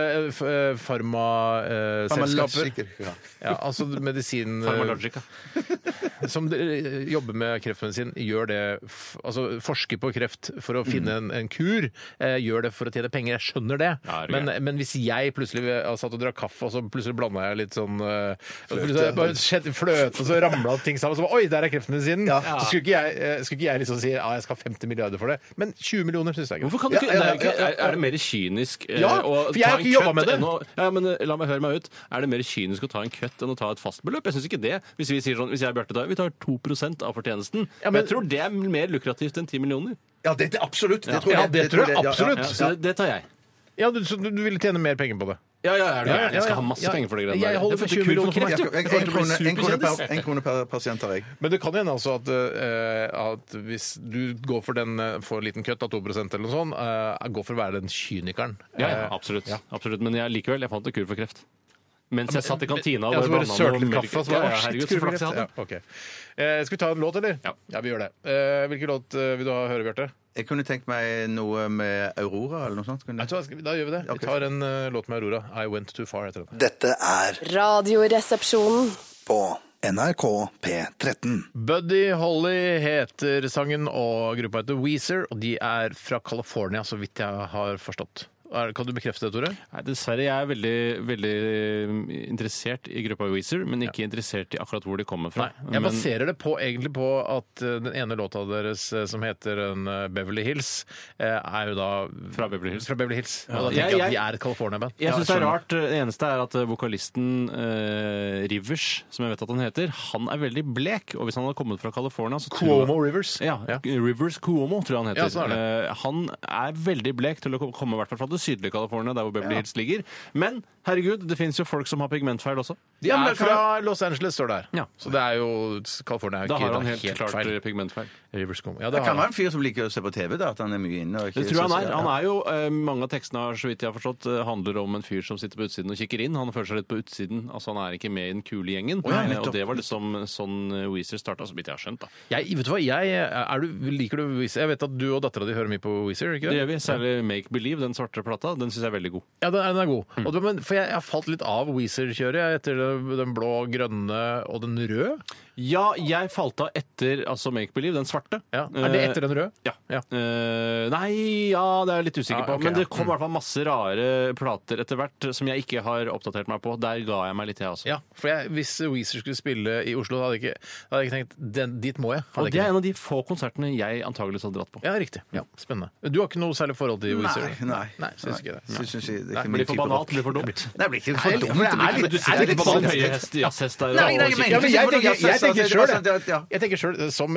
Speaker 1: farmaselskaper farma, eh,
Speaker 3: Faen, man
Speaker 1: selskaper-
Speaker 3: løser ikke. Ja.
Speaker 1: ja, Altså medisin eh,
Speaker 2: Farmalogica.
Speaker 1: Som de- eh, jobber med kreftmedisin, gjør det f- Altså forsker på kreft for
Speaker 2: Mm.
Speaker 1: å finne en, en kur, eh, gjør det for å tjene penger. Jeg skjønner det.
Speaker 2: Ja, det er
Speaker 1: Men,
Speaker 2: greit.
Speaker 1: men hvis jeg plutselig eh, satt og drakk kaffe, og så plutselig blanda jeg litt sånn eh, plutselig bare skjedde Fløte, og så ramla ting sammen, og så var Oi, der er kreftmedisinen! Så skulle ikke jeg, eh, skulle ikke jeg liksom si ja, jeg skal ha 50 milliarder for det. Men 20 millioner syns jeg ikke.
Speaker 2: Hvorfor kan du ikke,
Speaker 3: Ja, ja, ja,
Speaker 2: det er, jo
Speaker 3: ja,
Speaker 2: ikke er det mer kynisk eh,
Speaker 1: Ja,
Speaker 2: å
Speaker 1: for jeg har
Speaker 2: ta en
Speaker 1: ikke jobbet
Speaker 2: cut
Speaker 1: med det.
Speaker 2: enn Å, ja, men eh, la meg høre meg ut. Er det mer kynisk å ta en cut enn å ta et fast beløp? Jeg syns ikke det. Hvis vi sier sånn, hvis jeg og Bjarte tar, vi tar 2 av fortjenesten.
Speaker 1: Ja,
Speaker 2: men,
Speaker 1: men-
Speaker 2: jeg tror det er mer lukrativt enn 10 millioner.
Speaker 3: Ja, det, det, absolutt. Det tror jeg.
Speaker 1: Ja, det tror jeg
Speaker 3: ja,
Speaker 1: absolutt.
Speaker 2: Ja,
Speaker 3: ja.
Speaker 2: så det, det tar jeg.
Speaker 1: Ja, du, så du, du ville tjene mer penger på det?
Speaker 2: Ja, ja, er du
Speaker 1: Ja,
Speaker 2: gæren?
Speaker 1: ja,
Speaker 2: Jeg skal
Speaker 1: ja.
Speaker 2: ha masse
Speaker 1: Ja,
Speaker 2: penger for det
Speaker 1: jeg
Speaker 2: greiene
Speaker 1: holder
Speaker 2: Det er
Speaker 1: for 20
Speaker 2: kur
Speaker 1: millioner for
Speaker 2: kreft,
Speaker 1: meg.
Speaker 2: jo.
Speaker 3: En,
Speaker 2: Jeg
Speaker 3: en,
Speaker 2: blir
Speaker 3: krone, en, krone
Speaker 2: superkjendis.
Speaker 3: per, en krone per pasient har jeg.
Speaker 1: Men det kan hende altså at, eh, at hvis du går for den eh, for en liten kutt av 2 eller noe sånt, uh, går for å være den kynikeren.
Speaker 2: Ja, ja,
Speaker 1: Eh,
Speaker 2: absolutt. absolutt. Men jeg, likevel, jeg fant en kur for kreft. Mens jeg satt i kantina
Speaker 1: Ja,
Speaker 2: og
Speaker 1: så bare sølte litt kaffe, og så
Speaker 2: Ja,
Speaker 1: bare
Speaker 2: ja,
Speaker 1: «Å, shit,
Speaker 2: herregud, så
Speaker 1: skulle vi
Speaker 2: flaks jeg
Speaker 1: rett?»
Speaker 2: hadde.
Speaker 1: Ja, ok. Eh, Skal vi ta en låt, eller?
Speaker 2: Ja.
Speaker 1: vi gjør det. Eh, hvilken låt eh, vil du ha høre, Bjarte?
Speaker 3: Jeg kunne tenkt meg noe med Aurora eller noe sånt. Kunne
Speaker 1: Vet du hva, skal vi- Da gjør vi det. Vi
Speaker 3: Ok.
Speaker 1: tar en eh, låt med Aurora. I Went Too Far heter den.
Speaker 6: Dette er
Speaker 5: Radioresepsjonen.
Speaker 6: på NRK P13.
Speaker 1: Buddy Holly heter sangen, og gruppa heter Weezer, og de er fra California, så vidt jeg har forstått. Er, kan du bekrefte det, Tore?
Speaker 2: Nei, dessverre. Jeg er veldig, veldig mm, interessert i gruppa Weezer, men ikke interessert i akkurat hvor de kommer fra.
Speaker 1: Nei, jeg
Speaker 2: Men-
Speaker 1: baserer det på, egentlig på at eh, den ene låta deres eh, som heter en, eh, Beverly Hills, eh, er jo da
Speaker 2: Fra Beverly Hills.
Speaker 1: Fra Beverly Hills. Og da tenker
Speaker 2: Jeg-
Speaker 1: jeg at
Speaker 2: jeg-
Speaker 1: de er et California-band.
Speaker 2: Jeg synes
Speaker 1: Ja,
Speaker 2: det er rart. Det eneste er at eh, vokalisten eh, Rivers, som jeg vet at han heter, han er veldig blek. Og hvis han hadde kommet fra California så tror
Speaker 1: Cuomo
Speaker 2: jeg-
Speaker 1: Rivers.
Speaker 2: Ja, Rivers Cuomo, tror jeg han heter.
Speaker 1: Ja, sånn er det.
Speaker 2: Eh, han er veldig blek til å ko- komme i hvert fall fra det sydlige California, der hvor Beverly Hills ligger. Men herregud, det fins jo folk som har pigmentfeil også.
Speaker 1: De er fra Los Angeles, står det her.
Speaker 2: Ja.
Speaker 1: Så det er jo California er jo
Speaker 2: Da
Speaker 1: ikke
Speaker 2: har han
Speaker 1: det er
Speaker 2: helt, klart
Speaker 1: feil.
Speaker 2: pigmentfeil.
Speaker 1: Rivers Cuomo. Ja,
Speaker 3: Det
Speaker 1: det
Speaker 3: kan
Speaker 1: har han.
Speaker 3: være en fyr som liker å se på TV, da, at han er mye inne. Og ikke
Speaker 2: Det tror jeg han er.
Speaker 3: synes-
Speaker 2: Han er jo, eh, Mange av tekstene har, så vidt jeg har forstått, eh, handler om en fyr som sitter på utsiden og kikker inn. Han føler seg litt på utsiden. altså Han er ikke med i den kule gjengen.
Speaker 3: ja,
Speaker 2: Eh,
Speaker 3: nettopp.
Speaker 2: og det var liksom sånn eh, Weezer starta, så vidt jeg har skjønt. da.
Speaker 1: Jeg, vet du hva, jeg, er du, liker du Weezer? Jeg vet at du og dattera di hører mye på Weezer, ikke
Speaker 2: Det gjør vi. Særlig Make Believe, den svarte plata. Den syns jeg er veldig god.
Speaker 1: Ja, den er, den er god.
Speaker 2: Mm.
Speaker 1: Og det, men, for jeg, jeg har falt litt av Weezer-kjøret jeg, etter den blå, grønne og den røde.
Speaker 2: Ja, jeg falt av etter altså Make Believe, den svarte.
Speaker 1: Ja. Er det etter den røde?
Speaker 2: Ja.
Speaker 1: Ja.
Speaker 2: Eh, nei, ja, det er jeg litt
Speaker 1: Ja,
Speaker 2: usikker på.
Speaker 1: ok,
Speaker 2: Men det
Speaker 1: ja.
Speaker 2: kom i hvert fall masse rare plater etter hvert som jeg ikke har oppdatert meg på. Der ga jeg meg litt, jeg også.
Speaker 1: Ja, for jeg, hvis Weezer skulle spille i Oslo, hadde jeg ikke, hadde jeg ikke tenkt den, dit må jeg. Hadde
Speaker 2: Og
Speaker 1: jeg
Speaker 2: det
Speaker 1: ikke
Speaker 2: er
Speaker 1: tenkt.
Speaker 2: en av de få konsertene jeg antageligvis hadde dratt på.
Speaker 1: ja, riktig. Ja, spennende. Du har ikke noe særlig forhold til Weezer?
Speaker 3: Nei, nei.
Speaker 1: nei synes ikke det.
Speaker 3: Nei, synes ikke- det er ikke
Speaker 2: Blir
Speaker 3: min
Speaker 2: for
Speaker 3: type
Speaker 2: banalt,
Speaker 3: rock.
Speaker 2: blir for dumt.
Speaker 3: Nei, det blir ikke for dumt.
Speaker 1: det er litt-
Speaker 3: men
Speaker 1: det
Speaker 3: du
Speaker 1: er
Speaker 3: sitter
Speaker 1: litt
Speaker 3: litt
Speaker 1: banalt.
Speaker 3: sånn-
Speaker 1: Nei, nei,
Speaker 3: men-
Speaker 1: ja, men jeg tenker, jeg tenker
Speaker 3: Jeg
Speaker 1: selv,
Speaker 3: tenker-
Speaker 1: det. Jeg tenker selv, som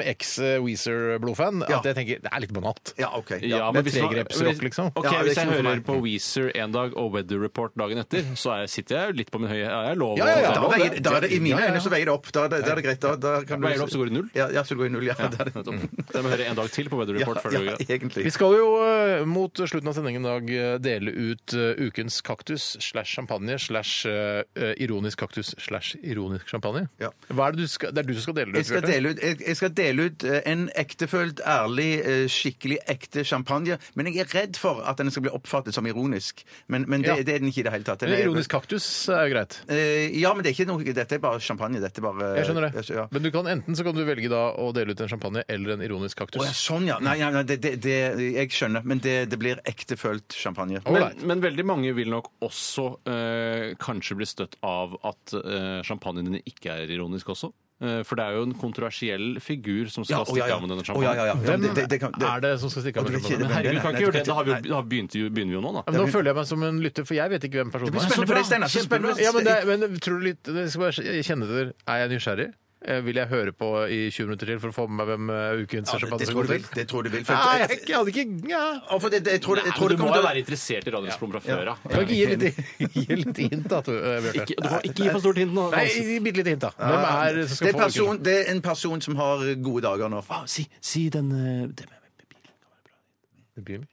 Speaker 1: eks-Weezer-blodfan, at
Speaker 3: Ja.
Speaker 1: jeg tenker det er litt banalt.
Speaker 3: Ja, OK.
Speaker 2: Ja,
Speaker 1: det er
Speaker 2: men hvis man-
Speaker 1: tregrepsrock, liksom.
Speaker 2: Ok,
Speaker 3: Ja, det er
Speaker 2: Hvis
Speaker 3: ikke
Speaker 2: jeg
Speaker 3: noe for
Speaker 2: hører
Speaker 3: meg.
Speaker 2: på Weezer en dag og Weather Report dagen etter, så er, sitter jeg jo litt på min høye Ja, jeg lover
Speaker 1: Ja, ja, ja,
Speaker 2: alt, jeg
Speaker 3: Da
Speaker 2: lover
Speaker 3: veier, da er det, I mine
Speaker 1: Ja, ja, ja.
Speaker 3: øyne så veier det opp. Da, er det- da er det greit. Da, da kan du
Speaker 2: Veier det opp, så går det i null?
Speaker 3: Ja, ja så det går i null. Ja, det er det.
Speaker 2: det. Jeg må høre en dag til på Weather
Speaker 3: ja,
Speaker 2: Report før det
Speaker 3: ja,
Speaker 2: går greit.
Speaker 1: Vi
Speaker 3: egentlig.
Speaker 1: skal jo eh, mot slutten av sendingen i dag eh, dele ut eh, ukens kaktus slash champagne slash eh, ironisk kaktus slash ironisk champagne.
Speaker 3: Ja.
Speaker 1: Hva er det, du skal, det er du som skal dele det
Speaker 3: Jeg skal,
Speaker 1: Bjarte.
Speaker 3: dele ut, jeg, jeg skal dele ut eh, en ektefølt, ærlig, eh, skikkelig ekte champagne. Men jeg er redd for at den skal bli oppfattet som ironisk. Men, men det,
Speaker 1: Ja.
Speaker 3: det er den ikke i det hele tatt. Den
Speaker 1: Men
Speaker 3: er-
Speaker 1: Ironisk kaktus er jo greit.
Speaker 3: Eh, ja, men det er ikke noe, dette er bare champagne. Dette er bare,
Speaker 1: Jeg skjønner det.
Speaker 3: Ja.
Speaker 1: Men du kan, enten så kan du velge da å dele ut en champagne eller en ironisk
Speaker 3: Å, ja,
Speaker 1: kaktus.
Speaker 3: sånn, ja. Nei, nei, nei det, det, det, jeg skjønner. Men det, det blir ektefølt champagne.
Speaker 2: Men, men veldig mange vil nok også eh, kanskje bli støtt av at eh, champagnen din ikke er ironisk også. Eh, for det er jo en kontroversiell figur som skal stikke av med denne
Speaker 3: Å, ja,
Speaker 2: champagnen.
Speaker 3: ja, ja.
Speaker 1: Hvem
Speaker 3: det, det, det kan, det,
Speaker 1: er det som skal stikke av
Speaker 3: Å,
Speaker 1: med
Speaker 3: du vet ikke
Speaker 1: champagne?
Speaker 2: Men
Speaker 3: hvem
Speaker 2: herregud,
Speaker 3: det er.
Speaker 2: kan
Speaker 3: Nei,
Speaker 2: ikke gjøre
Speaker 3: det
Speaker 2: det. Da har vi,
Speaker 3: kan-
Speaker 2: da begynner, jo, begynner vi jo nå, da.
Speaker 1: Ja, men nå føler jeg meg som en lytter, for jeg vet ikke hvem personen
Speaker 3: blir
Speaker 1: er.
Speaker 3: spennende for deg, Steinar. Så
Speaker 1: Kjempebra.
Speaker 3: spennende.
Speaker 1: Ja, men, det, men tror du litt Jeg skal bare kjenne etter. Er jeg nysgjerrig? eh, vil jeg høre på i 20 minutter til for å få med meg hvem eh, ukens
Speaker 3: det, det tror
Speaker 1: sjampanjekonkurranse
Speaker 3: jeg
Speaker 1: går
Speaker 3: vel.
Speaker 1: til.
Speaker 3: Det tror jeg vel. for-
Speaker 1: Nei, jeg, jeg hadde ikke ja.
Speaker 3: Ja, for det, det, jeg tror, jeg
Speaker 2: Nei,
Speaker 3: tror
Speaker 2: men
Speaker 3: det
Speaker 2: du må
Speaker 3: kommer
Speaker 2: jo
Speaker 3: til å
Speaker 2: være interessert i Radioresepsjonen fra før av.
Speaker 1: Kan ikke gi litt, gi litt hint, da, du, eh, Bjarte?
Speaker 2: Ikke, du må ikke gi for stort hint nå.
Speaker 1: Nei, gi bitte litt hint, da. Hvem er det som
Speaker 3: det
Speaker 1: skal
Speaker 3: er,
Speaker 1: få ukens
Speaker 3: person, det er en person som har gode dager nå.
Speaker 2: Ah, si, si den eh, det med med bilen kan være bra.
Speaker 1: Bil?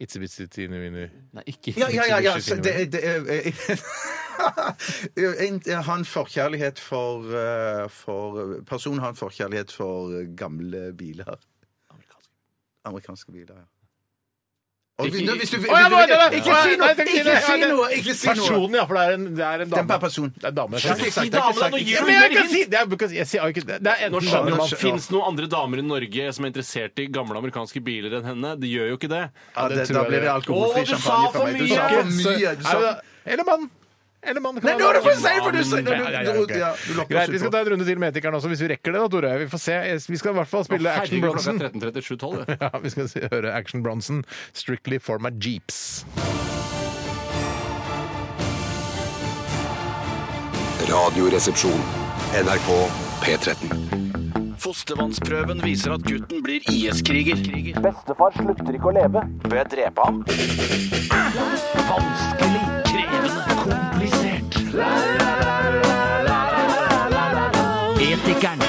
Speaker 1: Itzy bitsy teeny weeny.
Speaker 2: Nei, ikke
Speaker 3: Ja, ja, ja. ja. så Det, er- det,
Speaker 1: eh,
Speaker 3: er- en, han forkjærlighet for, eh, for Personen har en forkjærlighet for eh, gamle biler. Amerikanske biler, ja. Og, hvis- nå, hvis du,
Speaker 1: Å, ja, nå er det det!
Speaker 3: ikke si noe!
Speaker 1: Nei, tenk
Speaker 3: Ikke si
Speaker 1: det.
Speaker 3: noe! Ikke si noe!
Speaker 1: Personen, ja, for det er en, det er en
Speaker 3: Den
Speaker 1: dame.
Speaker 3: per person.
Speaker 1: Det er en dame.
Speaker 3: Shit,
Speaker 1: Ja,
Speaker 2: Si
Speaker 3: Det er ikke
Speaker 2: damer, da!
Speaker 3: sagt.
Speaker 2: Nå gir
Speaker 1: men jeg
Speaker 2: du
Speaker 1: kan
Speaker 2: hint!
Speaker 1: si det! Er, because- jeg sier jo ikke det. Det er
Speaker 2: Nå
Speaker 1: enten
Speaker 2: skjønner
Speaker 3: Ja,
Speaker 2: man,
Speaker 3: nå skjø-
Speaker 2: Fins det noen andre damer i Norge som er interessert i gamle amerikanske biler enn henne? De gjør jo ikke det.
Speaker 3: Ja,
Speaker 1: tror
Speaker 3: det, da
Speaker 1: jeg
Speaker 3: blir det
Speaker 1: det.
Speaker 3: alkoholfri
Speaker 2: Å, du sa
Speaker 3: champagne
Speaker 2: for
Speaker 3: for meg. Du
Speaker 2: mye.
Speaker 3: sa for mye! Du sa
Speaker 1: Er det- Eller mann. Eller mann. kan
Speaker 3: Nei,
Speaker 1: være-
Speaker 3: nå er det for seint! For du sa
Speaker 1: Ja, ja, ja,
Speaker 3: du-
Speaker 1: ok.
Speaker 3: du- ja, du lokker
Speaker 1: Greit, vi
Speaker 3: oss
Speaker 1: skal
Speaker 3: ut
Speaker 1: ta
Speaker 3: på.
Speaker 1: en runde til med etikeren også, hvis vi rekker det, da, Tore. Vi får se. Vi skal i hvert fall spille Action
Speaker 2: Herregud, klokka
Speaker 1: Bronson.
Speaker 2: er 13.37,12. det.
Speaker 1: Ja, vi skal se- høre Action Bronson, 'Strictly for my jeeps'.
Speaker 9: Radioresepsjon. NRK P13.
Speaker 7: Fostervannsprøven viser at gutten blir IS-kriger.
Speaker 8: Bestefar slutter ikke å leve. Bør jeg drepe ham?
Speaker 7: Vanskelig, krevende, komplisert.
Speaker 10: Etikeren.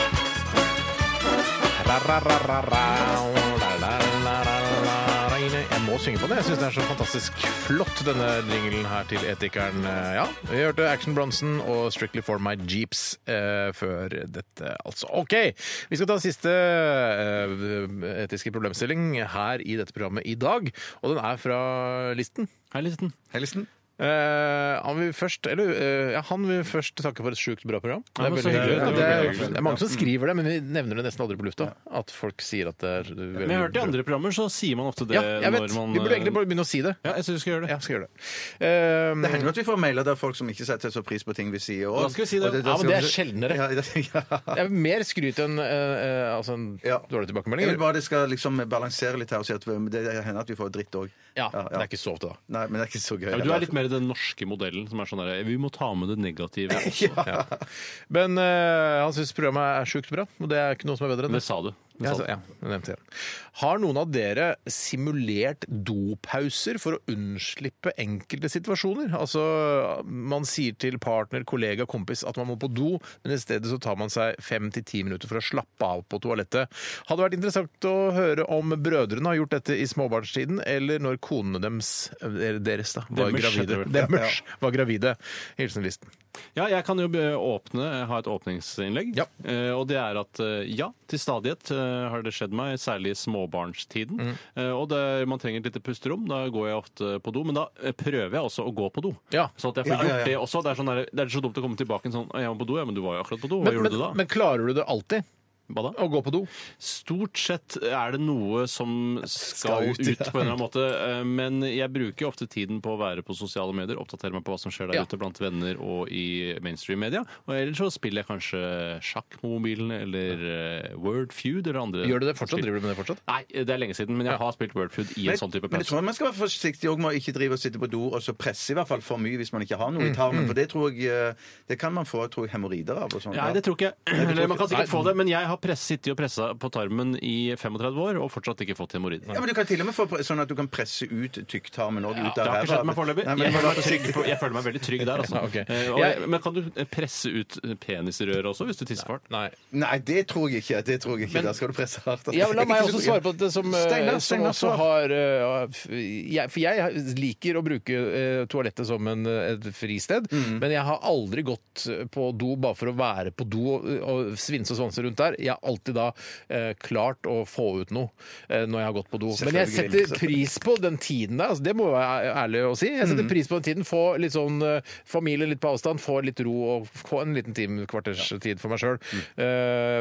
Speaker 1: Jeg må synge på det. Jeg syns den er så fantastisk flott, denne jinglen her til Etikeren. Eh, Ja, vi hørte Action Bronson og Strictly for my jeeps eh, før dette, altså. OK, vi skal ta siste eh, etiske problemstilling her i dette programmet i dag, og den er fra Listen.
Speaker 2: Hei, Listen.
Speaker 3: Hellesen?
Speaker 1: Eh, han vil først eller, eh, ja, han vil først takke for et sjukt bra program. Det
Speaker 2: Ja,
Speaker 1: er,
Speaker 2: men så
Speaker 1: veldig
Speaker 2: hyggelig.
Speaker 1: hyggelig.
Speaker 2: Det var
Speaker 1: det,
Speaker 2: veldig
Speaker 1: er,
Speaker 2: hyggelig.
Speaker 1: det er mange som skriver det, men vi nevner det nesten aldri på lufta. At folk sier at det er veldig
Speaker 2: Men jeg har hørt i andre programmer, så sier man ofte det
Speaker 1: Ja, jeg vet.
Speaker 2: når man
Speaker 1: Vi burde egentlig
Speaker 2: eh,
Speaker 1: bare begynne å si det.
Speaker 2: Ja, jeg syns vi skal gjøre det.
Speaker 1: Ja, skal gjøre det. Eh,
Speaker 3: Det hender jo at vi får mailer der folk som ikke setter så pris på ting vi sier. også.
Speaker 2: Da skal vi si det.
Speaker 3: Og
Speaker 1: Ja, men det er
Speaker 3: skal vi-
Speaker 1: sjeldnere.
Speaker 3: Ja, det- ja.
Speaker 1: det er mer skryt enn eh, eh, altså en
Speaker 3: Ja.
Speaker 1: dårlig
Speaker 3: Jeg vil
Speaker 1: tilbakemelding.
Speaker 3: bare det skal liksom balansere litt her og si at vi- det hender at vi får dritt òg.
Speaker 1: Ja, Det er ikke så ofte, da.
Speaker 3: Nei, men det er ikke så gøy.
Speaker 2: Ja, men du er litt mer i den norske modellen, som er sånn der Vi må ta med det negative også.
Speaker 1: Men eh, han syns programmet er sjukt bra, og det er ikke noe som er bedre enn
Speaker 2: Det
Speaker 1: det.
Speaker 2: sa du. Det
Speaker 1: Ja,
Speaker 2: sa
Speaker 1: så,
Speaker 2: du.
Speaker 1: ja, jeg nevnte det. Har noen av dere simulert dopauser for å unnslippe enkelte situasjoner? Altså, man sier til partner, kollega, kompis at man må på do, men i stedet så tar man seg fem til ti minutter for å slappe av på toalettet. Hadde vært interessant å høre om brødrene har gjort dette i småbarnstiden, eller når konene deres, eller deres da, var
Speaker 2: Demmers, heter
Speaker 1: gravide.
Speaker 2: det vel.
Speaker 1: Demmers var gravide. Hilsen listen.
Speaker 2: Ja, jeg kan jo be- åpne, eh, ha et åpningsinnlegg.
Speaker 1: Ja.
Speaker 2: Eh, og det er at eh, ja, til stadighet eh, har det skjedd meg, særlig i småbarnstiden.
Speaker 1: Mm.
Speaker 2: Eh, og det, man trenger et lite pusterom. Da går jeg ofte på do. Men da eh, prøver jeg også å gå på do.
Speaker 1: Ja.
Speaker 2: Så at jeg
Speaker 3: Ja,
Speaker 2: får
Speaker 3: ja, ja.
Speaker 2: gjort det også. Det er, sånn der, det er så dumt å komme tilbake en sånn «Å, Jeg må på do, ja, men du var jo akkurat på do. Hva
Speaker 1: Men,
Speaker 2: gjorde
Speaker 1: men,
Speaker 2: du da?
Speaker 1: men klarer du det alltid?
Speaker 2: Hva da?
Speaker 1: Å gå på do?
Speaker 2: Stort sett er det noe som skal,
Speaker 3: Skal ut,
Speaker 2: ut,
Speaker 3: ja.
Speaker 2: på en eller annen måte. eh, Men jeg bruker jo ofte tiden på å være på sosiale medier, oppdatere meg på hva som skjer der
Speaker 1: Ja.
Speaker 2: ute blant venner og i mainstream-media. Og ellers så spiller jeg kanskje sjakk på mobilen eller eh, Word Feud eller andre.
Speaker 1: Gjør du det fortsatt?
Speaker 2: spill.
Speaker 1: Driver du med det fortsatt?
Speaker 2: Nei, det er lenge siden, men jeg har spilt Word Feud i en sånn type
Speaker 3: men jeg
Speaker 2: pause.
Speaker 3: tror man skal være forsiktig også med å ikke drive og sitte på do og så presse i hvert fall for mye hvis man ikke har
Speaker 2: Mm,
Speaker 3: noe i tarmen. For det tror jeg eh, Det kan man få tror jeg, hemoroider av. og sånt,
Speaker 2: Nei,
Speaker 3: ja.
Speaker 2: det tror ikke jeg. Eller man kan
Speaker 1: Nei.
Speaker 2: sikkert få det, men jeg har press, sittet og pressa på tarmen i 35 år og fortsatt ikke fått hemoroider.
Speaker 3: Ja, men Du kan til og med få pre- sånn at du kan presse ut tykktarmen òg.
Speaker 2: Ja, det har ikke skjedd meg foreløpig.
Speaker 3: Nei,
Speaker 2: Jeg,
Speaker 3: men,
Speaker 2: føler meg trygg på- jeg føler meg veldig trygg der, altså.
Speaker 1: Ja, ok.
Speaker 2: Eh, og,
Speaker 1: Jeg-
Speaker 2: men kan du presse ut penisrøret også, hvis du tisser for hardt?
Speaker 1: Nei.
Speaker 3: nei, det tror jeg ikke. Det tror jeg ikke. Da skal du presse hardt.
Speaker 1: Ja, men la meg også svare på dette som, eh,
Speaker 3: Steinar,
Speaker 1: som
Speaker 3: Steinar,
Speaker 1: også
Speaker 3: svar.
Speaker 1: har eh, f- jeg, For jeg liker å bruke eh, toalettet som en, eh, et fristed,
Speaker 3: Mm.
Speaker 1: men jeg har aldri gått eh, på do bare for å være på do og, og svinse og svanse rundt der. Jeg har alltid da eh, klart å få ut noe eh, når jeg har gått på do. Men jeg
Speaker 3: Selvfølgelig.
Speaker 1: setter pris på den tiden der, altså, det må jeg være ærlig å si. Jeg setter pris på den tiden. Få litt sånn eh, familie litt på avstand, få litt ro og få en liten time, kvarters tid for meg sjøl.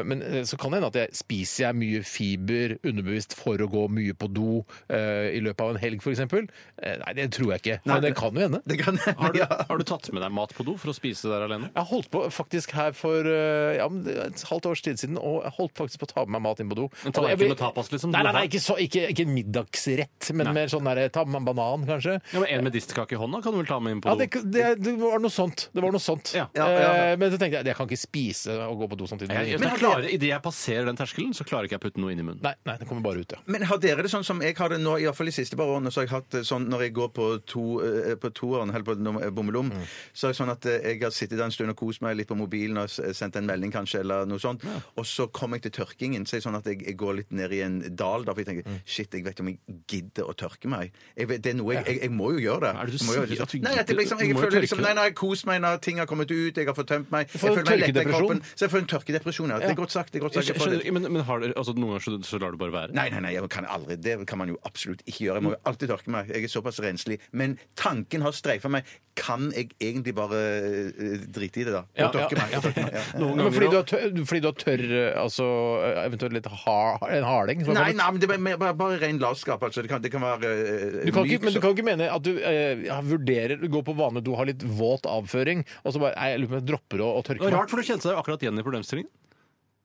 Speaker 1: men eh, så kan det hende at jeg spiser jeg mye fiber underbevisst for å gå mye på do eh, i løpet av en helg, f.eks. Uh, nei, det tror jeg ikke. Men det kan jo hende.
Speaker 3: Det kan,
Speaker 2: Har du,
Speaker 3: ja.
Speaker 2: har du tatt med deg mat på do for å spise der alene?
Speaker 1: Jeg holdt på faktisk her for eh, ja, men det er et halvt års tid siden å og jeg holdt faktisk på å ta med meg mat inn på do.
Speaker 2: En
Speaker 1: Og jeg
Speaker 2: tallerken
Speaker 1: ble-
Speaker 2: med tapas, liksom?
Speaker 1: Nei, nei, nei ikke, så, ikke, ikke en middagsrett, men
Speaker 2: Nei.
Speaker 1: mer sånn der, ta med en banan, kanskje.
Speaker 2: Ja, men En medisterkake i hånda kan du vel ta med inn på
Speaker 1: Ja,
Speaker 2: do?
Speaker 1: det, det, det var noe sånt. Det var noe sånt.
Speaker 2: Ja.
Speaker 3: Ja, ja, ja.
Speaker 1: Eh, Men så tenkte jeg jeg kan ikke spise og gå på do samtidig.
Speaker 2: Jeg, jeg,
Speaker 1: Nei,
Speaker 2: jeg klarer, I det jeg passerer den terskelen, så klarer ikke jeg å putte noe inn i munnen.
Speaker 1: nei, det kommer bare ut, ja.
Speaker 3: Men har dere det sånn som jeg har det nå, i hvert fall de siste par årene, så har jeg hatt det sånn når jeg går på, to, eh, på toeren, eller på nummer- eh, bommelom, så er det sånn at eh, jeg har sittet der en stund og kost meg litt på mobilen og s- eh, sendt en melding kanskje, eller noe sånt, og så kommer jeg til tørkingen, så er det sånn at jeg, jeg går litt ned i en dal, da, for jeg tenker, shit, jeg vet ikke om jeg gidder å tørke meg. Jeg vet, det er noe jeg, jeg, jeg må jo gjøre det.
Speaker 2: Hva er det du
Speaker 3: Jeg må jo gjøre
Speaker 2: sier at du
Speaker 3: Nei, jeg,
Speaker 2: gidder?
Speaker 3: liksom, jeg
Speaker 2: Du må jo
Speaker 3: føler liksom,
Speaker 2: tørke
Speaker 3: nei,
Speaker 2: deg.
Speaker 3: nei, jeg har kost meg når ting har kommet ut, jeg har fått tømt meg, jeg
Speaker 1: får
Speaker 3: føler meg lett i
Speaker 1: tørkedepresjon.
Speaker 3: kroppen, så jeg får en tørkedepresjon, ja. Det er godt sagt, det er godt sagt.
Speaker 2: Jeg
Speaker 3: Jeg får det.
Speaker 2: skjønner, men men har, dere- altså, noen ganger så, så lar du bare være?
Speaker 3: Nei, nei, nei, jeg kan aldri, det kan man jo absolutt ikke gjøre. Jeg må jo alltid tørke meg. Jeg er såpass renslig. Men tanken har streifa meg. Kan jeg egentlig bare eh, drite i det, da? Og
Speaker 1: Ja,
Speaker 3: tørke
Speaker 1: ja.
Speaker 3: meg? Tørke meg, ja.
Speaker 2: Noen
Speaker 1: Men
Speaker 2: ganger
Speaker 1: fordi du
Speaker 2: også-
Speaker 1: har tørr, fordi du har tørr eh, altså eh, eventuelt litt har, en harding? som har
Speaker 3: Nei,
Speaker 1: kommet?
Speaker 3: nei, men det er bare, bare, bare ren latskap. Altså. Det, kan, det kan være eh,
Speaker 1: Du kan
Speaker 3: myk,
Speaker 1: ikke, men du
Speaker 3: så-
Speaker 1: kan ikke mene at du eh, ja, vurderer Du går på vanlig do, har litt våt avføring, og så bare nei, jeg lurer på om jeg dropper å, å
Speaker 2: Det
Speaker 1: tørke
Speaker 2: var
Speaker 1: meg.
Speaker 2: rart, for du kjente deg jo akkurat igjen i problemstillingen.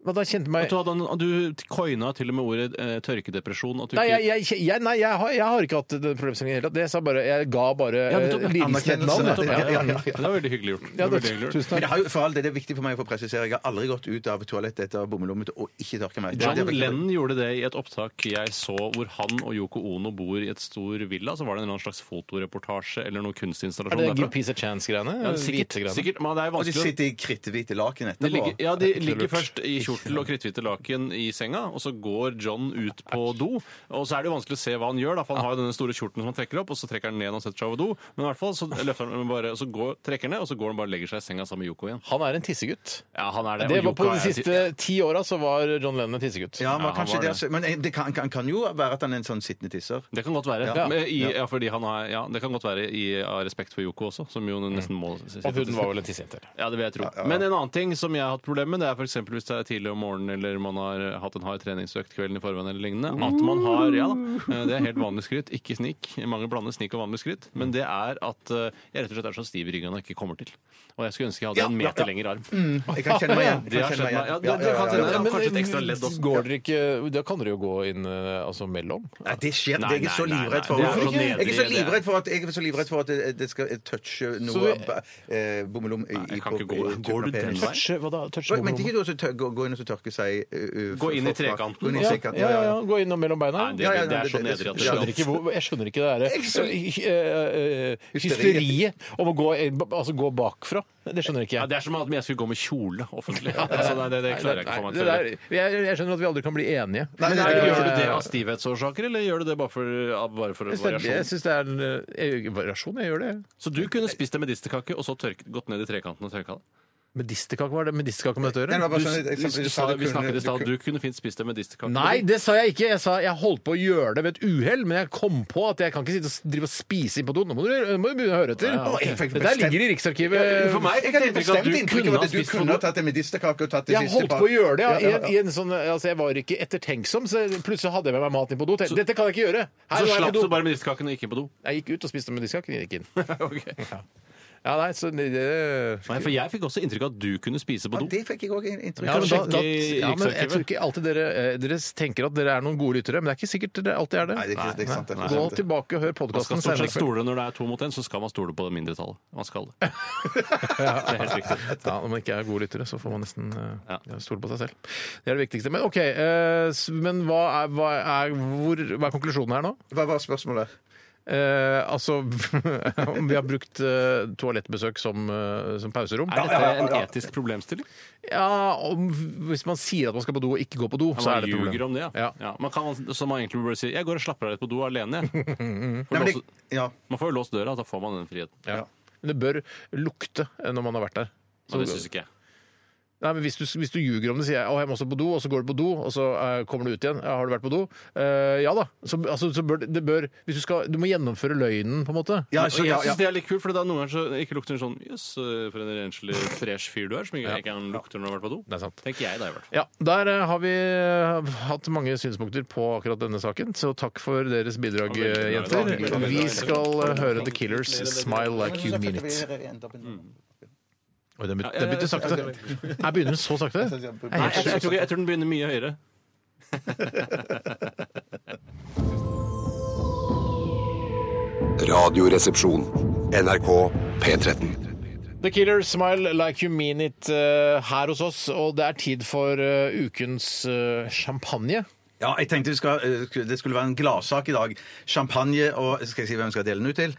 Speaker 1: Men da kjente
Speaker 2: At
Speaker 1: meg
Speaker 2: du, hadde, en- at du coina til og med ordet eh, tørkedepresjon. At du
Speaker 1: Nei,
Speaker 2: ikke-
Speaker 1: jeg, jeg, jeg, nei jeg, har, jeg har ikke hatt den problemstillingen i det hele tatt. Det sa bare, jeg ga bare
Speaker 2: Ja,
Speaker 1: eh,
Speaker 2: nettopp.
Speaker 1: lidelsen et navn.
Speaker 2: Nettopp,
Speaker 1: jeg.
Speaker 2: ja, ja,
Speaker 1: Ja,
Speaker 2: ja. Det var veldig hyggelig gjort. Det
Speaker 1: ja,
Speaker 2: var
Speaker 1: det,
Speaker 2: veldig hyggelig gjort.
Speaker 1: tusen
Speaker 3: Men
Speaker 1: takk.
Speaker 3: det, har jo, for all del, det er viktig for meg å få presisere. Jeg har aldri gått ut av toalettet etter bommelommet og ikke tørka meg. Det-
Speaker 2: John
Speaker 3: det er-
Speaker 2: Lennon gjorde det i et opptak jeg så hvor han og Yoko Ono bor i et stor villa. Så var det en eller annen slags fotoreportasje eller noen
Speaker 1: Er
Speaker 2: kunstinstallasjon
Speaker 1: det Give
Speaker 2: derfra.
Speaker 1: Peace a Chance-greiene?
Speaker 2: Ja, sikkert,
Speaker 1: Hvite-greiene?
Speaker 2: sikkert, men det
Speaker 3: Og
Speaker 2: er
Speaker 3: de
Speaker 2: vanskelig å
Speaker 3: sitter i kritthvite laken
Speaker 2: de
Speaker 3: etterpå.
Speaker 2: ligger, ja, de
Speaker 1: ikke
Speaker 2: ligger
Speaker 1: lurt.
Speaker 2: først i kjortel og kritthvite laken i senga, og så går John ut på do. Og så er det jo vanskelig å se hva han gjør, da, for han har jo denne store kjorten som han trekker opp, og så trekker han ned når han setter seg over do. Men i hvert fall så løfter han bare, så går, trekker han ned, og så går han bare og legger seg i senga sammen med Yoko igjen.
Speaker 1: Han er en tissegutt.
Speaker 2: Ja, han er det.
Speaker 1: Det
Speaker 2: og
Speaker 1: var
Speaker 2: Yoko
Speaker 1: På de
Speaker 2: er-
Speaker 1: siste ti åra så var John Lennon en tissegutt.
Speaker 3: Ja, men
Speaker 2: Ja, han
Speaker 3: kanskje
Speaker 2: var
Speaker 3: det.
Speaker 2: det.
Speaker 3: altså- Men eh, det kan, kan, kan jo være at han er en sånn sittende tisser.
Speaker 2: Det kan godt være.
Speaker 3: Ja.
Speaker 2: Men I, ja, fordi han har, ja, det kan godt være i, av respekt for Yoko også, som jo nesten må si-
Speaker 1: Og hun var vel en tissejente. eller?
Speaker 2: Mm. Ja, det vil jeg tro. Men en annen ting som jeg har hatt problemer med, det er f.eks. hvis det er tidlig om morgenen eller man har hatt en hard treningsøkt kvelden i forveien eller lignende, at man har Ja da, eh, det er helt vanlig skryt, ikke snik. Mange blander snik og vanlig skryt. Men det er at eh, jeg rett og slett er så stiv i ryggen at jeg ikke kommer til. Og jeg skulle ønske jeg hadde en meter lengre arm.
Speaker 3: Jeg kan kjenne meg igjen.
Speaker 2: Det har
Speaker 3: Jeg kan kjenne
Speaker 2: skjedd Mm, meg. Ja, det-
Speaker 3: igjen.
Speaker 2: det kan
Speaker 1: Ja,
Speaker 2: Ja,
Speaker 1: men
Speaker 2: kanskje et ekstra ledd også.
Speaker 1: Går dere ikke Da kan dere jo gå inn eh, altså mellom.
Speaker 3: Nei, det skjer
Speaker 2: Nei,
Speaker 3: det er jeg
Speaker 2: nei,
Speaker 3: så
Speaker 2: nei,
Speaker 3: livredd
Speaker 2: nei,
Speaker 3: for.
Speaker 2: det er
Speaker 3: Hvorfor
Speaker 2: så
Speaker 3: ikke? Jeg er så
Speaker 2: nedrig, det er-
Speaker 3: livredd for at, jeg er så livredd for at det, det skal eh, touche noe
Speaker 1: vi-
Speaker 3: av eh, bommelom i,
Speaker 2: jeg
Speaker 3: i
Speaker 2: kan
Speaker 3: på-
Speaker 2: ikke gå-
Speaker 3: i-
Speaker 2: går du
Speaker 3: på penis.
Speaker 2: den veien?
Speaker 1: Touche, eh, hva da? Touche
Speaker 3: Oi, Men
Speaker 1: homorom.
Speaker 3: ikke du også tør, gå, gå inn og så tørke seg eh,
Speaker 2: Gå inn i
Speaker 3: forfra.
Speaker 2: trekanten.
Speaker 3: Gå inn i
Speaker 1: Ja,
Speaker 3: trekanten,
Speaker 1: ja, ja, ja. Gå innom mellom beina.
Speaker 2: Nei, det,
Speaker 3: Ja, ja,
Speaker 2: det er så
Speaker 3: det- det-
Speaker 2: nedrig at
Speaker 1: Jeg skjønner
Speaker 2: det
Speaker 1: ikke, hvor, jeg skjønner ikke det derre eh, eh,
Speaker 3: Hysteriet.
Speaker 1: Hysteriet om å gå, inn- altså gå bakfra. Det skjønner ikke
Speaker 2: ja,
Speaker 1: jeg.
Speaker 2: Det er som om jeg skulle gå med kjole offentlig. Altså, nei, det, det klarer jeg ikke for meg.
Speaker 1: Nei,
Speaker 2: til å
Speaker 1: det
Speaker 2: gjøre.
Speaker 1: der- jeg, jeg skjønner at vi aldri kan bli enige.
Speaker 2: Men
Speaker 3: nei,
Speaker 2: er det-
Speaker 3: nei,
Speaker 2: gjør du
Speaker 3: nei,
Speaker 2: det av stivhetsårsaker, eller gjør du det bare for, av- bare for
Speaker 1: Jeg syns det er- jeg
Speaker 2: variasjon?
Speaker 1: syns det er en eh, variasjon. Jeg gjør det.
Speaker 2: Så du kunne spist en medisterkake og så tørk, gått ned i trekanten og tørka det?
Speaker 1: Medisterkake, hva er det medisterkake med dette å
Speaker 3: Nei,
Speaker 1: gjøre?
Speaker 3: det var bare sånn et
Speaker 2: Du,
Speaker 3: eksempel,
Speaker 2: du
Speaker 3: du sa
Speaker 2: sa,
Speaker 3: det
Speaker 2: vi
Speaker 3: kunne-
Speaker 2: snakket i stad,
Speaker 3: du-
Speaker 2: du kunne fint spist en medisterkake.
Speaker 1: Nei, det sa jeg ikke. Jeg sa jeg holdt på å gjøre det ved et uhell, men jeg kom på at jeg kan ikke sitte og drive og spise inn på do. Nå må du, nå må du begynne å høre etter.
Speaker 3: Å, jeg
Speaker 1: Det
Speaker 3: fikk
Speaker 1: der
Speaker 3: bestemt-
Speaker 1: ligger i Riksarkivet.
Speaker 2: For meg
Speaker 3: Jeg hadde
Speaker 2: inntrykk av
Speaker 3: bestemt
Speaker 2: at du
Speaker 3: inntrykk
Speaker 2: kunne
Speaker 3: av
Speaker 2: ha
Speaker 3: at du
Speaker 2: spist på
Speaker 3: kunne
Speaker 2: do.
Speaker 3: ha tatt en medisterkake og tatt det
Speaker 1: Jeg
Speaker 3: siste
Speaker 1: holdt på å gjøre det. Ja. I en, i en sånn, altså, jeg var ikke ettertenksom, så plutselig hadde jeg med meg mat inn på do. Tenkte, Dette kan jeg ikke gjøre! Her, nå
Speaker 2: Så
Speaker 1: er jeg,
Speaker 2: slapp
Speaker 1: på
Speaker 2: du
Speaker 1: do.
Speaker 2: bare medisterkaken og gikk inn på do?
Speaker 1: jeg gikk ut og spiste medisterkake, men gikk inn.
Speaker 2: Ok.
Speaker 1: Ja, nei, så det, det
Speaker 2: Nei, for jeg fikk også inntrykk av at du kunne spise på
Speaker 3: Ja,
Speaker 2: do.
Speaker 3: det fikk jeg òg inntrykk
Speaker 1: ja,
Speaker 3: av.
Speaker 1: men da, da, ja, men jeg
Speaker 2: Riksarkivet.
Speaker 1: tror ikke alltid dere, eh, dere tenker at dere er noen gode lyttere, men det er ikke sikkert dere alltid er det.
Speaker 3: Nei, det er ikke- det er ikke sant, det er ikke
Speaker 1: Gå
Speaker 3: sant.
Speaker 1: tilbake og hør
Speaker 2: Man skal
Speaker 1: podkasten
Speaker 3: sånn
Speaker 2: stort
Speaker 1: senere.
Speaker 2: sett stole når det er to mot én, så skal man stole på det mindretallet. Man skal det. Det er helt riktig.
Speaker 1: Ja, når man ikke er gode lyttere, så får man nesten eh,
Speaker 2: Ja.
Speaker 1: ja, stole på seg selv. Det er det viktigste. Men OK, eh, s- men hva er, hva er, hvor, hva er konklusjonen her nå?
Speaker 3: Hva var spørsmålet?
Speaker 1: Eh, altså om vi har brukt eh, toalettbesøk som, eh, som pauserom?
Speaker 2: Er dette en etisk problemstilling?
Speaker 1: Ja, om, hvis man sier at man skal på do og ikke går på do,
Speaker 2: Man
Speaker 1: så er det et
Speaker 2: ljuger
Speaker 1: problem.
Speaker 2: om det, ja.
Speaker 1: Ja.
Speaker 2: man kan, så man egentlig burde si 'jeg går og slapper av litt på do alene', jeg. For
Speaker 3: Nei, men
Speaker 2: låse-
Speaker 3: det, ja.
Speaker 2: Man får jo låst døra, da får man den friheten.
Speaker 1: Ja. Men det bør lukte eh, når man har vært der.
Speaker 2: Men det syns ikke jeg.
Speaker 1: Nei, men hvis du, hvis du ljuger om det, sier jeg å, jeg må også på do, og så går du på do, og så eh, kommer du ut igjen. Ja, har du vært på do? Eh, ja da. Så, altså, så bør det- det bør Hvis du skal Du må gjennomføre løgnen, på en måte.
Speaker 3: Ja,
Speaker 2: Og
Speaker 3: så,
Speaker 2: jeg
Speaker 3: ja, ja.
Speaker 2: syns det er litt kult, for da noen ganger så ikke lukter det sånn Jøss, for en renslig, fresh fyr du er, som ikke, ikke han lukter når han har vært på do.
Speaker 1: Det er sant.
Speaker 2: Tenker jeg da, i hvert fall.
Speaker 1: Ja, Der eh, har vi eh, hatt mange synspunkter på akkurat denne saken, så takk for deres bidrag,
Speaker 2: Ja,
Speaker 1: eh,
Speaker 2: veldig bra.
Speaker 1: jenter.
Speaker 2: Ja, veldig bra.
Speaker 1: Vi skal eh, høre The Killers 'Smile Like You Mean It'.
Speaker 3: Mm.
Speaker 1: Oi, den, be den begynte sakte. Her begynner den så sakte. Jeg er
Speaker 2: Nei,
Speaker 1: helt
Speaker 2: jeg, jeg, tror ikke, jeg tror den begynner mye høyere.
Speaker 9: Radioresepsjon. NRK P13.
Speaker 1: The Killer Smile Like You Mean It eh, her hos oss, og det er tid for eh, ukens eh, champagne.
Speaker 3: Ja, jeg tenkte vi skal, eh, skulle- det skulle være en gladsak i dag. Champagne og Skal jeg si hvem skal jeg dele den ut til?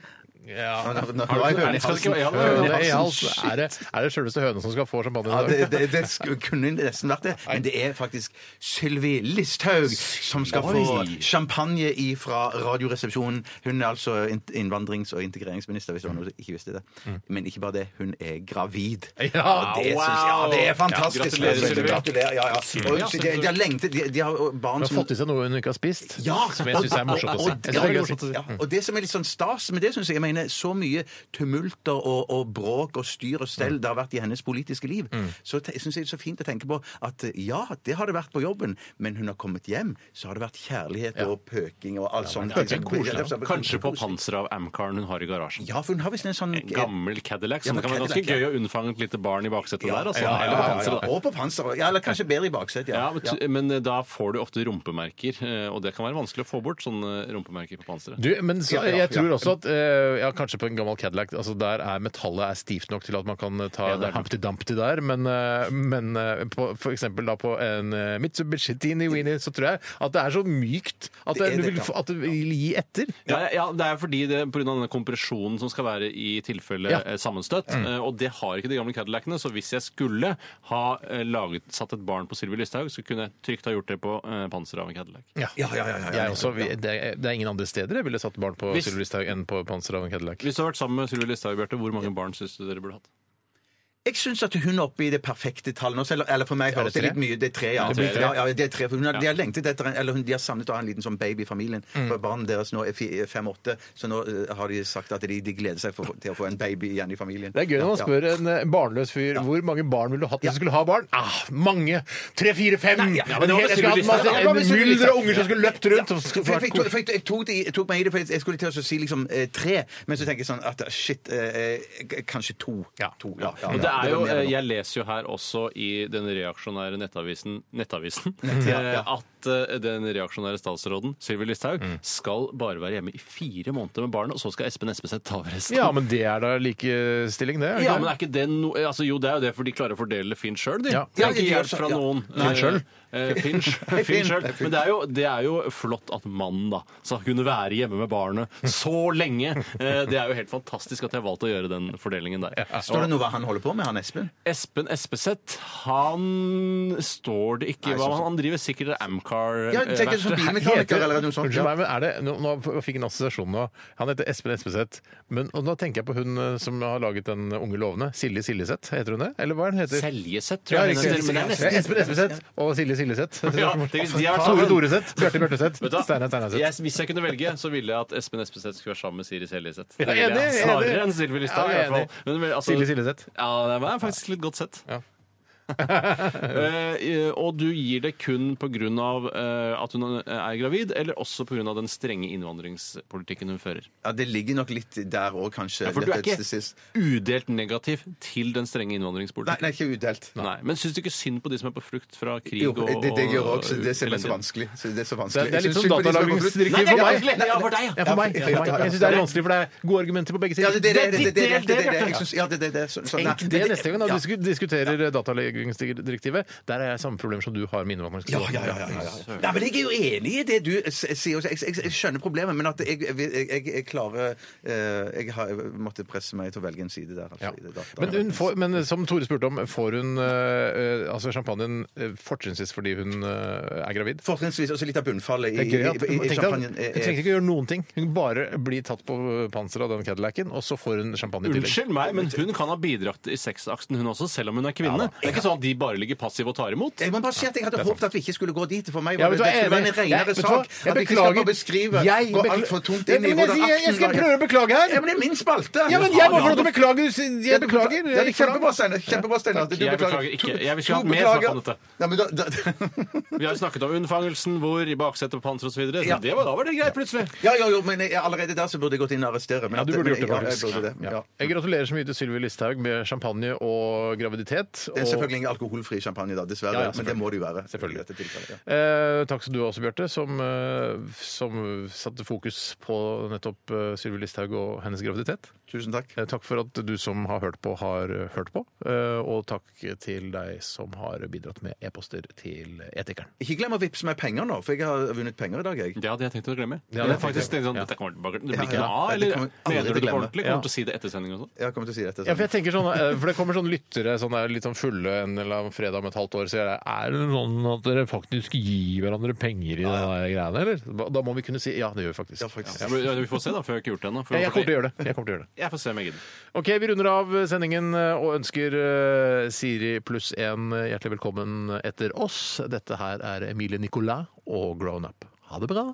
Speaker 3: Nå- nå- nå- nå er jeg høne i
Speaker 2: skal det ikke være- ja,
Speaker 3: halsen.
Speaker 2: det er
Speaker 3: Høne i
Speaker 1: Det er,
Speaker 3: halsen,
Speaker 1: alt,
Speaker 3: shit.
Speaker 1: er, det, er det selveste høna som skal få champagne
Speaker 3: Ja,
Speaker 1: i dag?
Speaker 3: det, det, det skulle, kunne nesten vært det, men det er faktisk Sylvi Listhaug som skal få champagne fra Radioresepsjonen. Hun er altså in- innvandrings- og integreringsminister, hvis det var noen som ikke visste det.
Speaker 2: Mm.
Speaker 3: Men ikke bare det, hun er gravid.
Speaker 1: Ja,
Speaker 3: Og det, synes jeg, ja, det er fantastisk.
Speaker 2: Ja, gratulerer,
Speaker 3: Altså,
Speaker 2: Sylvi.
Speaker 3: Gratulerer. Ja, ja. Og, så de, de har lengtet, de, de har barn
Speaker 1: Hun har
Speaker 3: som
Speaker 1: fått i seg noe hun ikke har spist,
Speaker 3: ja,
Speaker 1: som jeg syns er morsomt å
Speaker 3: og-
Speaker 1: si.
Speaker 3: og-
Speaker 1: Jeg synes det er gøy å si.
Speaker 3: Ja, og det som er litt sånn stas med det, syns jeg jeg mener, så mye tumulter og, og bråk og styr og
Speaker 1: Mm.
Speaker 3: stell det har vært i hennes politiske liv, så syns jeg det er så fint å tenke på at eh, ja, det har det vært på jobben, men hun har kommet hjem, så har det vært kjærlighet og pøking og alt sånt.
Speaker 1: pøking er koselig,
Speaker 3: Ja,
Speaker 2: Kanskje på panseret av Amcaren hun har i garasjen.
Speaker 3: Ja, for hun har visst en sånn
Speaker 2: En gammel Cadillac.
Speaker 3: Ja,
Speaker 2: Så
Speaker 3: men
Speaker 2: det kan være ganske
Speaker 3: Cadillac,
Speaker 2: gøy å unnfange et lite barn i baksetet der. Altså.
Speaker 3: ja, ja,
Speaker 2: Eller på
Speaker 3: ja, ja.
Speaker 2: panseret, da.
Speaker 3: Og på panser. Ja, eller kanskje bedre i baksetet.
Speaker 2: Ja,
Speaker 3: Ja.
Speaker 2: men,
Speaker 3: Ja.
Speaker 2: t- men eh, da får du ofte rumpemerker, eh, og det kan være vanskelig å få bort sånne rumpemerker på panseret.
Speaker 1: Du, men så,
Speaker 3: Ja, ja,
Speaker 1: jeg tror
Speaker 3: ja.
Speaker 1: også at eh, ja, kanskje på en gammel Cadillac altså der er metallet er stivt nok til at man kan eh, ta det er Humpty Dumpty der, men, eh, men eh, på, for eksempel da på en eh, Mitsubishi Teeny Weeny, så tror jeg at det er så mykt at det,
Speaker 3: er
Speaker 1: du
Speaker 3: det,
Speaker 1: vil,
Speaker 3: ja.
Speaker 1: få- at det vil gi etter.
Speaker 2: Ja, ja, ja, det er fordi det pga. denne kompresjonen som skal være i tilfelle
Speaker 1: Ja.
Speaker 2: eh, sammenstøt. eh, Og det har ikke de gamle Cadillacene, så hvis jeg skulle ha eh, laget, satt et barn på Sylvi Lysthaug, så kunne jeg trygt ha gjort det på eh, panseret av en Cadillac.
Speaker 3: Ja, ja, ja, ja, ja.
Speaker 1: Jeg også, vi- det, er- det er ingen andre steder jeg ville satt barn på
Speaker 2: Hvis-
Speaker 1: Sylvi Listhaug enn på panseret av en Cadillac.
Speaker 2: Hvis du har vært sammen med Sylvi Lysthaug, Bjarte, hvor mange barn syns du dere burde hatt?
Speaker 3: Jeg syns at hun er oppe i det perfekte tallet nå. Eller, eller for meg
Speaker 1: Er det
Speaker 3: høres det
Speaker 1: tre?
Speaker 3: litt mye Det er tre, ja.
Speaker 2: Det blir tre.
Speaker 3: ja, ja det er tre for hun har, De har lengtet etter en, eller hun, de har savnet å ha en liten sånn baby i familien.
Speaker 1: Mm.
Speaker 3: For barnet deres nå er fi- fem-åtte, så nå eh, har de sagt at de, de gleder seg for, til å få en baby igjen i familien.
Speaker 1: Det er gøy når man
Speaker 3: Ja,
Speaker 1: spør en eh, barnløs fyr hvor mange barn ville du hatt hvis du skulle ha barn. Ah, mange! Tre, fire, fem!
Speaker 3: ja,
Speaker 1: En
Speaker 3: men det
Speaker 1: hel-
Speaker 3: var
Speaker 1: Jeg skulle hatt
Speaker 3: Sylvi
Speaker 1: masse
Speaker 3: Listhaug. Ja, det var Sylvi
Speaker 1: mylder
Speaker 3: Listhaug.
Speaker 1: av unger som skulle løpt rundt. og
Speaker 3: For
Speaker 1: skulle
Speaker 3: jeg,
Speaker 1: vært
Speaker 3: fikk, for jeg, jeg, tok det, i- jeg tok meg i det, for jeg, jeg skulle til å si liksom eh, tre, men så tenker jeg sånn at shit eh, eh, Kanskje to.
Speaker 1: Ja.
Speaker 3: to ja, ja,
Speaker 2: Men det
Speaker 3: ja.
Speaker 2: er jo,
Speaker 3: var mer enn
Speaker 2: eh,
Speaker 3: nok.
Speaker 2: jeg leser jo her også i den reaksjonære nettavisen, nettavisen
Speaker 3: ja,
Speaker 2: eh,
Speaker 3: ja.
Speaker 2: at eh, den reaksjonære statsråden Sylvi Listhaug skal bare være hjemme i fire måneder med barnet, og så skal Espen Espeseth ta over resten.
Speaker 1: Ja, men det er da likestilling, det? er det
Speaker 2: Ja,
Speaker 1: ikke
Speaker 2: men
Speaker 1: det?
Speaker 2: er ikke det no... Altså, jo, det er jo det, for de klarer å fordele det fint sjøl, de.
Speaker 1: Ja.
Speaker 2: Det
Speaker 3: Ja,
Speaker 2: er
Speaker 3: de
Speaker 2: ikke
Speaker 3: gjør
Speaker 2: hjelp
Speaker 3: så-
Speaker 2: fra
Speaker 3: ja.
Speaker 2: noen.
Speaker 3: Nei.
Speaker 2: Eh, eh, Finn sj- Finn sjøl. Men det er, jo, det er jo flott at mannen da skal kunne være hjemme med barnet så lenge. Eh, Det er jo helt fantastisk at de har valgt å gjøre den fordelingen der.
Speaker 3: Står det noe hva han holder på med, han Espen?
Speaker 2: Espen Espeseth, han står det ikke hva han, han driver sikkert eh, det
Speaker 3: Ja, tenk deg som
Speaker 2: Amcar-verkstedet.
Speaker 3: bilmekaniker eller noe sånt.
Speaker 1: Unnskyld
Speaker 3: Ja.
Speaker 1: meg, men er det, nå, nå fikk jeg en assosiasjon nå. Han heter Espen Espeseth. Men og nå tenker jeg på hun eh, som har laget den Unge lovende. Silje Siljeseth, heter hun det? Eller hva er hun heter
Speaker 2: Seljeseth,
Speaker 1: Ja,
Speaker 2: tror jeg.
Speaker 1: riktig.
Speaker 2: den heter, men det er nesten
Speaker 1: Espen Espeseth og Silje Siljeseth.
Speaker 2: Ja, tenk hvis de har vært
Speaker 1: Tore
Speaker 2: sammen.
Speaker 1: Doreseth, Bjarte Bjørteseth,
Speaker 2: Vet du hva?
Speaker 1: Steinar Steinarseth.
Speaker 2: Jeg, hvis jeg kunne velge, så ville jeg at Espen Espeseth skulle være sammen med Siri Seljeseth.
Speaker 1: Ja,
Speaker 2: Det ville jeg.
Speaker 1: enig, enig.
Speaker 2: Snarere enn Sylvi
Speaker 1: Ja,
Speaker 2: Listhaug, i hvert
Speaker 1: enig.
Speaker 2: fall. Men, men, altså,
Speaker 1: Silje Siljeseth.
Speaker 2: Ja, det er faktisk litt godt sett.
Speaker 1: Ja.
Speaker 2: Eh, og du gir det kun pga. Uh, at hun er gravid, eller også pga. den strenge innvandringspolitikken hun fører?
Speaker 3: Ja, Det ligger nok litt der òg, kanskje.
Speaker 2: Ja, for du er
Speaker 3: dette
Speaker 2: ikke
Speaker 3: til sist.
Speaker 2: udelt negativ til den strenge
Speaker 3: Nei,
Speaker 2: innvandringspolitikken?
Speaker 3: nei, ikke udelt.
Speaker 2: Nei. Men syns du ikke synd på de som er på flukt fra krig
Speaker 3: Jo,
Speaker 2: og
Speaker 3: det, det gjør jeg også, så det er
Speaker 2: elendighet?
Speaker 3: så vanskelig. Så det er så
Speaker 1: Det er-
Speaker 3: vanskelig.
Speaker 1: det er litt
Speaker 3: Jeg synes
Speaker 1: som
Speaker 3: synd på de som er på flukt.
Speaker 1: datalagringsdirektivet
Speaker 2: Nei, det
Speaker 1: for
Speaker 2: er
Speaker 1: meg.
Speaker 2: vanskelig! Ja, for deg,
Speaker 1: Ja, for meg.
Speaker 2: ja.
Speaker 1: Ja, for meg. Jeg syns det er vanskelig, for det er gode argumenter på begge
Speaker 3: Ja,
Speaker 1: sider.
Speaker 3: det, det, det, det, det, det, det, det, det,
Speaker 1: Ja.
Speaker 3: Jeg synes- ja, det, det, det, så-
Speaker 1: Tenk
Speaker 3: så- Sånn, nei,
Speaker 1: det neste gang da,
Speaker 3: ja.
Speaker 1: du sku- diskuterer datalagringsdirektivet. Der er jeg samme problem som du har med
Speaker 3: Ja,
Speaker 1: innvandringsloven.
Speaker 3: ja, ja, ja, ja, ja. Nei, men Jeg er jo enig i det du s- sier. også. Jeg, jeg, jeg skjønner problemet, men at jeg, jeg, jeg, jeg klarer eh, Jeg har jeg måtte presse meg til å velge en side der. Altså,
Speaker 1: Ja.
Speaker 3: i det data-
Speaker 1: Men, hun får, men eh, som Tore spurte om, får hun øh, øh, altså champagnen øh, fortrinnsvis fordi hun øh, er gravid?
Speaker 3: Fortrinnsvis også litt av bunnfallet i,
Speaker 1: Det er gøy
Speaker 3: i,
Speaker 1: at,
Speaker 3: i,
Speaker 1: tenk deg
Speaker 3: i
Speaker 1: at Hun
Speaker 3: champagnen.
Speaker 11: eh,
Speaker 3: er- er-
Speaker 1: trengte ikke å gjøre noen ting. Hun kunne bare bli tatt på panseret av den Cadillacen, og så får hun champagne i tillegg.
Speaker 2: Unnskyld meg, men hun kan ha bidratt i sexaksen, hun også, selv om hun er kvinne. det er ikke sånn at de bare ligger passive og tar imot?
Speaker 11: Jeg må bare si at jeg hadde håpet at vi ikke skulle gå dit. For meg
Speaker 1: Ja, vet
Speaker 11: var det,
Speaker 1: du hva, jeg
Speaker 11: det skulle
Speaker 1: er
Speaker 11: være en
Speaker 1: enig. Jeg-
Speaker 11: renere
Speaker 1: vet du hva,
Speaker 11: sak.
Speaker 1: jeg
Speaker 11: At vi ikke skal
Speaker 1: beklager.
Speaker 11: bare beskrive
Speaker 1: Jeg
Speaker 11: gå
Speaker 1: bekla-
Speaker 11: altfor tungt
Speaker 1: Ja,
Speaker 11: inn
Speaker 1: men
Speaker 11: i
Speaker 1: jeg
Speaker 11: hvordan
Speaker 1: sier- jeg skal
Speaker 11: var.
Speaker 1: prøve å beklage her.
Speaker 11: Ja, men det er min spalte!
Speaker 1: Ja, men jeg må
Speaker 11: Faen,
Speaker 1: få lov til å
Speaker 11: Arne.
Speaker 1: beklage. du sier- Jeg beklager.
Speaker 11: Ja, det er kjempebra, Steinar. Kjempebra, Steinar. Du
Speaker 2: Jeg beklager ikke. Jeg vil ikke ha mer snakk om dette.
Speaker 11: Nei, men da, da,
Speaker 2: Vi har jo snakket om unnfangelsen, hvor, i baksetet på panser osv. Ja.
Speaker 11: Ja.
Speaker 2: Da var det greit, plutselig.
Speaker 11: Ja, jo, jo, men jeg, allerede der så burde jeg gått inn og arrestere. Men
Speaker 1: Ja, du burde gjort det,
Speaker 11: men-
Speaker 1: faktisk.
Speaker 11: Ja, jeg burde det, ja.
Speaker 1: Jeg gratulerer så mye til Sylvi Listhaug med champagne og graviditet.
Speaker 11: Det er
Speaker 1: og-
Speaker 11: selvfølgelig ingen alkoholfri champagne, da, dessverre.
Speaker 1: Ja, ja,
Speaker 11: men det må det jo være.
Speaker 1: Selvfølgelig.
Speaker 11: i dette tilfellet, ja.
Speaker 1: Eh, takk skal du ha også, Bjarte, som, eh, som satte fokus på nettopp eh, Sylvi Listhaug og hennes graviditet.
Speaker 11: Tusen takk.
Speaker 1: Eh, takk for at du som har hørt på, har eh, hørt på. Eh, og takk til deg som har bidratt med e-poster til Etikeren.
Speaker 11: Ikke glem å vippse meg penger nå, for jeg har vunnet penger i dag, jeg.
Speaker 2: Det hadde jeg tenkt å glemme.
Speaker 1: Ja,
Speaker 2: Men
Speaker 1: det
Speaker 2: jeg faktisk
Speaker 1: tenkte jeg.
Speaker 2: tenkte sånn,
Speaker 1: Ja.
Speaker 2: dette kommer tilbake. Det blir
Speaker 11: Ja,
Speaker 2: ikke noe
Speaker 11: ja.
Speaker 2: av,
Speaker 11: Dette
Speaker 2: eller
Speaker 11: kommer jeg aldri
Speaker 2: mener du
Speaker 11: til å
Speaker 2: det på
Speaker 11: glemme.
Speaker 2: ordentlig?
Speaker 1: Ja.
Speaker 2: Kommer du til å si det etter sending og sånn?
Speaker 11: Jeg kommer til å si dette.
Speaker 1: Ja, for jeg tenker sånn, eh, for Det kommer sånn lyttere sånn der, litt sånn fulle en eller annen fredag om et halvt år. Så jeg, er det sånn at dere faktisk gir hverandre penger i de der greiene, eller? Da må vi kunne si ja, det gjør vi faktisk.
Speaker 11: Ja, faktisk.
Speaker 2: Ja, men- ja, Vi får se, da, for jeg har ikke gjort det ennå. For-
Speaker 1: Jeg, jeg kommer til å gjøre det. Jeg kommer til å gjøre det.
Speaker 2: Jeg får se om jeg gidder.
Speaker 1: Ok, Vi runder av sendingen eh, og ønsker eh, Siri pluss én hjertelig velkommen etter oss. Dette her er Emilie Nicolas og Grown Up. Ha det bra.